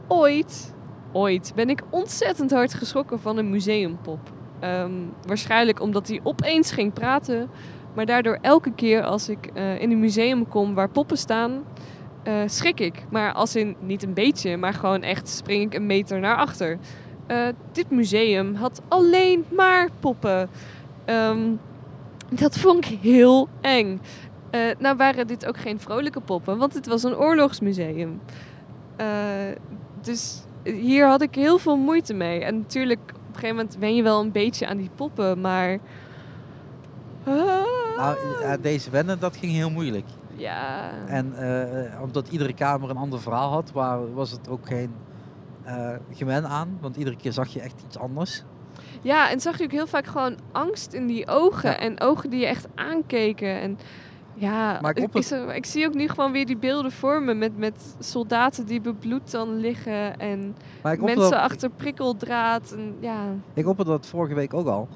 Speaker 1: Ooit, ooit ben ik ontzettend hard geschrokken van een museumpop. Ehm, waarschijnlijk omdat hij opeens ging praten. Maar daardoor elke keer als ik eh, in een museum kom waar poppen staan, eh, schrik ik. Maar als in niet een beetje, maar gewoon echt spring ik een meter naar achter. Eh, dit museum had alleen maar poppen. Ehm, dat vond ik heel eng. Eh, nou waren dit ook geen vrolijke poppen, want het was een oorlogsmuseum. Eh, dus hier had ik heel veel moeite mee. En natuurlijk, op een gegeven moment wen je wel een beetje aan die poppen, maar... Ah.
Speaker 2: Nou, eh, deze wennen, dat ging heel moeilijk.
Speaker 1: ja.
Speaker 2: En eh, eh, omdat iedere kamer een ander verhaal had, waar, was het ook geen eh, gewen aan. Want iedere keer zag je echt iets anders.
Speaker 1: ja, en zag je ook heel vaak gewoon angst in die ogen.
Speaker 2: Ja.
Speaker 1: En ogen die je echt aankeken. En ja,
Speaker 2: Maar ik
Speaker 1: ik,
Speaker 2: op het-
Speaker 1: is er- ik zie ook nu gewoon weer die beelden voor me. Met, met soldaten die bebloed dan liggen. En
Speaker 2: Maar ik
Speaker 1: mensen
Speaker 2: opper dat,
Speaker 1: achter prikkeldraad. En, ja.
Speaker 2: ik opper dat vorige week ook al.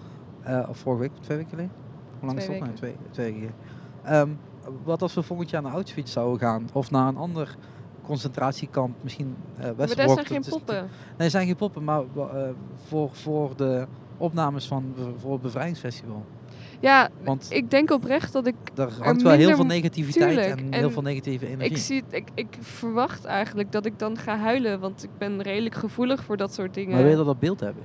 Speaker 2: Eh, of vorige week, twee weken geleden? Hoe lang is
Speaker 1: Twee
Speaker 2: dat? nou? Twee, twee weken geleden. Ehm, wat als we volgend jaar naar Auschwitz zouden gaan? Of naar een ander concentratiekamp, misschien eh
Speaker 1: Maar
Speaker 2: Westerbork.
Speaker 1: daar zijn
Speaker 2: dat
Speaker 1: geen
Speaker 2: is-
Speaker 1: poppen.
Speaker 2: Nee, er zijn geen poppen, maar eh, voor, voor de opnames van bijvoorbeeld het Bevrijdingsfestival.
Speaker 1: Ja,
Speaker 2: Want
Speaker 1: ik denk oprecht dat ik
Speaker 2: daar hangt wel heel
Speaker 1: minder-
Speaker 2: veel negativiteit
Speaker 1: tuurlijk,
Speaker 2: en,
Speaker 1: en
Speaker 2: heel veel negatieve energie.
Speaker 1: Ik, zie, het- ik, ik verwacht eigenlijk dat ik dan ga huilen, want ik ben redelijk gevoelig voor dat soort dingen.
Speaker 2: Maar wil je dat op beeld hebben?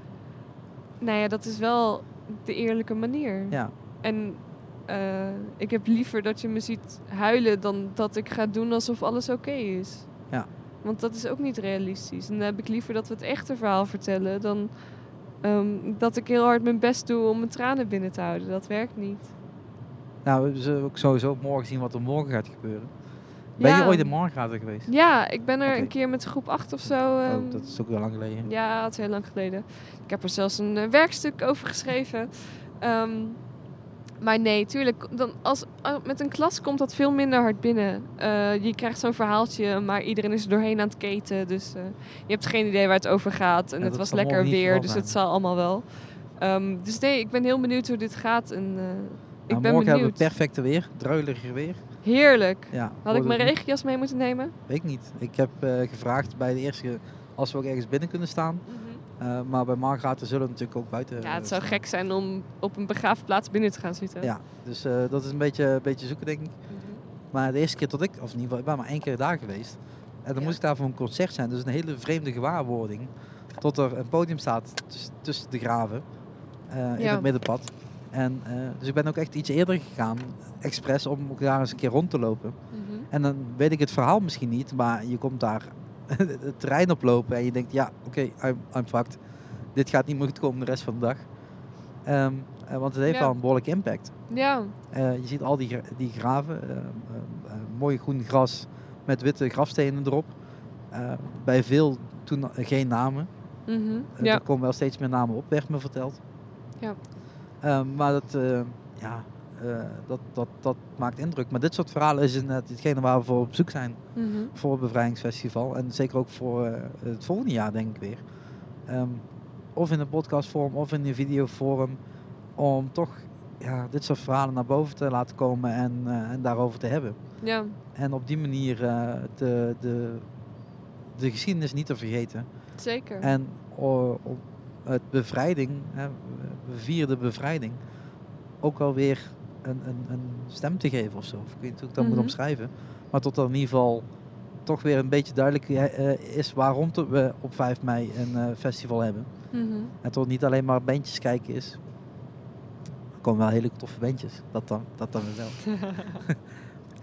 Speaker 1: Nou ja, dat is wel de eerlijke manier.
Speaker 2: Ja.
Speaker 1: En eh, ik heb liever dat je me ziet huilen dan dat ik ga doen alsof alles oké is.
Speaker 2: Ja.
Speaker 1: Want dat is ook niet realistisch. En dan heb ik liever dat we het echte verhaal vertellen dan ehm, dat ik heel hard mijn best doe om mijn tranen binnen te houden. Dat werkt niet.
Speaker 2: Nou, we zullen ook sowieso morgen zien wat er morgen gaat gebeuren. Ben je
Speaker 1: Ja.
Speaker 2: ooit in Margraten geweest?
Speaker 1: Ja, ik ben er
Speaker 2: Oké.
Speaker 1: een keer met groep 8 of zo. ehm,
Speaker 2: Oh, dat is ook wel lang geleden.
Speaker 1: Ja, het is heel lang geleden. Ik heb er zelfs een eh, werkstuk over geschreven. Ehm, maar nee, tuurlijk. Dan als, ah, met een klas komt dat veel minder hard binnen. Eh, je krijgt zo'n verhaaltje, maar iedereen is er doorheen aan het keten. Dus eh, je hebt geen idee waar het over gaat. En
Speaker 2: Ja,
Speaker 1: het
Speaker 2: dat
Speaker 1: was
Speaker 2: zal morgen
Speaker 1: lekker
Speaker 2: niet
Speaker 1: weer,
Speaker 2: vooral
Speaker 1: dus
Speaker 2: zijn.
Speaker 1: het zal allemaal wel. Ehm, dus nee, ik ben heel benieuwd hoe dit gaat. En, eh, ik
Speaker 2: Nou,
Speaker 1: ben
Speaker 2: morgen hebben
Speaker 1: benieuwd.
Speaker 2: we perfecte weer, druiliger weer.
Speaker 1: Heerlijk.
Speaker 2: Ja,
Speaker 1: Had ik
Speaker 2: wordt
Speaker 1: mijn
Speaker 2: het niet-
Speaker 1: regenjas mee moeten nemen?
Speaker 2: Weet ik niet. Ik heb eh, gevraagd bij de eerste als we ook ergens binnen kunnen staan. Eh, maar bij Margraten zullen we natuurlijk ook buiten
Speaker 1: Ja, het
Speaker 2: eh,
Speaker 1: zou
Speaker 2: staan.
Speaker 1: gek zijn om op een begraafplaats binnen te gaan zitten. Mhm.
Speaker 2: Ja, dus eh, dat is een beetje, een beetje zoeken denk ik. Maar de eerste keer dat ik, of in ieder geval, ik ben maar één keer daar geweest. En dan
Speaker 1: Ja.
Speaker 2: moest ik daar voor een concert zijn. Dus een hele vreemde gewaarwording. Tot er een podium staat tuss- tussen de graven. eh, In
Speaker 1: Ja.
Speaker 2: het middenpad. En, eh, dus ik ben ook echt iets eerder gegaan. Expres om ook daar eens een keer rond te lopen.
Speaker 1: Mhm.
Speaker 2: En dan weet ik het verhaal misschien niet. Maar je komt daar het terrein oplopen. En je denkt, ja, oké, I'm, I'm fucked. Dit gaat niet meer goed komen de rest van de dag. Ehm, eh, want het heeft
Speaker 1: Ja.
Speaker 2: wel een behoorlijke impact.
Speaker 1: Ja,
Speaker 2: Eh, je ziet al die, gra- die graven, eh, eh, eh, mooi groen gras met witte grafstenen erop. Eh, bij veel toen eh, geen namen.
Speaker 1: Mhm.
Speaker 2: Eh,
Speaker 1: ja.
Speaker 2: Er komen wel steeds meer namen op, werd me verteld.
Speaker 1: Ja.
Speaker 2: Eh, maar dat, eh, ja, eh, dat, dat, dat maakt indruk. Maar dit soort verhalen is inderdaad hetgene waar we voor op zoek zijn
Speaker 1: Mhm.
Speaker 2: voor het bevrijdingsfestival. En zeker ook voor eh, het volgende jaar, denk ik weer. Ehm, of in een podcastvorm of in een videovorm. Om toch ja, dit soort verhalen naar boven te laten komen en, eh, en daarover te hebben.
Speaker 1: ja.
Speaker 2: En op die manier eh, de, de, de geschiedenis niet te vergeten.
Speaker 1: zeker.
Speaker 2: En o- op het bevrijding, hè, we vieren de bevrijding, ook wel weer een, een, een stem te geven of zo. Of Ik weet niet hoe ik dat
Speaker 1: Mhm.
Speaker 2: moet omschrijven. Maar tot er in ieder geval toch weer een beetje duidelijk eh, eh, is waarom te- we op 5 mei een eh, festival hebben.
Speaker 1: Mhm.
Speaker 2: En tot niet alleen maar bandjes kijken is. Er komen wel hele toffe bandjes. Dat dan, dat dan weer wel.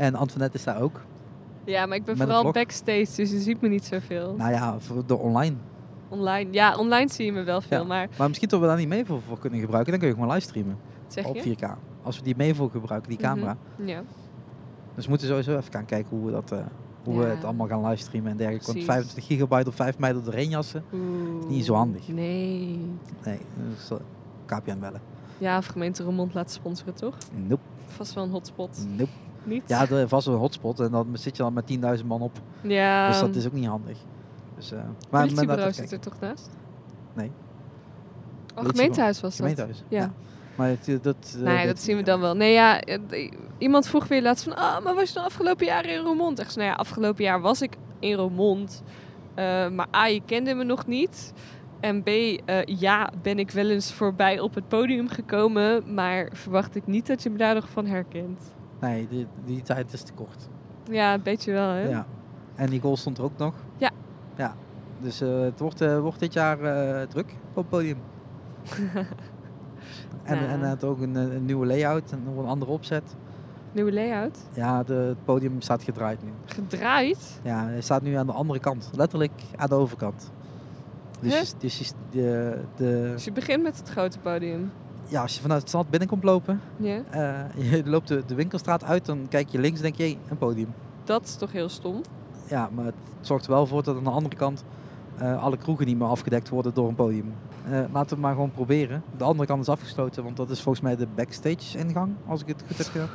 Speaker 2: en Antoinette is daar ook.
Speaker 1: Ja, maar ik ben
Speaker 2: Met een
Speaker 1: vooral
Speaker 2: vlog.
Speaker 1: backstage, dus je ziet me niet zoveel.
Speaker 2: Nou ja, voor de online.
Speaker 1: Online. Ja, online zie je me wel veel,
Speaker 2: Ja.
Speaker 1: maar
Speaker 2: Maar misschien dat we daar niet mee voor, voor kunnen gebruiken. Dan kun je gewoon livestreamen.
Speaker 1: wat zeg
Speaker 2: op
Speaker 1: je?
Speaker 2: 4K. Als we die mee voor gebruiken, die
Speaker 1: Mhm.
Speaker 2: camera.
Speaker 1: Ja.
Speaker 2: Dus we moeten sowieso even gaan kijken hoe we, dat, eh, hoe we
Speaker 1: Ja.
Speaker 2: het allemaal gaan livestreamen en dergelijke. Want
Speaker 1: Precies.
Speaker 2: 25 gigabyte op 5 meter doorheen jassen.
Speaker 1: Oeh.
Speaker 2: niet zo handig.
Speaker 1: Nee.
Speaker 2: Nee, dus eh, KPN bellen.
Speaker 1: Ja, of gemeente Roermond laat sponsoren, toch?
Speaker 2: Nope,
Speaker 1: Vast wel een hotspot.
Speaker 2: nope.
Speaker 1: Niet?
Speaker 2: Mm. Ja, er was een hotspot en dan zit je dan met 10.000 man op.
Speaker 1: ja.
Speaker 2: dus dat is ook niet handig. Dus, eh
Speaker 1: maar
Speaker 2: maar men laat
Speaker 1: politiebureau
Speaker 2: even
Speaker 1: zit
Speaker 2: kijken.
Speaker 1: er toch naast?
Speaker 2: Nee.
Speaker 1: Oh, gemeentehuis was dat?
Speaker 2: Gemeentehuis.
Speaker 1: Ja.
Speaker 2: Maar het, eh, dat... eh,
Speaker 1: Nee,
Speaker 2: weet
Speaker 1: dat
Speaker 2: ik
Speaker 1: zien we
Speaker 2: niet.
Speaker 1: dan wel. Nee, ja, het- i- iemand vroeg weer laatst van, ah, maar was je dan afgelopen jaar in Roermond? Echt, zo, nou ja, afgelopen jaar was ik in Roermond, Eh, maar A, je kende me nog niet. En B, eh, ja, ben ik wel eens voorbij op het podium gekomen, maar verwacht ik niet dat je me daar nog van herkent.
Speaker 2: Nee, die, die tijd is te kort.
Speaker 1: Ja, een beetje wel, hè?
Speaker 2: Ja. En die goal stond er ook nog.
Speaker 1: Ja.
Speaker 2: Ja. Dus eh, het wordt, eh, wordt dit jaar eh, druk op het podium. en,
Speaker 1: Nou.
Speaker 2: en het ook een, eh, een nieuwe layout en nog een andere opzet.
Speaker 1: Nieuwe layout.
Speaker 2: Ja, de, het podium staat gedraaid nu.
Speaker 1: Gedraaid.
Speaker 2: Ja, hij staat nu aan de andere kant. Letterlijk aan de overkant. Dus,
Speaker 1: Hè?
Speaker 2: je s- dus je s- de, de,
Speaker 1: Dus je begint met het grote podium.
Speaker 2: ja, als je vanuit het strand binnenkomt lopen,
Speaker 1: Ja,
Speaker 2: eh, je loopt de, de winkelstraat uit, dan kijk je links en denk je, hé, een podium.
Speaker 1: dat is toch heel stom.
Speaker 2: Ja, maar het zorgt er wel voor dat aan de andere kant eh, alle kroegen niet meer afgedekt worden door een podium. Eh, laten we maar gewoon proberen. De andere kant is afgesloten, want dat is volgens mij de backstage-ingang, als ik het goed heb gedaan.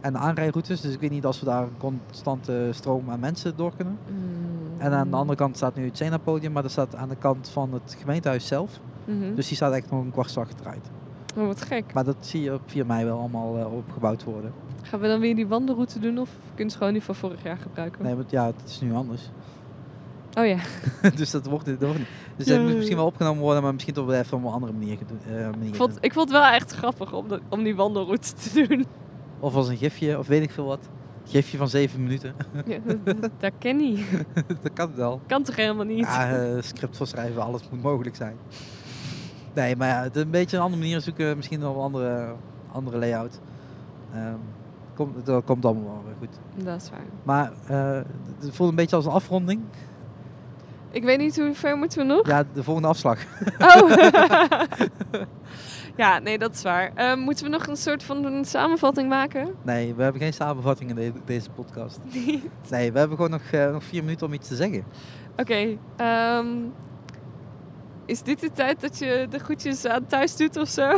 Speaker 2: En de aanrijroutes, dus ik weet niet of we daar een constante stroom aan mensen door kunnen. En aan de andere kant staat nu het Sena-podium, maar dat staat aan de kant van het gemeentehuis zelf.
Speaker 1: Mhm.
Speaker 2: Dus die staat echt nog een kwartslag gedraaid.
Speaker 1: Oh, wat gek.
Speaker 2: Maar dat zie je op 4 mei wel allemaal eh, opgebouwd worden.
Speaker 1: Gaan we dan weer die wandelroute doen of kun je ze gewoon die van vorig jaar gebruiken?
Speaker 2: Nee, want ja, het is nu anders.
Speaker 1: Oh ja.
Speaker 2: dus dat wordt, dat wordt niet. Dus
Speaker 1: Ja,
Speaker 2: dat moet
Speaker 1: ja,
Speaker 2: misschien
Speaker 1: ja.
Speaker 2: wel opgenomen worden, maar misschien toch wel even op een andere manier. gedo- eh, manier
Speaker 1: Ik vond, ik vond het wel echt grappig om, dat- om die wandelroute te doen.
Speaker 2: doen. Of als een gifje, of weet ik veel wat. Gifje van zeven minuten.
Speaker 1: Ja, dat- dat ken niet.
Speaker 2: dat kan wel.
Speaker 1: Kan toch helemaal niet?
Speaker 2: Ja, eh, script voor schrijven, alles moet mogelijk zijn. Nee, maar ja, het is een beetje een andere manier zoeken, misschien wel een andere, andere layout. Ehm, komt- dat komt allemaal wel weer goed.
Speaker 1: Dat is waar.
Speaker 2: Maar eh, het voelt een beetje als een afronding.
Speaker 1: Ik weet niet hoe ver moeten we nog.
Speaker 2: Ja, de volgende afslag.
Speaker 1: Oh! ja, nee, dat is waar. Eh, moeten we nog een soort van een samenvatting maken?
Speaker 2: Nee, we hebben geen samenvatting in de- deze podcast. Nee, we hebben gewoon nog, eh, nog vier minuten om iets te zeggen.
Speaker 1: Oké. ehm, is dit de tijd dat je de groetjes aan thuis doet of zo?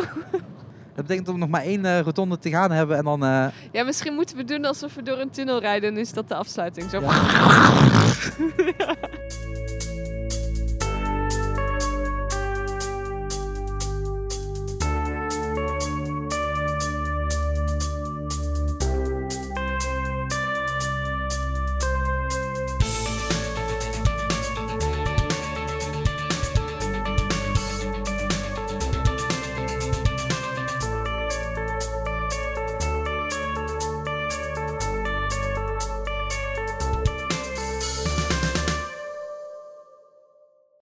Speaker 2: Dat betekent dat we nog maar één eh, rotonde te gaan hebben en dan... eh,
Speaker 1: Ja, misschien moeten we doen alsof we door een tunnel rijden. Is dat de afsluiting? Zo.
Speaker 2: ja.